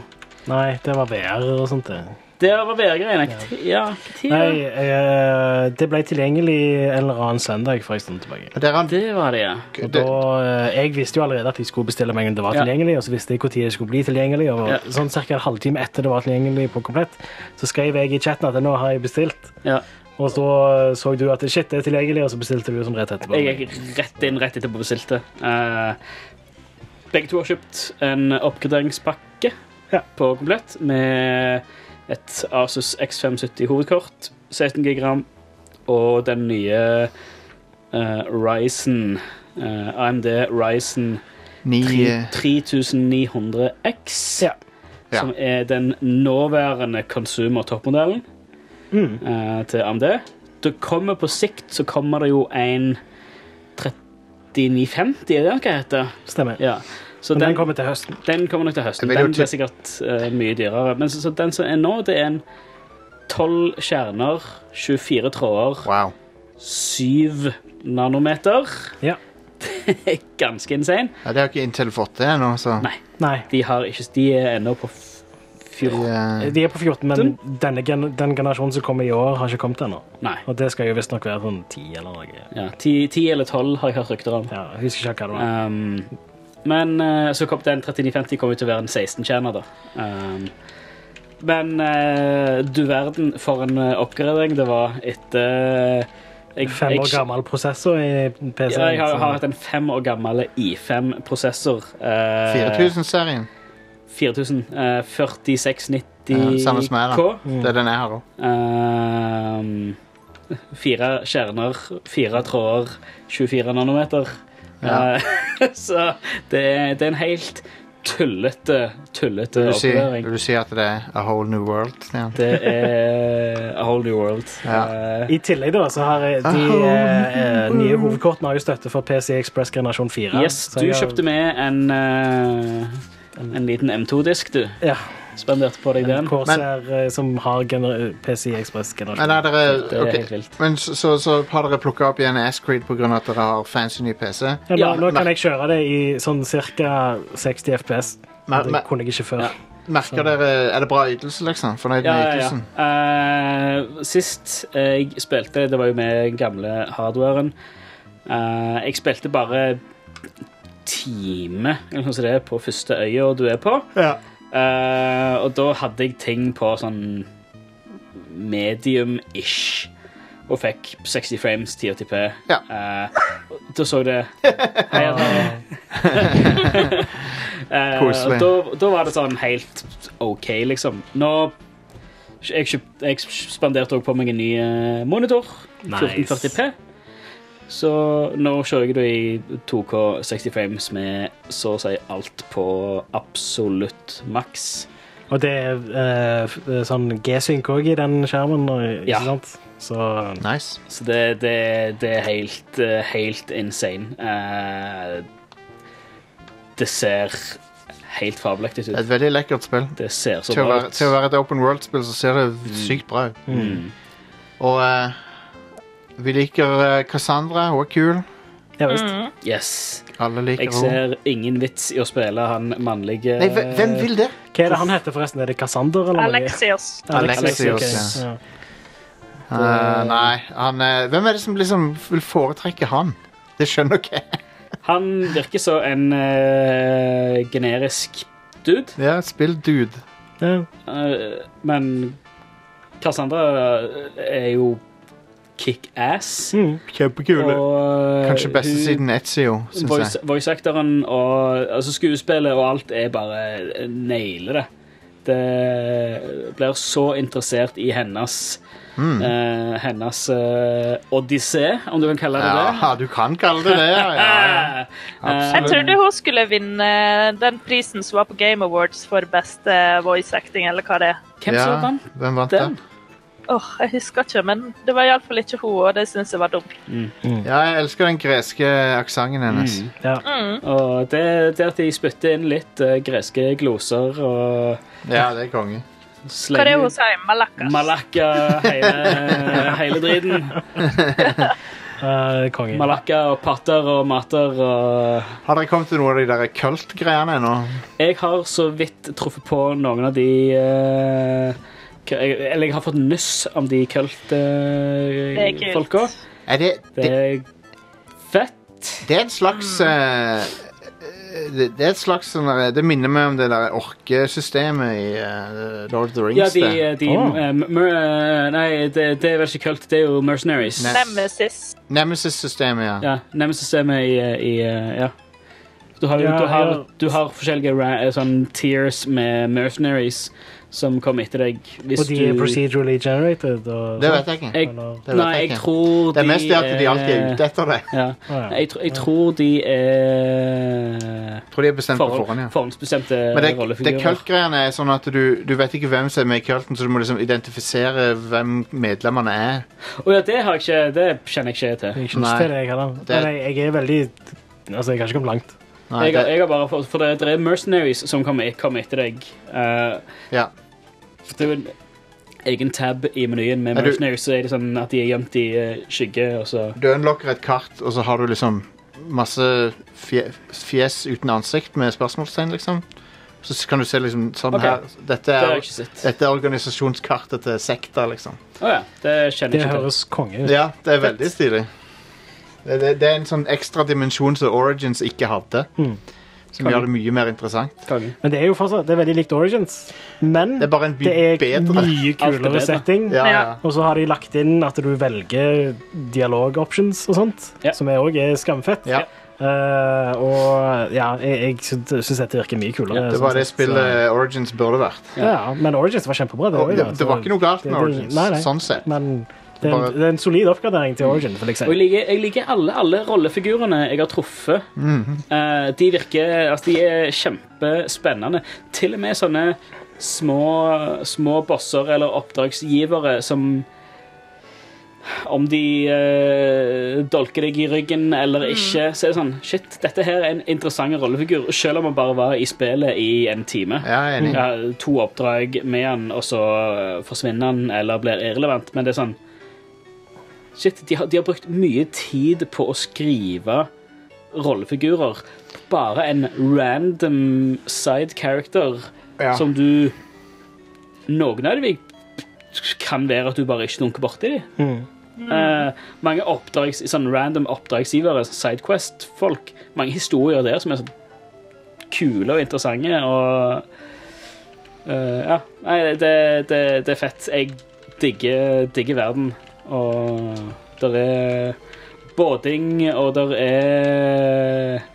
[SPEAKER 8] Nei, det var VR og sånt, det.
[SPEAKER 6] Det var VR-greiene. Ja, hva tid
[SPEAKER 8] Nei,
[SPEAKER 6] da?
[SPEAKER 8] eh, det ble tilgjengelig en eller annen søndag for en stund tilbake.
[SPEAKER 6] Det var det, ja.
[SPEAKER 8] Og da, eh, jeg visste jo allerede at jeg skulle bestille meg om det var
[SPEAKER 6] Ja.
[SPEAKER 8] tilgjengelig, og så visste jeg hvor tid det skulle bli tilgjengelig, og
[SPEAKER 6] Ja.
[SPEAKER 8] sånn cirka en halvtime etter det var tilgjengelig på komplett, så skrev jeg i chatten at nå har jeg bestilt. Og så eh, så du at shit, det er tilgjengelig, og så bestilte du sånn rett etterpå.
[SPEAKER 6] Jeg gikk rett inn rett etterpå bestilte. Eh, begge to har kjøpt en oppgraderingspakke på komplett med et Asus X570 hovedkort, 16 GB RAM og den nye eh, Ryzen eh, AMD Ryzen
[SPEAKER 5] Ni- øh,
[SPEAKER 6] tre- 3900X, som er den nåværende consumer toppmodellen
[SPEAKER 8] Mm.
[SPEAKER 6] eh, til AMD. Det kommer på sikt så kommer det jo en 3950, er det hva heter?
[SPEAKER 8] Stemmer.
[SPEAKER 6] Ja. Så
[SPEAKER 8] Men den kommer til høsten.
[SPEAKER 6] Den kommer nok til høsten.
[SPEAKER 8] Jeg vil jo
[SPEAKER 6] Den blir
[SPEAKER 8] til-
[SPEAKER 6] sikkert eh, mye dyrere. Men så, så den som er nå, det er en 12 kjerner, 24 tråder, 7 nanometer.
[SPEAKER 8] Ja.
[SPEAKER 6] Det er ganske insane.
[SPEAKER 5] Ja, det har ikke Intel fått det ennå, så
[SPEAKER 6] Nei.
[SPEAKER 8] Nei.
[SPEAKER 6] De, har ikke, de er ennå på f-
[SPEAKER 5] 14.
[SPEAKER 6] Eh,
[SPEAKER 8] De er på 14, men denne gen den generasjonen som kommer i år, har ikke kommet ennå.
[SPEAKER 6] Nei.
[SPEAKER 8] Og det skal jo visstnok være sånn 10 eller noe.
[SPEAKER 6] Ja, 10, 10 eller 12 har jeg hørt rykter om.
[SPEAKER 8] Ja, jeg husker ikke hva det
[SPEAKER 6] var. men eh, så kom den 3950 kommer til å være en 16-tjener, da. Um, men eh, du verden for en eh, oppgradering det var etter eh, jeg,
[SPEAKER 8] Fem år
[SPEAKER 6] jeg-
[SPEAKER 8] gammel prosessor i PC.
[SPEAKER 6] Ja, jeg har,
[SPEAKER 8] sånn-
[SPEAKER 6] har hatt en fem år gammel i5-prosessor. eh,
[SPEAKER 5] 4000-serien.
[SPEAKER 6] 4000. eh, 4690K.
[SPEAKER 5] Ja, samme som jeg, da. Det
[SPEAKER 8] Mm.
[SPEAKER 5] er den jeg har òg.
[SPEAKER 6] Ehm, fire kjerner, fire tråder, 24 nanometer.
[SPEAKER 5] Ja.
[SPEAKER 6] Eh, så det er, det er en helt tullete, tullete
[SPEAKER 5] Vil du, si,
[SPEAKER 6] opplæring.
[SPEAKER 5] vil du si at det er a whole new world? Stian?
[SPEAKER 6] Det er a whole new world. Eh,
[SPEAKER 8] I tillegg da, så har jeg de eh, eh, nye hovedkortene har jo støtte for PC Express generasjon 4.
[SPEAKER 6] yes,
[SPEAKER 8] Så
[SPEAKER 6] du
[SPEAKER 8] jeg har-
[SPEAKER 6] kjøpte med en, eh, en liten M2-disk, du.
[SPEAKER 8] Ja.
[SPEAKER 6] Spenderte på deg den.
[SPEAKER 8] Corsair eh, som har gener PC Express generasjon
[SPEAKER 5] Men, er dere,
[SPEAKER 8] Det er
[SPEAKER 5] ok,
[SPEAKER 8] helt vilt.
[SPEAKER 5] men så, så, så har dere plukka opp igjen Ascreed pga. at dere har fancy ny PC?
[SPEAKER 8] Ja, nå, nå kan jeg kjøre det i sånn ca. 60 FPS.
[SPEAKER 5] Men-
[SPEAKER 8] det
[SPEAKER 5] men-
[SPEAKER 8] kunne jeg ikke før.
[SPEAKER 5] Merker dere Er det bra ytelse, liksom? Fornøyd
[SPEAKER 6] Ja,
[SPEAKER 5] med
[SPEAKER 6] ja,
[SPEAKER 5] ytelsen?
[SPEAKER 6] ja. Eh, sist jeg spilte, det var jo med gamle hardwaren. Eh, jeg spilte bare time eller noe sånt det, på første øya du er på. Eh, og da hadde jeg ting på sånn medium-ish. Og fikk 60 frames, 1080p. Eh, og da så det Hei, André. Eh,
[SPEAKER 5] Koselig.
[SPEAKER 6] Da, da var det sånn helt OK, liksom. Nå Jeg, kjøpt, jeg spanderte også på meg en ny eh, monitor.
[SPEAKER 8] Nice.
[SPEAKER 6] 1440p. Så nå kjører jeg det i 2K 60 frames med så å si alt på absolutt maks.
[SPEAKER 8] Og det er eh, f- eh, sånn G-synk òg i den skjermen, og- ikke
[SPEAKER 6] Ja.
[SPEAKER 8] sant? Så
[SPEAKER 6] Så det, det, det er helt, eh, helt insane. Eh, det ser helt fabelaktig ut.
[SPEAKER 5] Et veldig lekkert spill.
[SPEAKER 6] Det ser så
[SPEAKER 5] Til å,
[SPEAKER 6] bra
[SPEAKER 5] være,
[SPEAKER 6] ut.
[SPEAKER 5] til å være et open world-spill så ser det sykt bra ut.
[SPEAKER 6] Mm.
[SPEAKER 5] Og eh, vi liker eh, Cassandra. Hun er kul.
[SPEAKER 8] Ja visst.
[SPEAKER 6] Yes.
[SPEAKER 5] Alle liker
[SPEAKER 6] Jeg ser eh, ingen vits i å spille han mannlige
[SPEAKER 5] Nei, hve- hvem vil det?
[SPEAKER 8] Hva er det han heter forresten? Er det Cassander? Eller noe?
[SPEAKER 7] Alexios.
[SPEAKER 5] Alexios,
[SPEAKER 8] ok.
[SPEAKER 5] ja.
[SPEAKER 8] Ja.
[SPEAKER 5] Eh, nei, han eh, Hvem er det som liksom vil foretrekke han? Det skjønner ikke jeg.
[SPEAKER 6] Han virker som en eh, generisk dude.
[SPEAKER 5] Ja, spill dude.
[SPEAKER 6] Eh, men Cassandra eh, er jo kickass.
[SPEAKER 8] mm.
[SPEAKER 5] Kjempekul.
[SPEAKER 6] Og, eh,
[SPEAKER 5] Kanskje beste
[SPEAKER 6] hun-
[SPEAKER 5] siden Ezio, syns
[SPEAKER 6] Voice-
[SPEAKER 5] jeg.
[SPEAKER 6] Voice-actoren og altså skuespillet og alt er bare nailer det. Det blir så interessert i hennes
[SPEAKER 5] Mm.
[SPEAKER 6] eh, hennes eh, odyssé, om du kan kalle det det. Eh,
[SPEAKER 5] Ja, du kan kalle det det. Ja, ja.
[SPEAKER 7] Jeg trodde hun skulle vinne den prisen som var på Game Awards for beste voice acting, eller hva det er.
[SPEAKER 5] ja, Hvem vant
[SPEAKER 7] Den?
[SPEAKER 5] den?
[SPEAKER 7] Åh, Jeg husker ikke, men det var iallfall ikke hun, og det syns jeg var dumt.
[SPEAKER 5] Ja, jeg elsker den greske aksenten hennes.
[SPEAKER 8] Mm.
[SPEAKER 6] Og det, det at de spytter inn litt eh, greske gloser og
[SPEAKER 5] Ja, det er konge.
[SPEAKER 7] Hva er det hun sier? Malakas?
[SPEAKER 6] Malakka hele, hele driten.
[SPEAKER 8] eh, konge.
[SPEAKER 6] Malakka og patter og mater og
[SPEAKER 5] Har dere kommet til noen av de der kult-greiene ennå?
[SPEAKER 6] Jeg har så vidt truffet på noen av de eh, jeg, Eller jeg har fått nyss om
[SPEAKER 7] Det
[SPEAKER 6] de
[SPEAKER 7] er kult.
[SPEAKER 6] kult-folka.
[SPEAKER 5] Er det,
[SPEAKER 6] det er fett.
[SPEAKER 5] Det er et slags eh, det, det er et slags sånn der, Det minner meg om det der orkesystemet i eh, Lord of the Rings.
[SPEAKER 6] Ja, de,
[SPEAKER 5] det.
[SPEAKER 6] de eh, mer, eh, Nei, det, det er vel ikke kult. Det er jo Mercenaries.
[SPEAKER 7] Nemesis.
[SPEAKER 5] Nemesis-systemet, ja.
[SPEAKER 6] Ja, Nemesis-systemet i, i eh, Ja. Du har, jo-
[SPEAKER 8] Ja,
[SPEAKER 6] du har,
[SPEAKER 8] ja.
[SPEAKER 6] du har forskjellige ra eh, sånn tiers med mercenaries som kommer etter deg.
[SPEAKER 8] Og de er
[SPEAKER 6] du-
[SPEAKER 8] procedurally generated. Og,
[SPEAKER 5] Det vet jeg ikke.
[SPEAKER 6] Jeg,
[SPEAKER 8] Eller-
[SPEAKER 5] vet
[SPEAKER 6] nei,
[SPEAKER 5] jeg
[SPEAKER 6] jeg
[SPEAKER 5] ikke.
[SPEAKER 6] tror de
[SPEAKER 5] Det er mest det at de alltid er ute etter det.
[SPEAKER 6] Ja.
[SPEAKER 5] Å, ja.
[SPEAKER 6] Jeg, tr- jeg tror de er
[SPEAKER 5] Tror de er bestemt på
[SPEAKER 6] forhold-
[SPEAKER 5] forhånd, ja.
[SPEAKER 6] Forhåndsbestemte
[SPEAKER 5] Men det, det
[SPEAKER 6] rollefigurer.
[SPEAKER 5] kult-greiene er sånn at du, du vet ikke hvem som er med i culten, så du må liksom identifisere hvem medlemmene er.
[SPEAKER 6] Å ja, det, har jeg ikke, det kjenner jeg ikke til.
[SPEAKER 8] Jeg synes til det, jeg, heller.
[SPEAKER 5] Det-
[SPEAKER 8] Men jeg, jeg er veldig Altså, jeg har ikke kommet langt.
[SPEAKER 6] jeg, har- jeg har bare fått, for det, det er mercenaries som kommer, e- kommer etter deg. Eh,
[SPEAKER 5] Ja.
[SPEAKER 6] for det er jo en egen tab i menyen med
[SPEAKER 5] Er du-
[SPEAKER 6] mercenaries, så er det sånn at de er gjemt i eh, skygge, og så
[SPEAKER 5] Du unlocker et kart, og så har du liksom masse fje- fjes uten ansikt med spørsmålstegn, liksom. Så s- kan du se liksom sånn
[SPEAKER 6] Ok.
[SPEAKER 5] her dette
[SPEAKER 6] Det har
[SPEAKER 5] er,
[SPEAKER 6] jeg ikke sett.
[SPEAKER 5] dette er organisasjonskartet til sekta, liksom.
[SPEAKER 6] Å ja, det kjenner
[SPEAKER 8] Det
[SPEAKER 6] jeg ikke til.
[SPEAKER 8] høres konge ut.
[SPEAKER 5] Ja, det er veldig stilig. Det, det, det er en sånn ekstra dimensjon som Origins ikke hadde,
[SPEAKER 8] Mm.
[SPEAKER 5] som gjør det mye mer interessant.
[SPEAKER 8] Men det er jo fortsatt det er veldig likt Origins. Men
[SPEAKER 5] Det er bare en by
[SPEAKER 8] det er
[SPEAKER 5] bedre.
[SPEAKER 8] mye
[SPEAKER 6] Alt er bedre.
[SPEAKER 8] kulere setting.
[SPEAKER 5] Ja, ja.
[SPEAKER 8] Og så har de lagt inn at du velger dialog-options og sånt,
[SPEAKER 6] Ja.
[SPEAKER 8] som òg er skamfett.
[SPEAKER 5] Ja.
[SPEAKER 8] Eh, og ja, jeg, jeg syns syns dette virker mye kulere.
[SPEAKER 5] Det var
[SPEAKER 8] sånn
[SPEAKER 5] det
[SPEAKER 8] sett,
[SPEAKER 5] spillet Origins burde vært.
[SPEAKER 8] så- Ja, men Origins var kjempebra. Det,
[SPEAKER 5] Og
[SPEAKER 8] også,
[SPEAKER 5] det,
[SPEAKER 8] da,
[SPEAKER 5] det var
[SPEAKER 8] så-
[SPEAKER 5] ikke noe galt med
[SPEAKER 8] det- det-
[SPEAKER 5] Origins,
[SPEAKER 8] Nei, nei.
[SPEAKER 5] sånn sett.
[SPEAKER 8] Men det er,
[SPEAKER 5] Bare-
[SPEAKER 8] en, det er en solid oppgradering til Origin. Vil jeg si.
[SPEAKER 6] Og jeg liker, jeg liker alle, alle rollefigurene jeg har truffet. Eh, de virker Altså, de er kjempespennende. Til og med sånne små, små bosser eller oppdragsgivere som om de eh, dolker deg i ryggen eller ikke, så er det sånn Shit, dette her er en interessant rollefigur, selv om han bare var i spillet i en time.
[SPEAKER 5] Ja, jeg er enig.
[SPEAKER 6] Ja, to oppdrag med han, og så eh, forsvinner han eller blir irrelevant. Men det er sånn Shit, de har, de har brukt mye tid på å skrive rollefigurer. Bare en random side character
[SPEAKER 5] Ja.
[SPEAKER 6] som du Noen av dem kan være at du bare ikke dunker borti dem.
[SPEAKER 8] Mm.
[SPEAKER 6] Eh, mange oppdrags, sånn random oppdragsgivere, sånn Sidequest-folk, mange historier der som er sånn kule og interessante og eh, Ja. Nei, det, det, det er fett. Jeg digger, digger verden. Og der er båting, og der er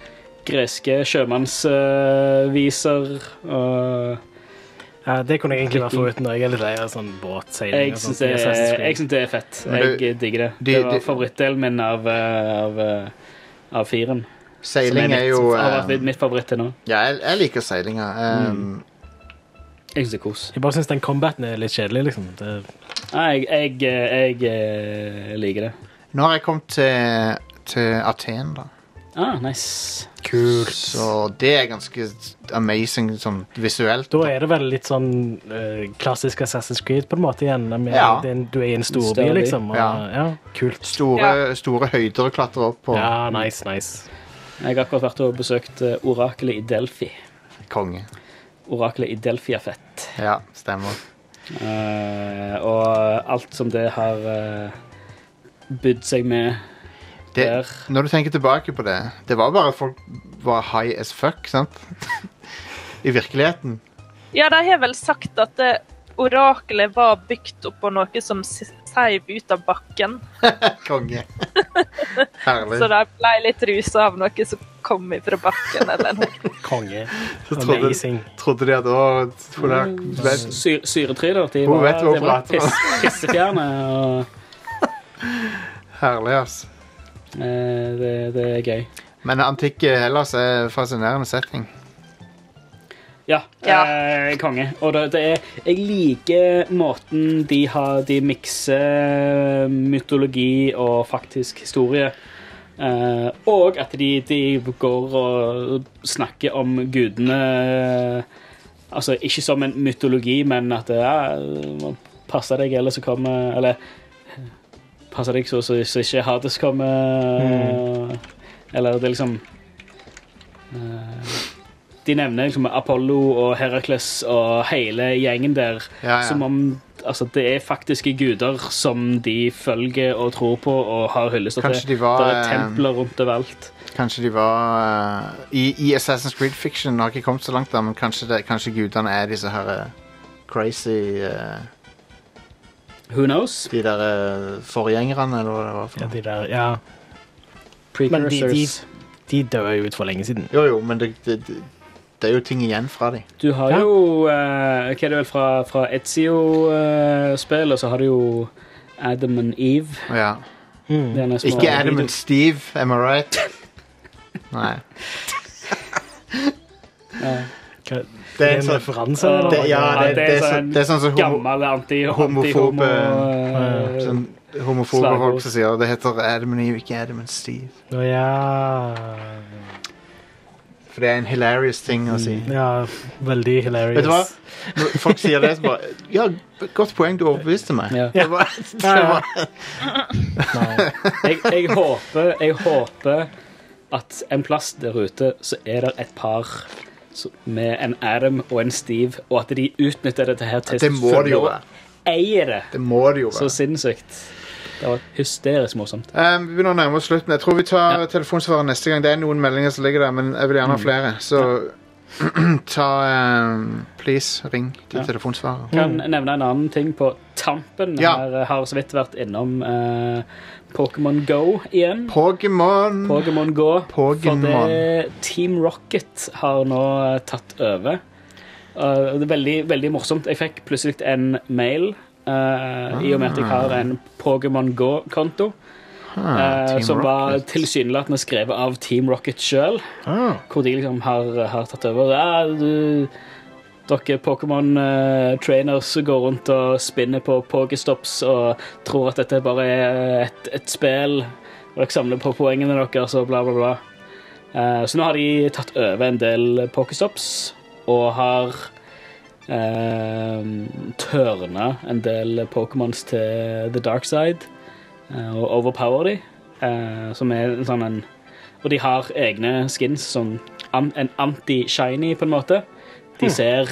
[SPEAKER 6] greske sjømannsviser. og
[SPEAKER 8] Ja, det kunne jeg egentlig vært foruten. da. Jeg er litt lei av sånn båtseiling.
[SPEAKER 6] jeg
[SPEAKER 8] og
[SPEAKER 6] syns
[SPEAKER 8] sånt
[SPEAKER 6] det,
[SPEAKER 8] i Assassin's Creed.
[SPEAKER 6] jeg synes det er fett.
[SPEAKER 5] Men du-
[SPEAKER 6] Jeg digger det.
[SPEAKER 5] de-
[SPEAKER 6] Det var
[SPEAKER 5] de-
[SPEAKER 6] favorittdelen min av, eh, av, eh, av firen. som
[SPEAKER 5] Seiling
[SPEAKER 6] mitt-
[SPEAKER 5] er jo
[SPEAKER 6] som har vært
[SPEAKER 5] eh,
[SPEAKER 6] litt mitt favoritt til nå.
[SPEAKER 5] Ja, jeg, jeg liker seilinga. eh,
[SPEAKER 8] Mm.
[SPEAKER 6] Jeg syns det er kos.
[SPEAKER 8] Jeg bare syns den combaten er litt kjedelig, liksom. Det,
[SPEAKER 6] Nei, Ah, Jeg, jeg, eh, jeg, eh, liker det.
[SPEAKER 5] Nå har jeg kommet til, til Aten, da.
[SPEAKER 6] Ah, nice.
[SPEAKER 5] Så det er ganske amazing sånn visuelt.
[SPEAKER 8] da er det vel litt sånn eh, klassisk Assassin's Creed på en måte igjen. Med,
[SPEAKER 5] Ja.
[SPEAKER 8] det er en- du er i en storby,
[SPEAKER 6] Større by.
[SPEAKER 8] liksom. Og,
[SPEAKER 5] Ja.
[SPEAKER 8] ja. Kult.
[SPEAKER 5] Store, store høyder å klatre opp på.
[SPEAKER 8] Ja, nice, nice.
[SPEAKER 6] Jeg har akkurat vært og besøkt eh, orakelet i Delphi.
[SPEAKER 5] Konge.
[SPEAKER 6] Orakelet i Delphi er fett.
[SPEAKER 5] Ja, stemmer.
[SPEAKER 6] Eh, og alt som det har eh, budd seg med
[SPEAKER 5] Det,
[SPEAKER 6] der.
[SPEAKER 5] når du tenker tilbake på det Det var bare at folk var high as fuck, sant? I virkeligheten.
[SPEAKER 7] Ja, de har vel sagt at eh, orakelet var bygd oppå noe som s- seiv ut av bakken.
[SPEAKER 5] Konge.
[SPEAKER 7] Så
[SPEAKER 5] Herlig.
[SPEAKER 7] de ble litt rusa av noe som kom ifra bakken, eller noe.
[SPEAKER 8] Konge.
[SPEAKER 5] Så trodde,
[SPEAKER 8] Amazing.
[SPEAKER 5] trodde de at å, hun er- vet-
[SPEAKER 6] Sy Syretryner. De
[SPEAKER 5] Hun
[SPEAKER 6] var,
[SPEAKER 5] vet hva hun
[SPEAKER 6] de var
[SPEAKER 5] prater om.
[SPEAKER 6] piss, pissefjerne. Og
[SPEAKER 5] Herlig, ass.
[SPEAKER 6] Eh, det, det er gøy.
[SPEAKER 5] Men antikke Hellas er fascinerende setting.
[SPEAKER 6] Ja, Eh, konge. Og det, det er, jeg liker måten de har De mikser mytologi og faktisk historie. Eh, og at de, de går og snakker om gudene Altså ikke som en mytologi, men at ja, du må passe deg, ellers så kommer Eller passe deg så, så, så ikke Hades Mm. kommer. Eller det er liksom eh, de nevner liksom Apollo og Herakles og hele gjengen der.
[SPEAKER 5] Ja, ja.
[SPEAKER 6] Som om altså, det er faktiske guder som de følger og tror på og har hyllester til.
[SPEAKER 5] Kanskje de var,
[SPEAKER 6] Det er
[SPEAKER 5] eh,
[SPEAKER 6] templer rundt overalt.
[SPEAKER 5] Kanskje de var eh, i, I Assassin's Creed Fiction har jeg ikke kommet så langt, da, men kanskje, det, kanskje gudene er disse her eh, crazy eh,
[SPEAKER 6] Who knows?
[SPEAKER 5] De der eh, forgjengerne, eller hva det var. For.
[SPEAKER 8] Ja, de der, ja. Men de, de, de døde jo ut for lenge siden.
[SPEAKER 5] Jo, jo, men det, det, det, det er jo ting igjen fra dem.
[SPEAKER 6] Du har
[SPEAKER 5] Ja.
[SPEAKER 6] jo eh, Hva er det vel fra, fra Ezio-spill, og så har du jo Adam and Eve.
[SPEAKER 5] Ja. Mm.
[SPEAKER 6] Det er en små
[SPEAKER 5] Ikke Adam
[SPEAKER 6] video.
[SPEAKER 5] and Steve, am I right? Nei.
[SPEAKER 8] Hva-
[SPEAKER 5] Det
[SPEAKER 8] en
[SPEAKER 5] sånn-
[SPEAKER 8] referanse, eller?
[SPEAKER 5] Det, ja, det, det, er sånn, det er sånn som homo-
[SPEAKER 6] gammel anti
[SPEAKER 5] homofobe
[SPEAKER 6] anti-homo, eh,
[SPEAKER 5] sånn, Homofobe
[SPEAKER 6] slagord.
[SPEAKER 5] folk som sier det heter Adam and Eve, ikke Adam and Steve.
[SPEAKER 8] Å, ja.
[SPEAKER 5] For det er en hilarious ting å si.
[SPEAKER 8] ja. Veldig hilarious.
[SPEAKER 5] Vet du hva? Mm. Når folk sier det, så bare Ja, godt poeng, du overbeviste meg. Det var, det var,
[SPEAKER 6] jeg, jeg håper Jeg håper at en plass der ute så er det et par som- med en Adam og en Steve, og at de utnytter dette her til
[SPEAKER 5] det må det jo være.
[SPEAKER 6] Eier det.
[SPEAKER 5] Det må det jo
[SPEAKER 6] Så
[SPEAKER 5] være.
[SPEAKER 6] sinnssykt. Det var hysterisk morsomt.
[SPEAKER 5] Eh, vi begynner å nærme oss slutten. Jeg tror vi tar telefonsvaret neste gang. Det er noen meldinger som ligger der, men jeg vil gjerne ha flere. Så ta eh, Please, ring til
[SPEAKER 6] Ja.
[SPEAKER 5] telefonsvaret.
[SPEAKER 6] Kan nevne en annen ting på tampen.
[SPEAKER 5] Mm. Ja.
[SPEAKER 6] Her eh, har så vidt vært innom eh, Pokémon Go igjen.
[SPEAKER 5] Pokémon
[SPEAKER 6] Pokémon Go. For
[SPEAKER 5] Pokémon.
[SPEAKER 6] det Team Rocket har nå eh, tatt over. Eh, og det er veldig, veldig morsomt. Jeg fikk plutselig en mail eh, i og med at jeg har en Pokémon Go-konto.
[SPEAKER 5] Ah,
[SPEAKER 6] eh,
[SPEAKER 5] Team
[SPEAKER 6] som var
[SPEAKER 5] Rocket.
[SPEAKER 6] tilsynelatende skrevet av Team Rocket sjøl.
[SPEAKER 5] Ah.
[SPEAKER 6] Hvor de liksom har, har tatt over. Ja, du, dere Pokémon-trainers går rundt og spinner på Pokestops og tror at dette bare er et, et spill. Og dere samler på poengene deres og bla, bla, bla. Eh, så nå har de tatt over en del Pokestops og har eh, tørna en del Pokémons til The Dark Side eh, og overpower de. eh, som er en sånn en Og de har egne skins som an, en anti-shiny, på en måte. De
[SPEAKER 5] Hmm.
[SPEAKER 6] ser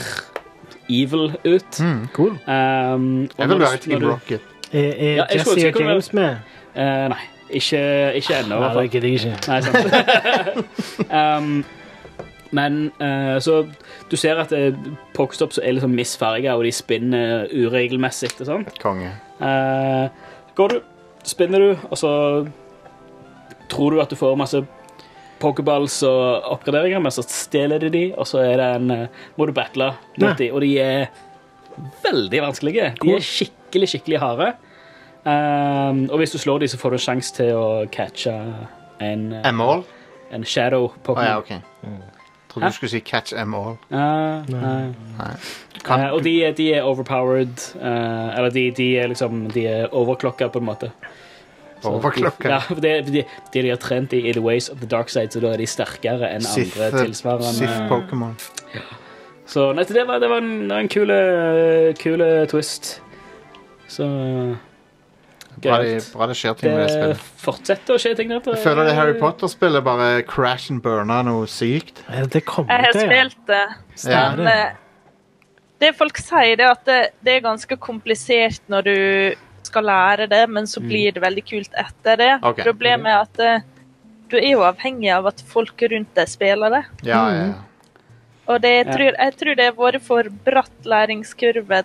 [SPEAKER 6] evil ut. Eh,
[SPEAKER 8] cool.
[SPEAKER 5] Jeg vil være Team Rocket.
[SPEAKER 8] Er, er Jesse og James med?
[SPEAKER 6] Eh, nei, ikke, ikke ennå. i hvert
[SPEAKER 8] Nei,
[SPEAKER 6] fall.
[SPEAKER 8] det gidder jeg ikke.
[SPEAKER 6] Nei, sant. um, men eh, så du ser at eh, Pokestops er liksom misfarga, og de spinner uregelmessig og sånn.
[SPEAKER 5] Konge.
[SPEAKER 6] Eh, går du, spinner du, og så tror du at du får masse pokeballs og oppgraderinger, men så stjeler de de, og så er det en, eh, må du battle mot de, og de er veldig vanskelige. De er skikkelig, skikkelig harde. Eh, og hvis du slår de, så får du en sjanse til å catche en eh,
[SPEAKER 5] Em all?
[SPEAKER 6] En shadow
[SPEAKER 5] Å
[SPEAKER 6] Pokémon.
[SPEAKER 5] ja, OK. Trodde
[SPEAKER 6] Hæ?
[SPEAKER 5] du skulle si catch em all.
[SPEAKER 6] Eh, nei. Eh, og de, er- de er overpowered. eh, eller de, de er liksom De er overklokka, på en måte. Så
[SPEAKER 5] Overklokka?
[SPEAKER 6] De, ja, for det, de, de, de har trent i, i The Ways of the Dark Side, så da er de sterkere enn
[SPEAKER 5] Sith,
[SPEAKER 6] andre tilsvarende
[SPEAKER 5] Sith Pokémon.
[SPEAKER 6] Så nei, det var, det var en, det var en kul, eh, kul eh, twist. Så eh,
[SPEAKER 5] Bra,
[SPEAKER 6] gøy.
[SPEAKER 5] det- bra det skjer ting med det
[SPEAKER 6] Det
[SPEAKER 5] spillet.
[SPEAKER 6] fortsetter å skje ting der.
[SPEAKER 5] Jeg føler det Harry Potter-spillet bare crash and burner noe sykt.
[SPEAKER 8] Det kommer
[SPEAKER 7] Jeg har spilt det.
[SPEAKER 5] Ja.
[SPEAKER 7] Men eh, det folk sier, det er at det, det er ganske komplisert når du skal lære det, men så
[SPEAKER 17] Mm.
[SPEAKER 7] blir det veldig kult etter det.
[SPEAKER 17] Ok.
[SPEAKER 7] Problemet er at eh, du er jo avhengig av at folk rundt deg spiller det.
[SPEAKER 5] Ja, ja, ja.
[SPEAKER 7] Og det, jeg,
[SPEAKER 5] Ja.
[SPEAKER 7] tror, jeg tror det har vært for bratt læringskurve,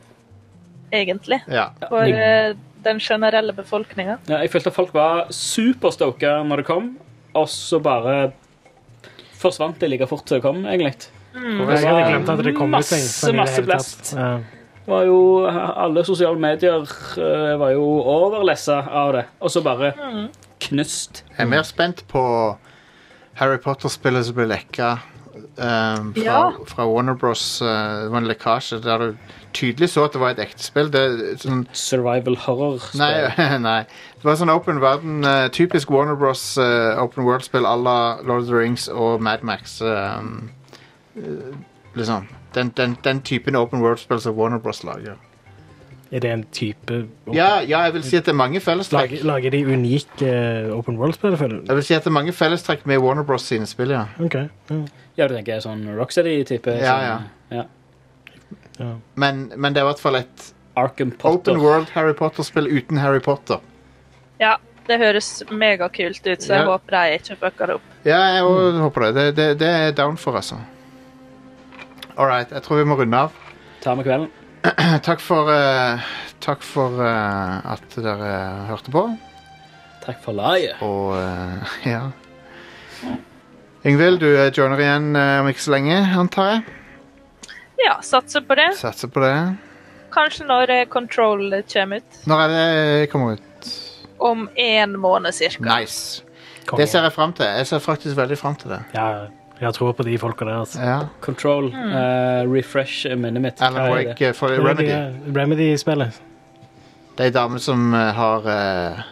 [SPEAKER 7] egentlig,
[SPEAKER 5] Ja.
[SPEAKER 7] for eh, den generelle befolkninga.
[SPEAKER 6] Ja, jeg følte at folk var superstoka når det kom, og så bare forsvant det like fort som det kom, egentlig.
[SPEAKER 8] Jeg hadde glemt at det kom ut.
[SPEAKER 6] masse,
[SPEAKER 8] jeg, sånn i det
[SPEAKER 6] masse
[SPEAKER 8] hele
[SPEAKER 6] blest.
[SPEAKER 8] tatt. Ja.
[SPEAKER 6] Det var jo, alle sosiale medier eh, var jo overlessa av det, og så bare knust.
[SPEAKER 5] Jeg er mer spent på Harry Potter-spillet som ble lekka ehm, fra,
[SPEAKER 6] Ja.
[SPEAKER 5] fra Warner Bros. eh, det var en lekkasje der du tydelig så at det var et ekte spill. Det, er sånn,
[SPEAKER 6] Survival horror.
[SPEAKER 5] nei, nei. Det var sånn open verden, eh, typisk Warner Bros. eh, open world-spill à la Lord of the Rings og Mad Max. ehm, eh, liksom. Den, den, den typen open world-spill som Warner Bros. lager.
[SPEAKER 8] Er det en type
[SPEAKER 5] Ja, ja, jeg vil si at det er mange fellestrekk.
[SPEAKER 8] Lager, lager de unike eh, open world-spill, føler
[SPEAKER 5] Jeg vil si at det er mange fellestrekk med Warner Bros. sine spill, ja.
[SPEAKER 8] OK. Ja.
[SPEAKER 6] Ja, du tenker sånn Rocksteady-type?
[SPEAKER 5] Ja,
[SPEAKER 6] sånn, ja.
[SPEAKER 5] Men, men det er i hvert fall et
[SPEAKER 6] Arkham Potter.
[SPEAKER 5] open world Harry Potter-spill uten Harry Potter.
[SPEAKER 7] Ja, det høres megakult ut, så jeg
[SPEAKER 5] Ja.
[SPEAKER 7] håper jeg ikke fucker opp.
[SPEAKER 5] Ja, jeg
[SPEAKER 6] Mm.
[SPEAKER 5] også håper det. det. Det, det er down for, altså. All right, jeg tror vi må runde av.
[SPEAKER 6] Ta med kvelden.
[SPEAKER 5] takk for, eh, takk for eh, at dere hørte på.
[SPEAKER 6] Takk for laget.
[SPEAKER 5] Og eh, ja. Ingvild, du eh, joiner igjen eh, om ikke så lenge, antar jeg.
[SPEAKER 7] Ja, satser på det.
[SPEAKER 5] Satser på det.
[SPEAKER 7] Kanskje når eh, Control kommer ut.
[SPEAKER 5] Når er det jeg kommer ut?
[SPEAKER 7] Om én måned cirka.
[SPEAKER 5] Nice. Det ser jeg fram til. Jeg ser faktisk veldig fram til det.
[SPEAKER 8] Ja, jeg har tro på de folka der. Altså.
[SPEAKER 5] Ja.
[SPEAKER 6] Control. eh, refresh minnet mitt.
[SPEAKER 5] Alan
[SPEAKER 6] Hva er det?
[SPEAKER 5] Wake eh, for Remedy.
[SPEAKER 8] Remedy-spillet.
[SPEAKER 5] Det er ei dame som eh, har eh,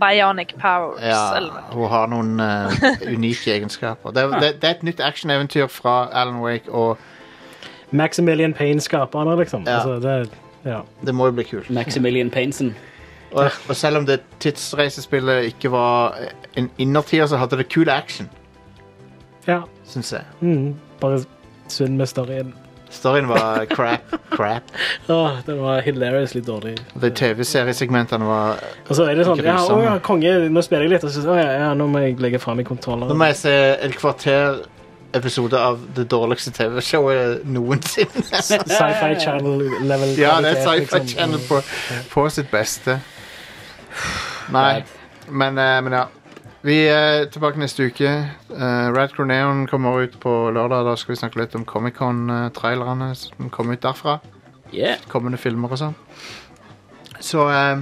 [SPEAKER 7] Bionic Powers. eller
[SPEAKER 5] Ja,
[SPEAKER 7] noe.
[SPEAKER 5] hun har noen eh, unike egenskaper. Det er, det, det er et nytt actioneventyr fra Alan Wake, og
[SPEAKER 8] Maximilian Payne-skaperne, liksom. Altså, det, ja.
[SPEAKER 5] det må jo bli kult.
[SPEAKER 6] Maximilian Painson.
[SPEAKER 5] Og, og selv om det tidsreisespillet ikke var eh, en innertier, så hadde det kul action,
[SPEAKER 8] ja.
[SPEAKER 5] syns jeg.
[SPEAKER 8] Mm, bare synd med storyen.
[SPEAKER 5] Storyen var crap. crap.
[SPEAKER 8] Åh, den var hilariously dårlig.
[SPEAKER 5] Og De TV-seriesegmentene var eh,
[SPEAKER 8] Og så er det sånn, ja, å,
[SPEAKER 5] grusomme.
[SPEAKER 8] ja, konge, nå spiller jeg litt, og så å, ja, ja, nå må jeg legge frem i kontrolleren.
[SPEAKER 5] Nå må jeg se en kvarter episode av det dårligste TV-showet noensinne.
[SPEAKER 8] Sci-fi channel-level.
[SPEAKER 5] Ja, det er
[SPEAKER 8] kvalitet,
[SPEAKER 5] Sci-Fi
[SPEAKER 8] liksom.
[SPEAKER 5] Channel på, på sitt beste. Nei, men, eh, men ja. Vi er tilbake neste uke. Eh, Rad Crew Neon kommer ut på lørdag. Da skal vi snakke litt om Comic-Con-trailerne som kom ut derfra.
[SPEAKER 6] Yeah.
[SPEAKER 5] Kommende filmer og sånn. Så eh,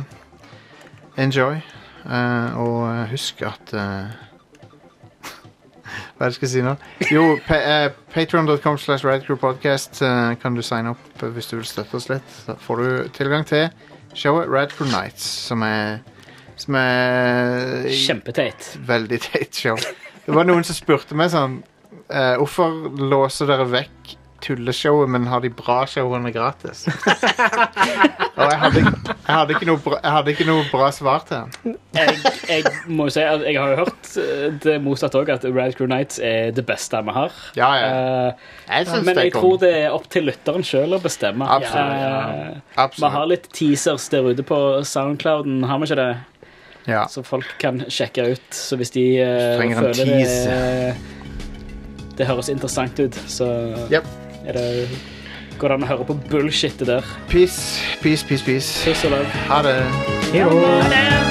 [SPEAKER 5] enjoy. Eh, og eh, husk at eh, Hva er det jeg skal si nå? Jo, pa eh, patreon.com slash radcrewpodcast eh, kan du signe opp eh, hvis du vil støtte oss litt. Da får du tilgang til showet Radcrew Nights, som er, som er
[SPEAKER 6] Kjempeteit.
[SPEAKER 5] Veldig teit show. Det var noen som spurte meg sånn eh, Hvorfor låser dere vekk tulleshowet, men har de bra showene gratis? Og jeg hadde, jeg, hadde ikke noe bra, jeg hadde ikke noe bra svar til han.
[SPEAKER 6] jeg, jeg må jo si at jeg har jo hørt eh, det motsatte òg, at Rad Crew Nights er det beste vi har.
[SPEAKER 5] Ja, ja.
[SPEAKER 6] Eh,
[SPEAKER 5] Jeg syns
[SPEAKER 6] men
[SPEAKER 5] det er
[SPEAKER 6] jeg
[SPEAKER 5] konge.
[SPEAKER 6] tror det er opp til lytteren sjøl å bestemme.
[SPEAKER 5] Absolutt.
[SPEAKER 6] Eh,
[SPEAKER 5] Absolutt.
[SPEAKER 6] Vi har litt teasers der ute på Soundclouden, har vi ikke det?
[SPEAKER 5] Ja.
[SPEAKER 6] Så folk kan sjekke ut. Så hvis de eh,
[SPEAKER 5] Trenger en
[SPEAKER 6] føler
[SPEAKER 5] teaser.
[SPEAKER 6] det, det høres interessant ut, så er det, går det an å høre på bullshitet der.
[SPEAKER 5] Peace, peace, peace. peace.
[SPEAKER 6] Tusen takk.
[SPEAKER 5] Ha det.
[SPEAKER 8] Hei då.
[SPEAKER 6] Ha det.